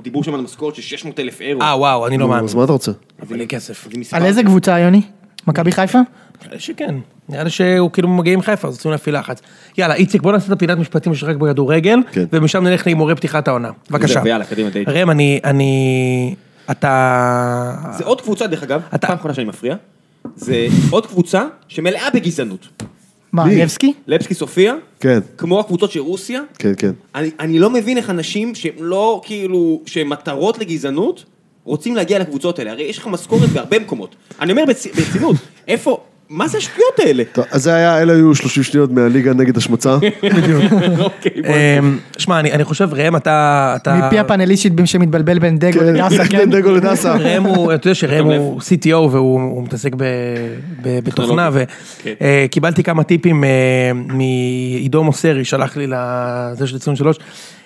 A: דיברו שם על משכורת של 600 אלף אירו.
B: אה, וואו, אני לא מאמין.
D: אז מה אתה רוצה?
B: אבל אין כסף.
A: זה מספר.
C: על איזה קבוצה, יוני? מכבי חיפה?
B: נראה לי שכן. נראה לי שהוא כאילו מגיע עם חיפה, אז רוצים להפעיל לחץ. יאללה, איציק, בוא נעשה את הפינת משפטים שרק בכדורגל,
D: כן.
B: ומשם נלך להימורי פתיחת העונה. בבקשה.
A: ויאללה, קדימה, די.
B: ראם, אני... אני... אתה...
A: זה עוד קבוצה, דרך אגב,
B: אתה-
A: פעם אחרונה שאני מפריע, זה עוד קבוצה שמלאה בגזענות.
C: מה,
D: מי?
C: לבסקי?
A: לבסקי סופיה,
D: כן.
A: כמו הקבוצות של רוסיה,
D: כן, כן.
A: אני, אני לא מבין איך אנשים שהם לא כאילו, שהם מטרות לגזענות, רוצים להגיע לקבוצות האלה. הרי יש לך משכורת בהרבה מקומות. אני אומר ברצ- ברצינות, איפה, מה זה השטויות האלה?
D: טוב, אז זה היה, אלה היו 30 שניות מהליגה נגד השמצה.
A: אוקיי, בוא.
B: אמ, שמע, אני אני חושב, ראם, אתה... אתה-
C: מפי הפאנליסטית שמתבלבל בין דגו
D: כן,
C: לדסה, כן?
D: דגו לדסה.
B: ראם הוא, אתה יודע שראם
A: לב.
B: הוא CTO והוא הוא מתעסק ב, ב, בתוכנה
A: כן.
B: וקיבלתי כמה טיפים אה, מעידו מוסרי שלח לי לזה של 23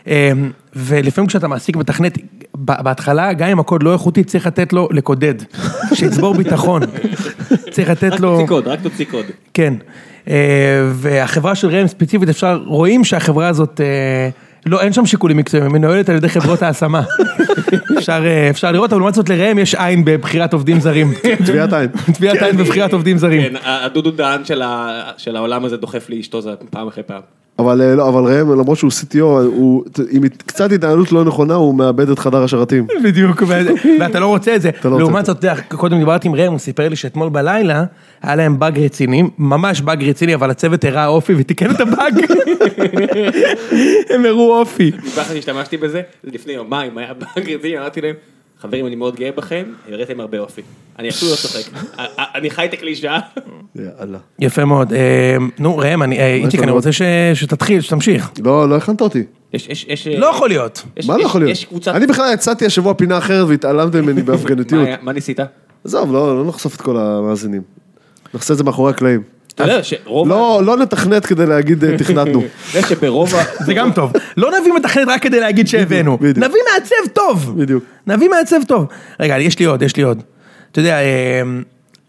B: אה, ולפעמים כשאתה מעסיק מתכנת ב- בהתחלה גם אם הקוד לא איכותי צריך לתת לו לקודד שיצבור ביטחון צריך לתת
A: רק
B: לו.
A: תוציא קוד, רק תוציא קוד.
B: כן, אה, והחברה של ראם ספציפית, אפשר, רואים שהחברה הזאת אה, לא, אין שם שיקולים מקצועיים, היא מנוהלת על ידי חברות ההשמה. אפשר, אה, אפשר לראות, אבל לעומת זאת לראם יש עין בבחירת עובדים זרים.
D: טביעת עין.
B: טביעת עין בבחירת עובדים זרים.
A: כן, הדודו דהן של ה- של העולם הזה דוחף לאשתו זה פעם אחרי פעם.
D: אבל אה, לא, אבל ראם, למרות שהוא CTO, הוא, עם קצת התנהלות לא נכונה, הוא מאבד את חדר השרתים.
B: בדיוק, ו- ואתה לא רוצה את זה.
D: לא רוצה
B: לעומת
D: את
B: זאת, אתה יודע, קודם דיברתי עם ראם, הוא סיפר לי שאתמול בלילה, היה להם באג רציני, ממש באג רציני, אבל הצוות הראה אופי ותיקן את הבאג. הם הראו אופי.
A: ככה שהשתמשתי בזה, זה לפני יומיים היה באגרדים, אמרתי להם, חברים אני מאוד גאה בכם, הראיתם הרבה אופי. אני אפילו לא צוחק, א- א- אני חי את הקלישאה.
D: יאללה.
B: יפה מאוד. אה, נו, ראם, אני- אה, איציק,
D: לנו?
B: אני רוצה ש- שתתחיל, שתמשיך.
D: לא, לא הכנת אותי.
A: יש- יש- יש-
B: לא יכול להיות.
A: יש-
D: מה לא
A: יש-
D: יכול להיות?
A: יש קבוצת...
D: אני בכלל יצאתי השבוע פינה אחרת והתעלמתם ממני
A: מה
D: בהפגנתיות.
A: היה- מה ניסית?
D: עזוב, לא לא נחשוף את כל המאזינים. נחשוף את זה מאחורי הקלעים.
A: אתה יודע שרוב...
D: לא, לא נתכנת כדי להגיד אה, תכנתנו.
A: אתה יודע שברוב ה...
B: זה גם טוב. לא נביא מתכנת רק כדי להגיד שהבאנו.
D: בדיוק.
B: נביא מעצב טוב.
D: בדיוק.
B: נביא מעצב טוב. רגע, יש לי עוד, יש לי עוד. אתה יודע, אה,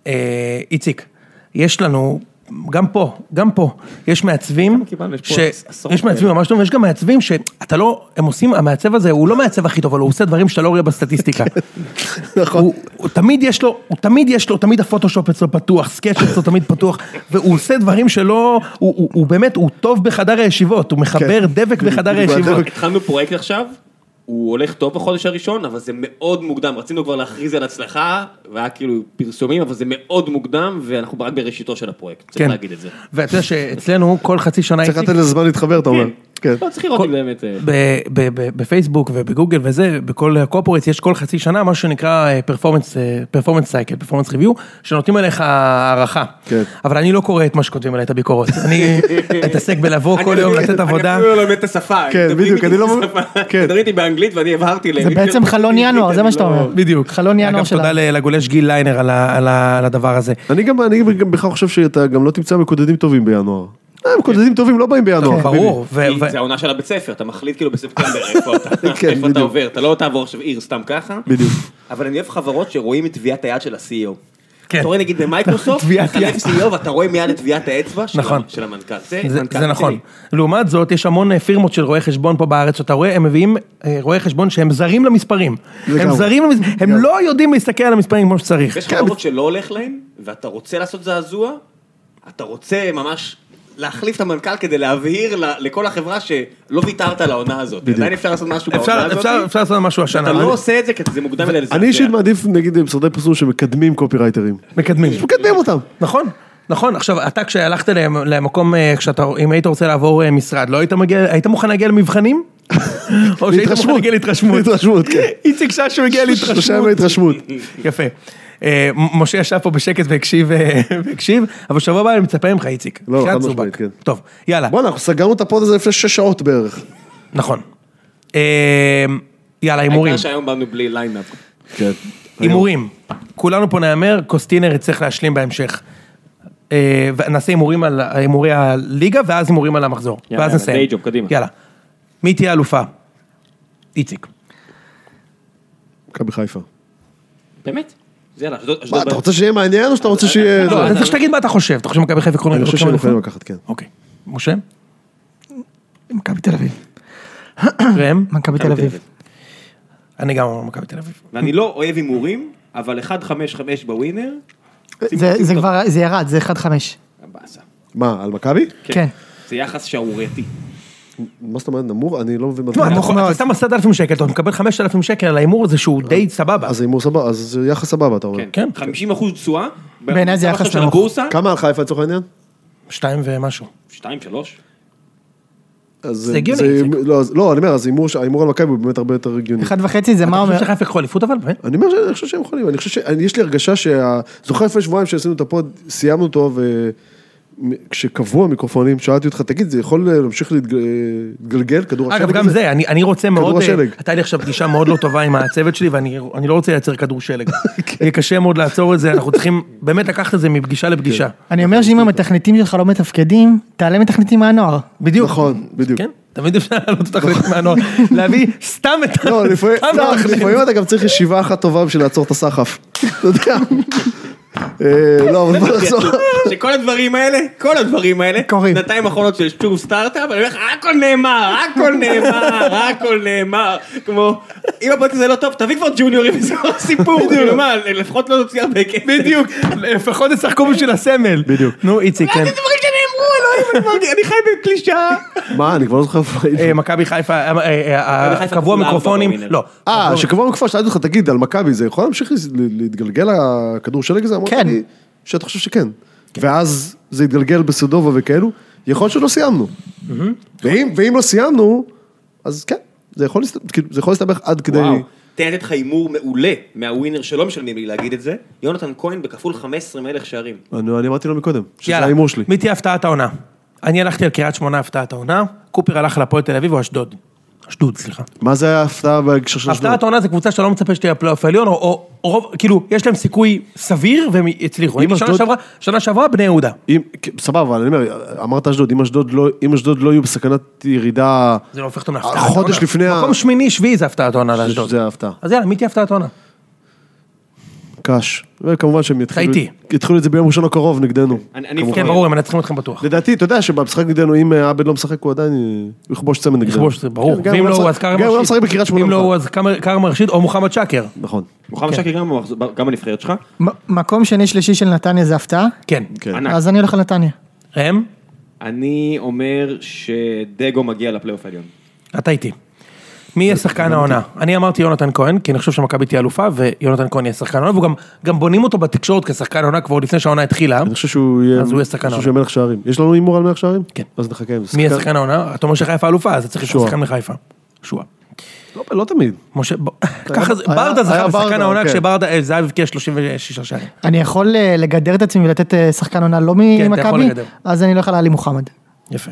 B: אה, איציק, יש לנו, גם פה, גם פה, יש מעצבים,
A: כמה קיבלנו? יש
B: ש-
A: פה עשרות
B: יש מעצבים
A: כאלה.
B: ממש טוב, ויש גם מעצבים שאתה לא, הם עושים, המעצב הזה הוא לא מעצב הכי טוב, אבל הוא עושה דברים שאתה לא רואה בסטטיסטיקה.
D: נכון.
B: הוא- הוא תמיד יש לו, הוא תמיד יש לו, תמיד הפוטושופ אצלו פתוח, סקאץ' אצלו תמיד פתוח, והוא עושה דברים שלא, הוא- הוא הוא באמת, הוא טוב בחדר הישיבות, הוא מחבר דבק בחדר
D: כן. בדיוק,
B: הישיבות.
D: הדבק.
A: התחלנו פרויקט עכשיו, הוא הולך טוב בחודש הראשון, אבל זה מאוד מוקדם, רצינו כבר להכריז על הצלחה, והיה כאילו פרסומים, אבל זה מאוד מוקדם, ואנחנו רק בראשיתו של הפרויקט, צריך
B: כן.
A: להגיד את זה.
B: ואתה יודע שאצלנו כל חצי שנה,
D: צריך
B: איציק,
D: לתת לזה זמן להתחבר, אתה אומר. כן.
A: לא, צריך לראות אם באמת... אה,
B: ב- ב- ב- בפייסבוק ובגוגל וזה, בכל הקורפורט יש כל חצי שנה משהו שנקרא אה, פרפורמנס, פרפורמנס סייקל, פרפורמנס ריוויו, שנותנים עליך הערכה.
D: כן.
B: אבל אני לא קורא את מה שכותבים עליי את הביקורות, אני מתעסק בלבוא כל יום לתת עבודה.
A: אני אפילו לא לומד את השפה.
D: כן,
A: מדברים
D: בדיוק,
A: איתי
D: אני לא-
A: בשפה.
D: כן.
A: מדברים איתי באנגלית ואני הבהרתי להם. כאילו,
C: זה בעצם חלון ינואר, זה מה
D: לא.
C: שאתה אומר.
B: בדיוק.
C: חלון ינואר
B: אגב,
C: שלנו.
B: תודה לגולש גיל ליינר על ה- על ה- על הדבר הזה.
D: אני גם, אני גם בכלל חושב שאתה גם לא תמצא מקודדים טובים בינואר.
A: כן.
D: אה, מקודדים טובים לא באים בינואר. חביבי.
B: ברור. ו-
A: כי
B: ו-
A: כן. זה העונה של הבית ספר, אתה מחליט כאילו בספטמבר איפה אתה-
D: כן,
A: איפה אתה
D: בדיוק.
A: עובר, אתה לא תעבור עכשיו עיר סתם ככה.
D: בדיוק.
A: אבל אני אוהב חברות שרואים את טביעת היד של ה-CEO.
B: כן.
A: אתה רואה נגיד במייקרוסופט,
B: טביעת
A: אתה
B: יד.
A: מחליף CEO ואתה רואה מיד את טביעת האצבע של
B: נכון.
A: ה- של המנכ"ל.
B: זה,
A: מנכ"ל
B: זה נכון.
A: רציני.
B: לעומת זאת, יש המון אה, פירמות של רואי חשבון פה בארץ, שאתה רואה, הם מביאים אה, רואי חשבון שהם זרים למספרים. הם
D: גם.
B: זרים, למס- הם לא יודעים להסתכל על המספרים כמו שצריך.
D: כן,
A: יש חברות שלא הולך להם, ואתה רוצה לעשות זעזוע, אתה רוצה ממש להחליף את המנכ"ל כדי להבהיר ל- לכל החברה שלא ויתרת על העונה הזאת. עדיין אפשר לעשות משהו
B: אפשר-
A: בעונה הזאת.
B: אפשר אפשר לעשות משהו השנה.
A: לא אתה לא
B: אני-
A: עושה את זה כי זה מוקדם מדי לזעזע.
D: אני אישית מעדיף, נגיד, אה, משרדי פרסום שמקדמים קופירייטרים.
A: כן.
B: מקדמים.
D: מקדמים אותם.
B: נכון. נכון, עכשיו אתה כשהלכת למ- למקום, אה, כשאתה, אם היית רוצה לעבור אה, משרד, לא היית מגיע, היית מוכן להגיע למבחנים? או שהיית מוכן
D: להתרשמות.
B: להגיע להתרשמות?
D: להתרשמות, כן.
B: איציק ששו הגיע
D: שלושה
B: להתרשמות.
D: ימי התרשמות.
B: יפה. אה, מ- משה ישב פה בשקט והקשיב, אה, והקשיב, אבל שבוע הבא אני מצפה ממך, איציק.
D: לא,
B: בחייאת
D: חד
B: צובק.
D: משמעית, כן.
B: טוב, יאללה,
D: בואנה, אנחנו סגרנו את הפוד הזה לפני שש שעות בערך.
B: נכון. אה, יאללה, הימורים.
A: העיקר שהיום באנו בלי ליינאפ.
D: כן.
B: הימורים. כולנו פה נהמר, קוסטינר יצטרך להשלים בהמשך. אה, ונעשה הימורים על הימורי הליגה, ואז הימורים על המחזור.
A: יאללה,
B: ואז
A: יאללה,
B: נסיים.
A: די ג'וב, קדימה.
B: יאללה. מי תהיה האלופה? איציק.
D: מכבי חיפה.
A: באמת? אז יאללה, אשדוד,
D: מה,
A: אשדוד.
D: אתה רוצה שיהיה מעניין או שאתה רוצה שיהיה...
B: לא, אתה צריך שתגיד מה אתה חושב. אתה חושב שמכבי חיפה קוראים
D: אני חושב שהם יכולים לקחת, כן.
B: אוקיי. משה?
C: מכבי תל אביב.
B: ראם?
C: מכבי תל אביב.
B: אני גם אומר מכבי תל אביב.
A: ואני לא אוהב הימורים, אבל 1-5-5 בווינר,
C: זה זה כבר, זה ירד, זה 1-5.
A: באסה.
D: מה, על מכבי?
C: כן.
A: זה יחס שערורייתי.
D: מה זאת אומרת, נמוך? אני לא מבין מה...
B: תשמע,
D: אתה-
B: אתה
D: אה.
B: נכון, אתה שם 10,000 שקל, אתה מקבל 5,000 שקל על ההימור הזה שהוא די סבבה.
D: אז הימור סבבה, אז זה יחס סבבה, אתה אומר.
B: כן.
A: 50 אחוז תשואה.
C: בעיניי זה
A: במצב
C: יחס
A: עכשיו של
C: נמוך.
A: הבורסה,
D: כמה על חיפה לצורך העניין?
B: שתיים ומשהו.
A: 2-3.
D: אז
B: זה הגיוני, איציק.
D: לא, אז- לא, אני אומר, אז הימור ש- ההימור על מכבי הוא באמת הרבה יותר הגיוני.
C: 1.5 זה מה
B: אתה
C: אומר?
B: חושב שחיפה יקחו אליפות אבל? באמת?
D: אני אומר שאני חושב שהם יכולים, אני חושב ש... אני- יש לי הרגשה שה... זוכר לפני שבועיים שעשינו את הפוד, סיימנו אותו, ו... מ- כשקבעו המיקרופונים, שאלתי אותך, תגיד, זה יכול אה, להמשיך להתג- אה, להתגלגל, כדור
B: אגב, גם זה, אני, אני רוצה מאוד, אה,
D: השלג.
B: הייתה לי עכשיו פגישה מאוד לא טובה עם הצוות שלי, ואני אני לא רוצה לייצר כדור שלג. יהיה קשה מאוד לעצור את זה, אנחנו צריכים באמת לקחת את זה מפגישה לפגישה.
D: אוקיי.
C: אני אומר שאם המתכנתים שלך לא מתפקדים, תעלה מתכנתים מהנוער.
B: בדיוק.
D: נכון, בדיוק.
B: כן, תמיד אפשר לעלות אותך מהנוער, להביא סתם את ה...
D: לא, לפעמים
B: סתם את
D: לא,
B: התכלית.
D: לפעמים אתה גם צריך ישיבה אחת טובה בשביל לעצור את הסחף. אתה יודע, אה, לא, אבל בוא נחזור.
A: שכל הדברים האלה, כל הדברים האלה,
C: קורים.
A: שנתיים אחרונות של שוב סטארט-אפ, אני אומר לך, הכל נאמר, הכל נאמר, הכל נאמר, כמו, אם הפרק הזה לא טוב, תביא כבר ג'וניורים, זה לא סיפור, כאילו מה, לפחות לא תוציא הרבה כסף.
B: בדיוק, לפחות ישחקו בשביל הסמל.
D: בדיוק.
B: נו, איציק,
A: מה
B: כן.
A: זה דברים שנאמרו, אלוהים, אני מרגיש- אני חי בקלישאה.
D: מה, אני כבר לא זוכר איפה הייתי.
B: אה, מכבי חיפה, אה, אה,
A: מכבי
B: אה,
A: חיפה
B: קבעו
A: כולה
B: המיקרופונים,
A: בווינר.
B: לא.
D: אה, שקבוע מקפה, שאלתי אותך, תגיד, על מכבי, זה יכול להמשיך לס- ל- להתגלגל הכדור שלג הזה? אמרת
C: כן.
D: לי שאתה חושב שכן.
B: כן.
D: ואז זה התגלגל בסדובה וכאלו, יכול להיות שלא סיימנו. ואם ואם לא סיימנו, אז כן, זה יכול להסת- כאילו, זה יכול להסתבך עד כדי...
A: וואו, תן לתת לך הימור מעולה מהווינר שלא משלמים לי להגיד את זה, יונתן כהן בכפול 15 מלך שערים.
D: אני אני אמרתי לו מקודם, שזה
B: יאללה,
D: ההימור שלי.
B: מי תהיה הפתעת העונה? אני הלכתי על קריית שמונה הפתעת העונה, קופר הלך על הפועל תל אביב או אשדוד. אשדוד, סליחה.
D: מה זה ההפתעה בהקשר של אשדוד?
B: הפתעת העונה זה קבוצה שאתה לא מצפה שתהיה הפלייאוף העליון, או- או או רוב, כאילו, יש להם סיכוי סביר והם הצליחו.
D: אם
B: נגיד שנה
D: אשדוד-
B: שעברה- שנה שעברה בני יהודה.
D: אם, כן, סבבה, אבל אני אומר, אמרת אשדוד, אם אשדוד לא, אם אשדוד לא יהיו בסכנת ירידה,
B: זה לא הופך אותם להפתעת העונה.
D: חודש לפני ה-
B: מקום שמיני, שביעי זה הפתעת העונה לאשדוד.
D: זה ההפתעה.
B: אז יאללה, מי תהיה הפתעת העונה?
D: קש. וכמובן שהם יתחילו,
B: איתי.
D: יתחילו את זה ביום ראשון הקרוב נגדנו.
A: אני- אני
D: כמובן.
B: כן, ברור, הם מנצחים אתכם בטוח.
D: לדעתי, אתה יודע שבמשחק נגדנו, אם אה, עבד לא משחק, הוא עדיין אה, הוא יכבוש צמד נגדנו.
B: יכבוש, זה ברור.
D: כן, גם
B: ואם
D: אם
B: לא הוא
D: משחק-
B: אז כרם
D: גם אם הוא לא
B: רשיד.
D: משחק בקריית שמונה.
B: אם לא
D: הוא
B: הוא אז כרם- כרם רשיד או מוחמד שקר.
D: נכון.
B: כן.
A: מוחמד שקר גם במחזור- גם בנבחרת שלך?
C: מ- מקום שני שלישי של נתניה זה הפתעה,
B: כן.
D: כן.
A: ענק.
C: אז אני הולך על נתניה.
B: ראם,
A: אני אומר שדגו מגיע לפלייאוף העליון.
B: אתה איתי. מי יהיה שחקן העונה? אני אמרתי יונתן כהן, כי אני חושב שמכבי תהיה אלופה, ויונתן כהן יהיה שחקן העונה, וגם גם בונים אותו בתקשורת כשחקן העונה כבר עוד לפני שהעונה התחילה.
D: אני חושב שהוא יהיה...
B: אז הוא יהיה
D: אני
B: סכנה.
D: חושב שהוא יהיה מלך שערים. יש לנו הימור על מלך שערים?
B: כן.
D: אז נחכה עם זה.
B: מי יהיה שחקן העונה? אתה אומר שחיפה אלופה, אז צריך לשחק
D: שועה.
B: שחקן מחיפה. שועה.
D: לא, לא תמיד.
B: משה, ב- ככה זה,
D: היה-
B: ברדה
D: היה
B: זכה בשחקן
D: ברדה,
B: העונה
D: כן.
B: כשברדה, אה, זהב הבקיע 36 שערים.
C: אני יכול אה, לגדר את עצמי ולתת אה, שחקן עונה לא
B: אתה יכול
C: ממכבי,
B: לגדר.
C: אז אני הולך על עלי מוחמד.
B: יפה.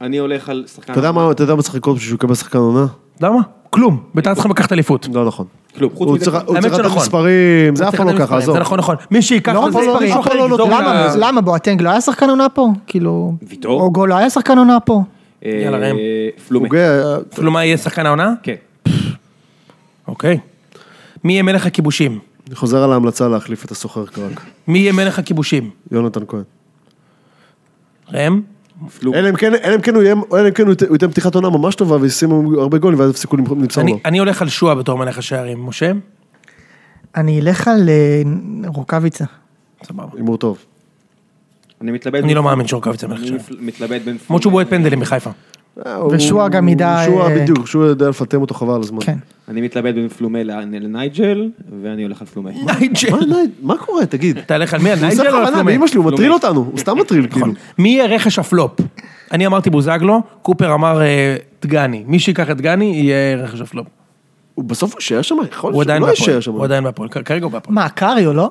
A: אני הולך על שחקן...
D: אתה יודע מה אתה יודע מה צריך לקרות בשביל שהוא יקבל שחקן עונה?
B: למה? כלום. בית"ר צריכים לקחת אליפות.
D: לא נכון.
A: כלום, חוץ
D: הוא
A: מזה-
D: צריך הוא
B: האמת
D: צריך לתת
B: שנכון.
D: מספרים, זה אף
B: צריך
D: פעם לא
B: לתת
D: ככה,
B: מספרים,
D: עזוב.
B: זה נכון, נכון. מי שייקח
D: לא,
B: את זה,
D: אבל לא,
B: מישהו
D: אף
B: אחר
D: אחד לא
B: יגזור
D: נותן.
B: לה-
D: אה.
C: למה בואטנג לא היה שחקן עונה פה? כאילו...
A: ויטור?
C: אוגו לא היה שחקן עונה פה.
A: אה,
B: יאללה, ראם.
A: פלומה.
D: הוגה, אה,
B: אפילו כאילו, מה יהיה שחקן העונה?
A: כן.
B: אוקיי. מי יהיה מלך הכיבושים?
D: אני חוזר על ההמלצה להחליף את הסוחר קרק,
B: מי יהיה מלך הכיבושים?
D: יונתן כהן.
B: ראם?
A: פלומה.
D: אלא אם כן- אלא אם כן הוא יהיה- אלא אם כן הוא ייתן- הוא ייתן פתיחת עונה ממש טובה וישימו הרבה גולים ואז יפסיקו למח- למסור
B: אני-
D: לו.
B: אני הולך על שועה בתור מלך השערים. משה?
C: אני אלך על אה, רוקאביצה.
B: סבבה.
D: הימור טוב.
A: אני מתלבט...
B: אני
A: בין-
B: לא מאמין שאורקביץ יהיה מלך
A: אני
B: השערים.
A: מפל- מתלבט בין... פלומה-
B: למרות שהוא בועט פנדלים מחיפה.
D: אה,
C: ושועה גם ידע,
D: שועה
C: אה,
D: בדיוק, שועה יודע לפטם אותו חבל על הזמן.
C: כן.
A: אני מתלבט בין פלומה לנ- לנייג'ל, ואני הולך על פלומה.
D: מה,
B: נייג'ל.
D: נייד- מה קורה, תגיד?
B: אתה הולך על מי? על
D: זה
B: נייג'ל או על
D: בכוונה,
B: פלומה?
D: באמא שלי, הוא מטריל
A: פלומה.
D: אותנו, הוא סתם מטריל, כאילו.
B: נכון. מי יהיה רכש הפלופ? אני אמרתי בוזגלו, קופר אמר אה, דגני. מי שיקח את דגני יהיה רכש הפלופ.
D: הוא בסוף הוא יישאר שם? יכול
B: הוא
D: להיות שהוא
B: עדיין
D: לא
B: בהפועל.
D: יישאר שם.
B: הוא עדיין בהפועל. כ- כרגע הוא בהפועל.
C: מה, קריו לא?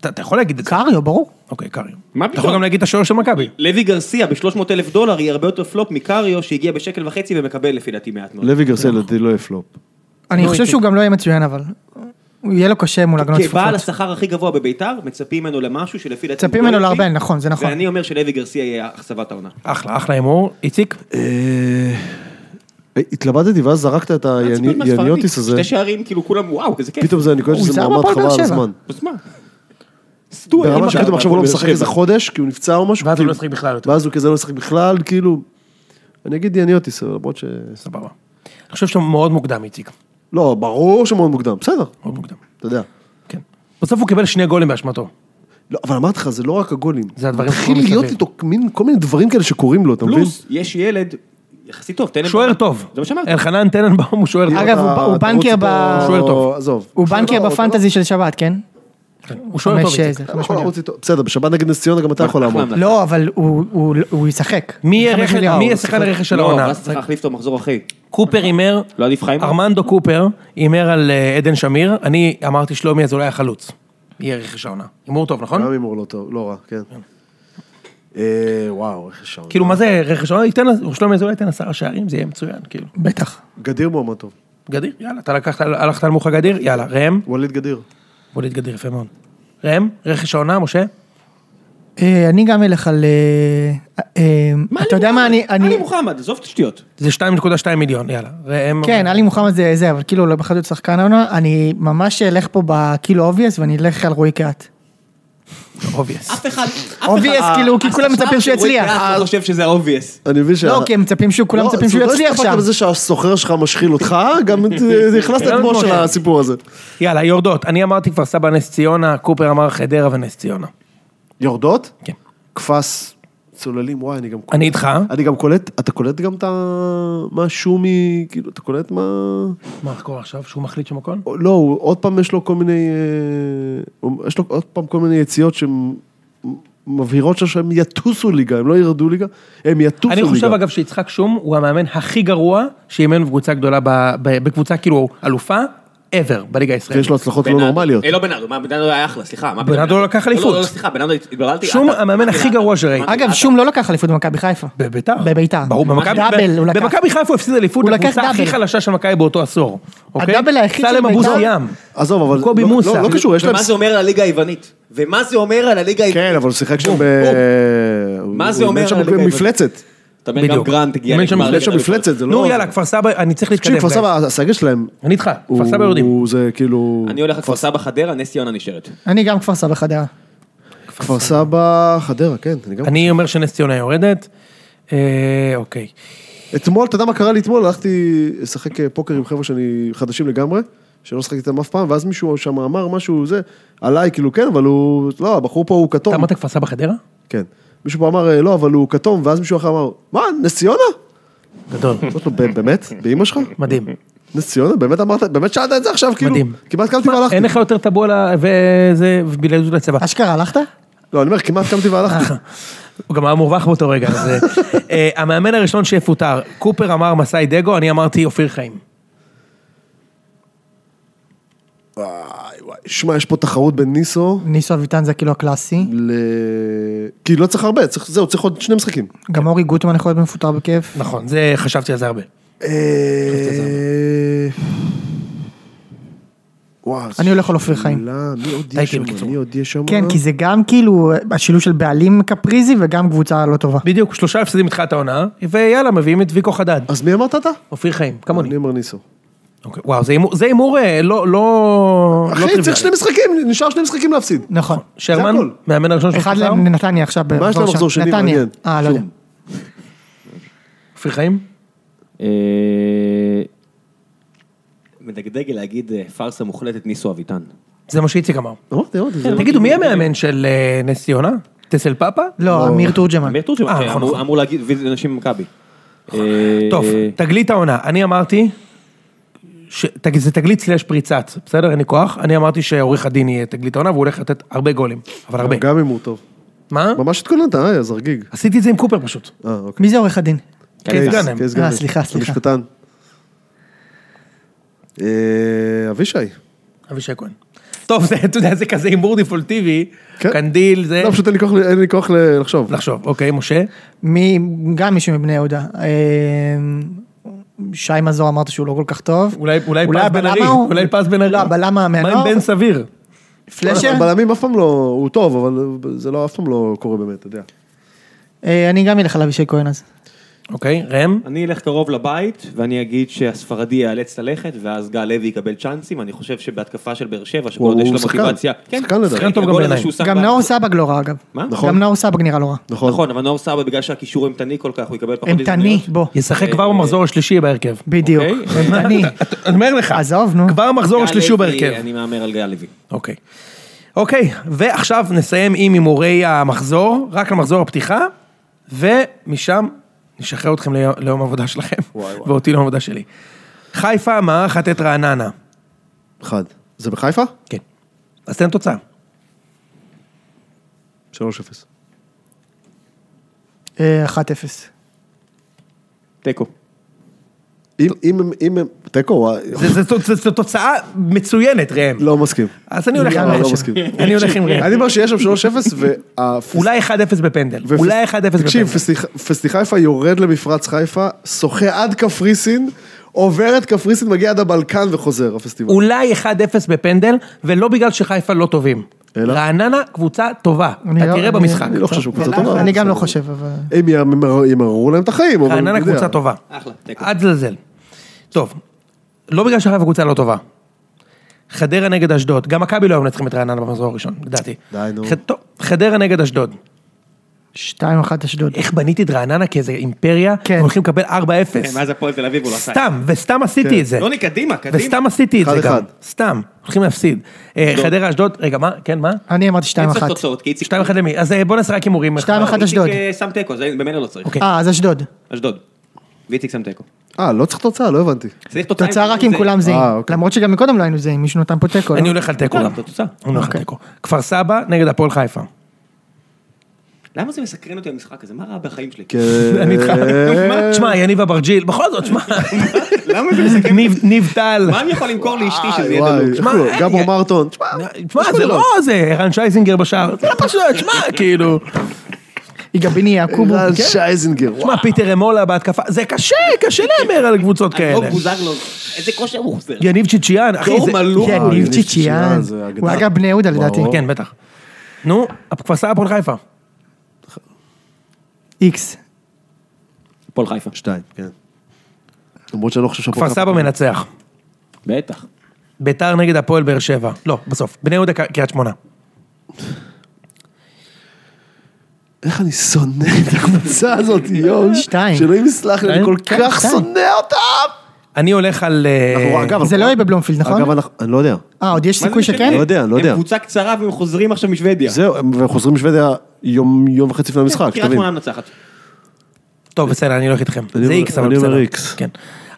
B: אתה- אתה יכול להגיד את זה.
C: קריו, ברור.
B: אוקיי, קריו.
A: מה
B: אתה
A: פתאום?
B: יכול גם להגיד את השוער של מכבי.
A: לוי גרסיה ב-300 אלף דולר יהיה הרבה יותר פלופ מקריו שהגיע בשקל וחצי ומקבל לפי דעתי מעט מאוד.
D: לוי גרסיה לדעתי לא יהיה פלופ.
C: אני
B: לא
C: חושב
B: הייתי.
C: שהוא גם לא יהיה מצוין, אבל... הוא יהיה לו קשה מול הגנות
A: כבעל
C: צפופות.
A: כן, השכר הכי גבוה בביתר, מצפים ממנו למשהו שלפי דעתי...
C: מצפים
A: הוא
C: ממנו
A: לא
C: להרבה,
A: יביא,
C: נכון, זה נכון.
A: ואני אומר שלוי גרסיה יהיה אכזבת העונה.
B: אחלה, אחלה הימור. איציק?
D: אה, התלבטתי ואז זרקת את
A: עצבן מהספרדי.
D: היאניוטיס הזה,
A: שתי שערים, כאילו כולם, וואו, כזה כיף.
D: פתאום זה, אני קולט
C: הוא
D: שזה
C: זר
D: מעמד
C: בהפועל
D: חבל
C: באר
D: על
C: שבע.
D: הזמן.
A: אז מה? סטו, אין
D: ברמה
A: מצב.
D: שפתאום עכשיו הוא לא משחק
B: כן.
D: איזה חודש, כי הוא נפצע או משהו.
B: ואז הוא לא
D: כאילו,
B: ישחק בכלל יותר.
D: ואז הוא כזה לא ישחק בכלל, כאילו... אני אגיד יאניוטיס, אבל למרות ש...
B: סבבה. אני חושב שהוא מאוד מוקדם, איציק.
D: לא, ברור שמאוד מוקדם, בסדר,
B: מאוד מוקדם.
D: אתה יודע.
B: כן. בסוף הוא קיבל שני גולים באשמתו.
D: לא, אבל אמרתי לך, זה לא רק הגולים.
B: זה הדברים
D: מתחיל
B: שקורים
D: להיות
B: מסביב.
D: איתו מין- כל מיני דברים כאלה שקורים לו, אתה מבין?
A: פלוס, יש ילד יחסית טוב, תן
B: שוער טוב.
A: זה מה שאמרתי.
B: אלחנן טננבאום הוא שוער טוב.
C: אגב, הוא-
D: אתה-
C: הוא
D: אתה
C: בנקר
D: רוצה
C: ב-
D: אותו-
B: הוא שוער טוב.
D: עזוב.
C: הוא
D: שוער
C: בנקר
D: טוב, אתה לא-
C: בפנטזי של שבת, כן?
B: הוא שוער טוב.
C: חמש,
B: איציק.
C: זה,
D: אתה לא
C: חמש
D: יכול
C: מיליון.
D: לרוץ איתו. בסדר, בשבת נגד נס ציונה גם אתה יכול לעמוד.
A: אחלה.
C: לא, אבל הוא- הוא- הוא ישחק.
B: נכון. מי יהיה
C: חמש
B: רכש-
C: מיליון.
B: מי יהיה שחקן הרכש של
A: לא, אבל
B: העונה?
A: אז צריך להחליף אותו מחזור אחרי.
B: קופר הימר,
A: לא עדיף חיים?
B: ארמנדו קופר הימר על אה, עדן שמיר, אני אמרתי שלומי אזולאי החלוץ. יהיה רכש העונה. הימור טוב, נכון?
D: גם הימור לא טוב, לא רע, כן. אה, וואו, איך יש שם.
B: כאילו מה זה רכש העונה? ייתן לה- שלומי אזולאי ייתן עשרה שערים, זה יהיה מצוין, כאילו.
C: בטח.
D: גדיר מועמד טוב,
B: גדיר, יאללה, אתה לקחת, הלכת על מוחה גדיר, יאללה, ראם,
D: ווליד גדיר.
B: בוא נתגדיר יפה מאוד. ראם, רכש העונה, משה?
C: אה, אני גם אלך על... אה, אה, אתה יודע מה, אני...
A: עלי
C: אני-
A: מוחמד, עזוב את השטויות.
B: זה 2.2 מיליון, יאללה. ראם- אה,
C: כן, עלי מוחמד זה זה, אבל כאילו לא בחר להיות שחקן העונה, אני ממש אלך פה בכאילו אובייס ואני אלך על רועי קאט.
B: obvious.
A: אף אחד...
C: Obvious,
B: לא,
C: כאילו,
A: אה,
B: אה,
C: כי כולם מצפים שהוא יצליח.
A: אני חושב שזה ה-obvious.
D: אני מבין ש...
C: לא, כי הם מצפים שהוא, כולם מצפים שהוא יצליח
D: לא, זה לא
C: שם.
D: בזה שהסוחר שלך משחיל אותך, גם את- הכנסת את
B: גם
D: משה
B: משה.
D: לסיפור הזה.
B: יאללה, יורדות. אני אמרתי כפר סבא, נס ציונה, קופר אמר חדרה ונס ציונה.
D: יורדות?
B: כן.
D: קפץ, צוללים, וואי, אני גם...
B: אני איתך.
D: אני גם קולט, אתה קולט גם את ה... מה שומי, כאילו, אתה קולט מה...
B: מה קורה עכשיו? שהוא מחליט שם הכל?
D: לא, הוא- עוד פעם יש לו כל מיני... אה, הוא- יש לו עוד פעם כל מיני יציאות שהן מבהירות שם שהם יטוסו ליגה, הם לא ירדו ליגה, הם יטוסו ליגה.
B: אני חושב אגב שיצחק שום הוא המאמן הכי גרוע שאימן בקבוצה גדולה, ב- ב- בקבוצה כאילו אלופה, ever, בליגה
D: כי
B: הישראלית.
D: יש לו הצלחות לא נורמליות.
A: אה, לא בנאדו, מה, בנאדו היה אחלה, סליחה. מה
B: בנאדו
A: פתאום?
B: לא לקח
A: לא,
B: אליפות.
A: לא, לא, סליחה, בנאדו התבלבלתי.
B: שום
A: אתה-
B: המאמן
A: אתה-
B: הכי גרוע שראיתי.
A: אתה-
C: אגב, שום לא לקח אליפות במכבי חיפה.
B: בביתר.
C: בביתר.
B: ברור, במכבי-
C: דאבל הוא לקח.
B: במכבי חיפה הוא הפסיד אליפות,
C: הוא לקח
B: לקבוצה הכי
C: דאבל.
B: חלשה של מכבי באותו עשור. אוקיי?
C: הדאבל היחיד של
B: סלם אבו
C: בית"ר-
B: סיאם.
D: עזוב, אבל...
B: קובי
D: לא-
B: מוסה.
D: לא, לא קשור, יש להם...
A: ומה זה אומר על הליגה היוונית? ומה זה אומר על הליגה היוונית?
D: כן, אבל הוא שיחק שם ב... הוא-
A: מה
D: הוא
A: זה אומר
D: אימן שם
A: על הליגה
D: מפלצת.
A: אתה אומר, גם
B: בדיוק.
A: גרנט הגיע
B: אימן שם
A: לגמר
B: מפלצת.
A: ליגת
D: שם
A: האלופות.
D: מפלצת, זה לא...
B: נו יאללה, כפר סבא, אני צריך להתקדם.
D: תקשיב, כפר סבא, הסגל שלהם...
B: אני איתך, כפר סבא
D: הוא-
B: יורדים.
D: הוא- זה כאילו...
A: אני הולך לכפר סבא חדרה, נס ציונה נשארת.
C: אני גם כפר סבא חדרה.
D: כפר סבא, חדרה, כן. אני גם-
B: אני אומר שנס ציונה יורדת. אה, אוקיי.
D: אתמול, אתה יודע מה קרה לי אתמול? הלכתי לשחק אה, פוקר עם חבר'ה שאני חדשים לגמרי, שלא שחקתי איתם אף פעם, ואז מישהו שם אמר משהו, זה, עליי, כאילו, כן, אבל הוא... לא, הבחור פה הוא
B: אתה
D: כתום.
B: אמרת כפר סבא חדרה?
D: כן. מישהו פה אמר, אה, לא, אבל הוא כתום, ואז מישהו אחר אמר, מה, נס ציונה?
B: גדול.
D: אמרתי לו, "ב- באמת? באמא שלך?
B: מדהים.
D: נס ציונה? באמת אמרת? באמת שאלת את זה עכשיו? כאילו,
B: מדהים.
D: כמעט קמתי והלכתי.
B: אין לך יותר טאבו על ה- וזה, ובלעדות לצבא.
C: אשכרה, הלכת?
D: לא, אני אומר, כמעט קמתי והלכתי.
C: אה.
B: הוא גם היה מורווח באותו רגע. אז, אה, המאמן הראשון שיפוטר, קופר אמר מסאי דגו, אני אמרתי אופיר חיים.
D: וואי, וואי. שמע, יש פה תחרות בין ניסו
C: ניסו אביטן זה כאילו הקלאסי.
D: ל... כי לא צריך הרבה, צריך, זהו, צריך עוד שני משחקים.
C: גם אורי גוטמן יכול להיות מפוטר בכיף.
B: נכון, זה, חשבתי על זה הרבה.
D: אה, וואו,
C: אני הולך על אופיר
D: שאלה,
C: חיים.
D: מי עוד
B: הייתי
D: יש שם?
B: בקיצור.
D: מי עוד יש שם?
C: כן, כי זה גם כאילו השילוב של בעלים קפריזי וגם קבוצה לא טובה.
B: בדיוק, שלושה הפסדים מתחילת העונה, ויאללה, מביאים את ויקו חדד.
D: אז מי אמרת אתה?
B: אופיר חיים, כמוני.
D: אני אומר ניסו.
C: לא
B: אוקיי, וואו, זה הימור- זה הימור אה, לא, לא, לא
D: אחי, צריך שני משחקים, נשאר שני משחקים להפסיד.
C: נכון.
B: שרמן,
D: זה הכל.
B: מאמן הראשון
C: אחד
B: שחזר,
C: לנתניה עכשיו.
D: יש להם
C: שם.
D: מחזור שני?
C: נתניה.
D: מעניין.
C: אה, לא
D: שוב.
C: יודע.
B: אופיר חיים?
A: אה, מדגדג להגיד אה, פארסה מוחלטת ניסו אביטן.
B: זה מה שאיציק אמר.
D: אמרתי, אמרתי.
C: כן,
D: זה- לא
B: תגידו, מי המאמן של אה, נס ציונה? טסל פאפה?
C: לא, אמיר תורג'מן.
A: אמיר תורג'מן,
B: אה,
A: כן,
B: נכון,
A: אמור-
B: נכון.
A: אמור להגיד, ואנשים ממכבי. אה,
B: טוב, תגלית העונה, אני אמרתי, ש- תג- זה תגלית סלש פריצת, בסדר? אין לי כוח, אני אמרתי שעורך הדין יהיה תגלית העונה והוא הולך לתת הרבה גולים, אבל הרבה.
D: גם אם הוא טוב.
B: מה?
D: ממש התכוננת, אה, אז הרגיג.
B: עשיתי את זה עם קופר פשוט.
D: אה, אוקיי.
C: מי זה עורך הדין?
B: קייס
D: קייס,
B: גאנם.
D: קייס
C: אה,
D: גאנם.
C: סליחה, סליחה.
D: המשפטן. אה, אבישי.
B: אבישי כהן. טוב, זה, אתה יודע, זה כזה הימור דפולטיבי,
D: כן.
B: קנדיל, זה...
D: לא, פשוט אין לי כוח- אין לי כוח ל- לחשוב.
B: אה. לחשוב, אוקיי, משה?
C: מי, גם מישהו מבני יהודה. אה, שי מזור אמרת שהוא לא כל כך טוב.
B: אולי, אולי, פז בן ארי,
C: הבלם ההוא?
B: אולי פז בן ארי.
C: לא, הבלם
B: מה עם
C: מהנוער?
B: בן סביר?
C: פלשר?
D: בלמים אף פעם לא, הוא טוב, אבל זה לא, אף פעם לא קורה באמת, אתה יודע.
C: אה, אני גם אלך על אבישי כהן אז.
B: אוקיי, ראם?
A: אני אלך קרוב לבית, ואני אגיד שהספרדי ייאלץ ללכת, ואז גל לוי יקבל צ'אנסים, אני חושב שבהתקפה של באר שבע, שכל עוד
D: הוא
A: יש לה
D: שחקן.
A: מוטיבציה. כן,
D: שחקן לדעתי.
B: שחקן טוב גם
A: הגול הזה
B: בעיניי.
A: שהוא שם
C: גם
A: בה-
C: נאור סבג לא רע אגב.
A: מה?
D: נכון.
C: גם נאור סבג נראה לא רע.
A: נכון, אבל נאור סבא בגלל שהקישור אימתני כל כך, הוא יקבל פחות
C: אימתני, בוא.
B: ישחק כבר במחזור השלישי בהרכב.
C: בדיוק.
A: אוקיי.
C: אימתני.
B: אני אומר לך,
C: אה, עזוב, נו.
B: כבר במחזור
A: גל
B: השלישי
A: לוי,
B: הוא בהרכב.
A: אני מהמר על גל לוי.
B: אוקיי. אוקיי, ועכשיו נסיים עם הימורי המחזור, רק על מחזור הפתיחה, ומשם נשחרר אתכם ליום, ליום העבודה שלכם,
D: וואי, וואי.
B: ואותי ליום העבודה שלי. חיפה מארחת את רעננה.
D: אחד. זה בחיפה?
B: כן. אז תן תוצאה.
D: 3-0.
C: אה, 1-0.
A: תיקו.
D: אם, אם, הם- אם, הם- תיקו, וואי,
B: זה- זה- זה- זה- זו תוצאה מצוינת, ראם.
D: לא מסכים.
B: אז אני הולך
D: לא,
B: עם
D: לא
B: ראם.
D: מסכים.
B: אני הולך עם ראם.
D: אני אומר שיש שם 3-0, וה...
B: כן. אולי 1-0 בפנדל.
D: ופס-
B: אולי 1-0 בפנדל.
D: תקשיב, פסטיח- פסטי חיפה יורד למפרץ חיפה, שוחה עד קפריסין, עובר את קפריסין, מגיע עד הבלקן וחוזר, הפסטיבל.
B: אולי 1-0 בפנדל, ולא בגלל שחיפה לא טובים.
D: אלא?
B: רעננה קבוצה טובה,
C: אני
B: אתה
C: לא-
B: תראה
C: אני-
B: במשחק.
D: אני לא חושב שהוא קבוצה טובה.
C: אני גם לא חושב, אבל...
D: הם ימר- ימררו להם את החיים. אבל
B: רעננה
D: אתה יודע.
B: קבוצה טובה.
A: אחלה, תיקו.
B: אל תזלזל. טוב, לא בגלל שחיפה קבוצה לא טובה. חדרה נגד אשדוד, גם מכבי לא היו מנצחים את רעננה במחזור הראשון, לדעתי.
D: די, נו.
B: ח- טוב, חדרה נגד אשדוד.
C: 2-1 אשדוד.
B: איך בניתי את רעננה כאיזה אימפריה,
C: כן.
B: הם הולכים לקבל 4-0.
A: מאז הפועל תל אביב הוא לא עשה את זה.
B: סתם, וסתם עשיתי את זה.
A: יוני, קדימה, קדימה.
B: וסתם עשיתי את זה גם.
D: אחד-אחד.
B: סתם, הולכים להפסיד. אה,
A: לא.
B: חדרה אשדוד, רגע, מה? כן, מה?
C: אני אמרתי 2-1.
A: אין צריך תוצאות, כי איציק...
B: 2-1 למי? אז אה, בוא נעשה רק הימורים.
C: שתיים
B: אחד.
C: אחד. אשדוד.
A: איציק אה, שם תיקו, זה במילא לא צריך.
B: אוקיי.
C: אה, אז אשדוד.
A: אשדוד. ואיציק שם תיקו.
D: אה, לא צריך תוצאה, לא הבנתי.
A: צריך תוצאה.
C: תוצאה רק אם
A: זה-
C: כולם
D: אה,
C: זהים.
D: אוקיי.
C: למרות שגם מקודם לא היינו זהים, מישהו נתן פה תיקו. לא?
B: אני הולך על תיקו
A: תוצאה,
B: גם.
A: תוצאה.
B: אני הולך על
C: אוקיי.
B: תיקו. כפר סבא נגד הפועל חיפה.
A: למה זה מסקרן אותי המשחק הזה? מה רע בחיים שלי?
D: כן.
B: אני איתך.
A: אה.
B: תשמע, יניב אברג'יל, בכל זאת, שמע,
A: למה זה מסקרן?
B: ניב- ניב טל.
A: כן. מה אני יכול למכור לאשתי שזה
D: וואי,
A: יהיה
D: וואי,
A: דלוק?
D: איך
B: שמע,
D: קוראים לו?
B: אין,
D: גבור
B: יא-
D: מרטון. תשמע,
B: תשמע, זה לא זה, ערן שייזינגר בשער, זה לא פשוט, שמע, כאילו,
C: יגביני יעקובו.
D: רז
C: כן.
D: שייזנגר. וואי.
B: שמע, פיטר אמולה בהתקפה, זה קשה, קשה להמר על קבוצות
A: אלמוג
B: כאלה.
A: בוזגלו, לא איזה כושר הוא חוזר.
B: יניב צ'יצ'יאן, אחי,
A: דור
B: זה...
A: מלול.
C: כן,
D: וואי,
C: ניב
D: ניב
C: צ'יצ'יאן.
D: צ'יצ'יאן, זה אגדה.
C: הוא היה גם בני יהודה לדעתי.
D: ברור.
B: כן, בטח. נו, כפר סבא הפועל חיפה.
C: איקס.
A: הפועל חיפה.
D: שתיים, כן. למרות שאני לא חושב שהפועל
B: כפר סבא מנצח.
A: בטח.
B: ביתר נגד הפועל באר שבע. לא, בסוף. בני יהודה ק- קריית שמונה.
D: איך אני שונא את הקבוצה הזאת, יואו.
C: שתיים.
D: שאלוהים יסלח לי, אני
B: שתיים?
D: כל
C: כן,
D: כך
C: שתיים.
D: שונא אותם.
B: אני הולך על... אה,
D: אנחנו- אגב,
C: זה
D: אנחנו-
C: לא יהיה בבלומפילד, נכון?
D: אגב, אנחנו- אני לא יודע.
C: אה, עוד יש
A: מה זה
C: סיכוי
A: משנה?
C: שכן?
D: לא יודע, לא יודע.
A: הם קבוצה קצרה והם חוזרים עכשיו משוודיה.
D: זהו, הם- והם חוזרים משוודיה יום יום וחצי לפני המשחק,
B: כן,
A: קריית
D: תבין.
A: שמונה מנצחת.
B: טוב, בסדר, אני הולך איתכם.
D: אני
B: זה
D: אומר-
B: איקס, אבל
D: אני
B: בסדר.
D: אומר איקס.
B: כן.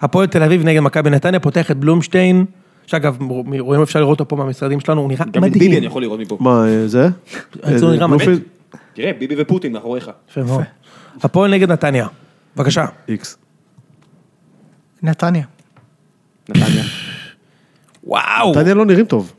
B: הפועל תל אביב נגד מכבי נתניה פותח את בלומשטיין, שאגב, מ- רואים אפשר לראות אותו פה מהמשרדים שלנו, הוא נראה
A: גם את ביבי אני
B: מדהים.
A: יכול לראות מפה.
D: מה, אה, זה?
B: אני צור לא נראה
D: בלומפילד?
B: מדהים.
A: תראה, ביבי ופוטין מאחוריך.
B: יפה מאוד. הפועל נגד נתניה. בבקשה.
D: איקס.
C: נתניה.
A: נתניה.
B: וואו.
D: נתניה לא נראים טוב.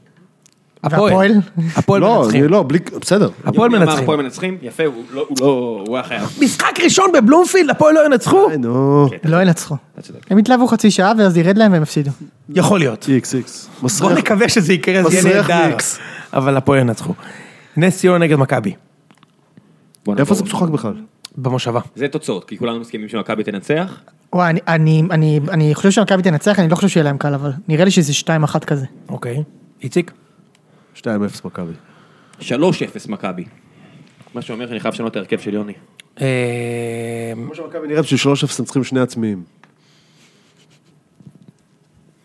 B: הפועל.
C: והפועל?
B: הפועל
D: לא,
B: מנצחים. אה.
D: אני לא, בלי, בסדר.
B: הפועל
A: יוני אמר,
B: מנצחים.
A: הפועל מנצחים, יפה, הוא לא, הוא לא, הוא היה חייב.
B: משחק ראשון בבלומפילד, הפועל לא ינצחו?
D: די, אה, נו.
B: כן.
C: לא ינצחו.
A: אתה צודק.
C: הם יתלהבו חצי שעה ואז ירד להם והם יפסידו.
B: יכול להיות.
D: איקס, איקס.
B: בוא
D: מסריח.
B: נקווה שזה יקרה, זה יהיה
D: מסריח
B: נהדר.
D: איקס.
B: אבל הפועל ינצחו. נס ציונה נגד מכבי,
A: בוא
D: איפה
A: נעבור.
D: זה משוחק בכלל?
B: במושבה.
A: זה תוצאות, כי כולנו מסכימים שמכבי תנצח.
C: וואי, אני- אני- אני- אני חושב שמכבי תנצח, אני לא חושב שיהיה להם קל אבל. נראה לי שזה 2-1 כזה.
B: אוקיי. איציק?
D: 2-0 מכבי.
A: 3-0 מכבי. מה שאומר שאני חייב לשנות את ההרכב של יוני.
B: אה,
D: כמו שמכבי נראית בשביל 3-0 הם צריכים שני עצמיים.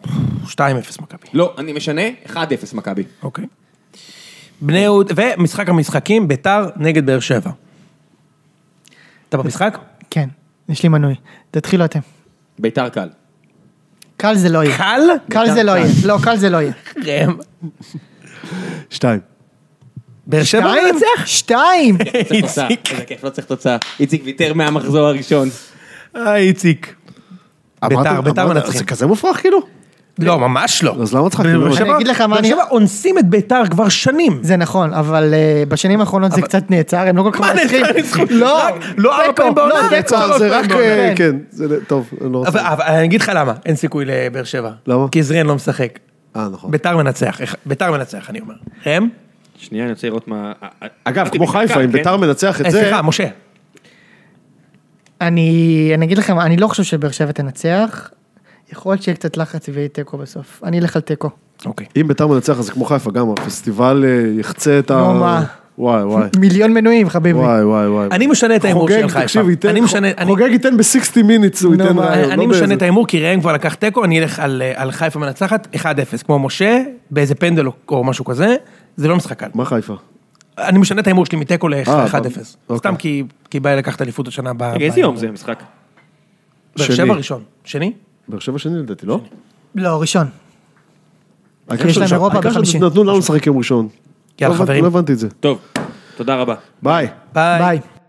B: 2-0 מכבי.
A: לא, אני משנה, 1-0 מכבי.
B: אוקיי. בני יהוד, ומשחק המשחקים, ביתר נגד באר שבע. אתה במשחק?
C: כן, יש לי מנוי. תתחילו אתם.
A: ביתר קל. לא
C: קל זה לא יהיה.
B: קל?
C: קל זה לא יהיה. לא, קל זה לא יהיה.
B: ראם.
D: שתיים.
B: באר שבע
C: שתיים?
B: מנצח?
C: שתיים!
A: צריך תוצאה, איזה כיף, לא צריך תוצאה. איציק ויתר מהמחזור הראשון.
B: אה, איציק. ביתר,
D: אמרתם-
B: ביתר
D: אמרתם-
B: מנצחים.
D: זה כזה מופרך כאילו?
B: לא, ממש לא.
D: אז למה צחקתי?
B: באר
D: אני
B: שבע-
C: אגיד לך מה
B: באר
C: אני-
B: שבע אונסים את ביתר כבר שנים.
C: זה נכון, אבל אה, בשנים האחרונות זה קצת נעצר, הם לא כל כך
B: מה,
C: מנצחים.
B: נעצר ניצחון?
C: לא,
B: רק- לא ארבע
C: תיקו,
B: פעמים בעונה,
C: לא,
B: נעצר,
C: תיקו.
D: אה, זה רק... אה,
C: כן.
D: כן. זה- טוב, אני לא
B: אבל
D: רוצה...
B: אבל אני אגיד לך למה, אין סיכוי לבאר שבע.
D: למה?
B: כי זריאן לא משחק.
D: אה, נכון.
B: ביתר מנצח, איך- ביתר מנצח, אני אומר. אה, ראם?
A: שנייה, אני רוצה לראות מה... אה,
D: אגב, כמו חיפה,
A: כן.
D: אם ביתר מנצח
B: אה,
D: את זה...
B: סליחה, משה.
C: אני אני אגיד לכם, אני לא חושב שבאר שבע תנצח. יכול להיות שיהיה קצת לחץ ויהיה תיקו בסוף. אני אלך על תיקו.
B: אוקיי.
D: אם ביתר מנצח, אז זה כמו חיפה, גם הפסטיבל אה, יחצה את ה...
C: נו, מה?
D: וואי, וואי.
C: מיליון מנויים, חביבי.
D: וואי, וואי, וואי.
B: אני משנה את ההימור של חיפה.
D: תקשיב, ייתן-
B: אני משנה, אני-
D: חוגג ייתן ב-60 מיניטס, הוא
C: נו,
D: ייתן
C: מה,
D: רעיון.
B: אני
D: לא
B: משנה
D: באיזה-
B: את ההימור, כי ראם כבר לקח תיקו, אני אלך על אה, על חיפה מנצחת, 1-0, כמו משה, באיזה פנדל או- או משהו כזה, זה לא משחק קל.
D: מה חיפה?
B: אני משנה את ההימור שלי מתיקו
D: אה,
B: ל-1-0.
D: אוקיי.
B: סתם כי כי בא לקחת אליפות השנה ב...
A: רגע,
B: ב-
A: איזה יום זה המשחק?
B: באר
D: שני.
B: שבע ראשון. שני?
D: באר שבע שני לדעתי, לא?
C: לא, ראשון.
D: העיקר
C: יש
D: של-
C: להם אירופה
D: העיקר
C: בחמישי.
D: שנתנו לנו לשחק יום ראשון.
B: יאללה,
D: לא הבנתי-
B: חברים.
D: לא הבנתי את זה.
A: טוב, תודה רבה.
D: ביי.
B: ביי.
C: ביי.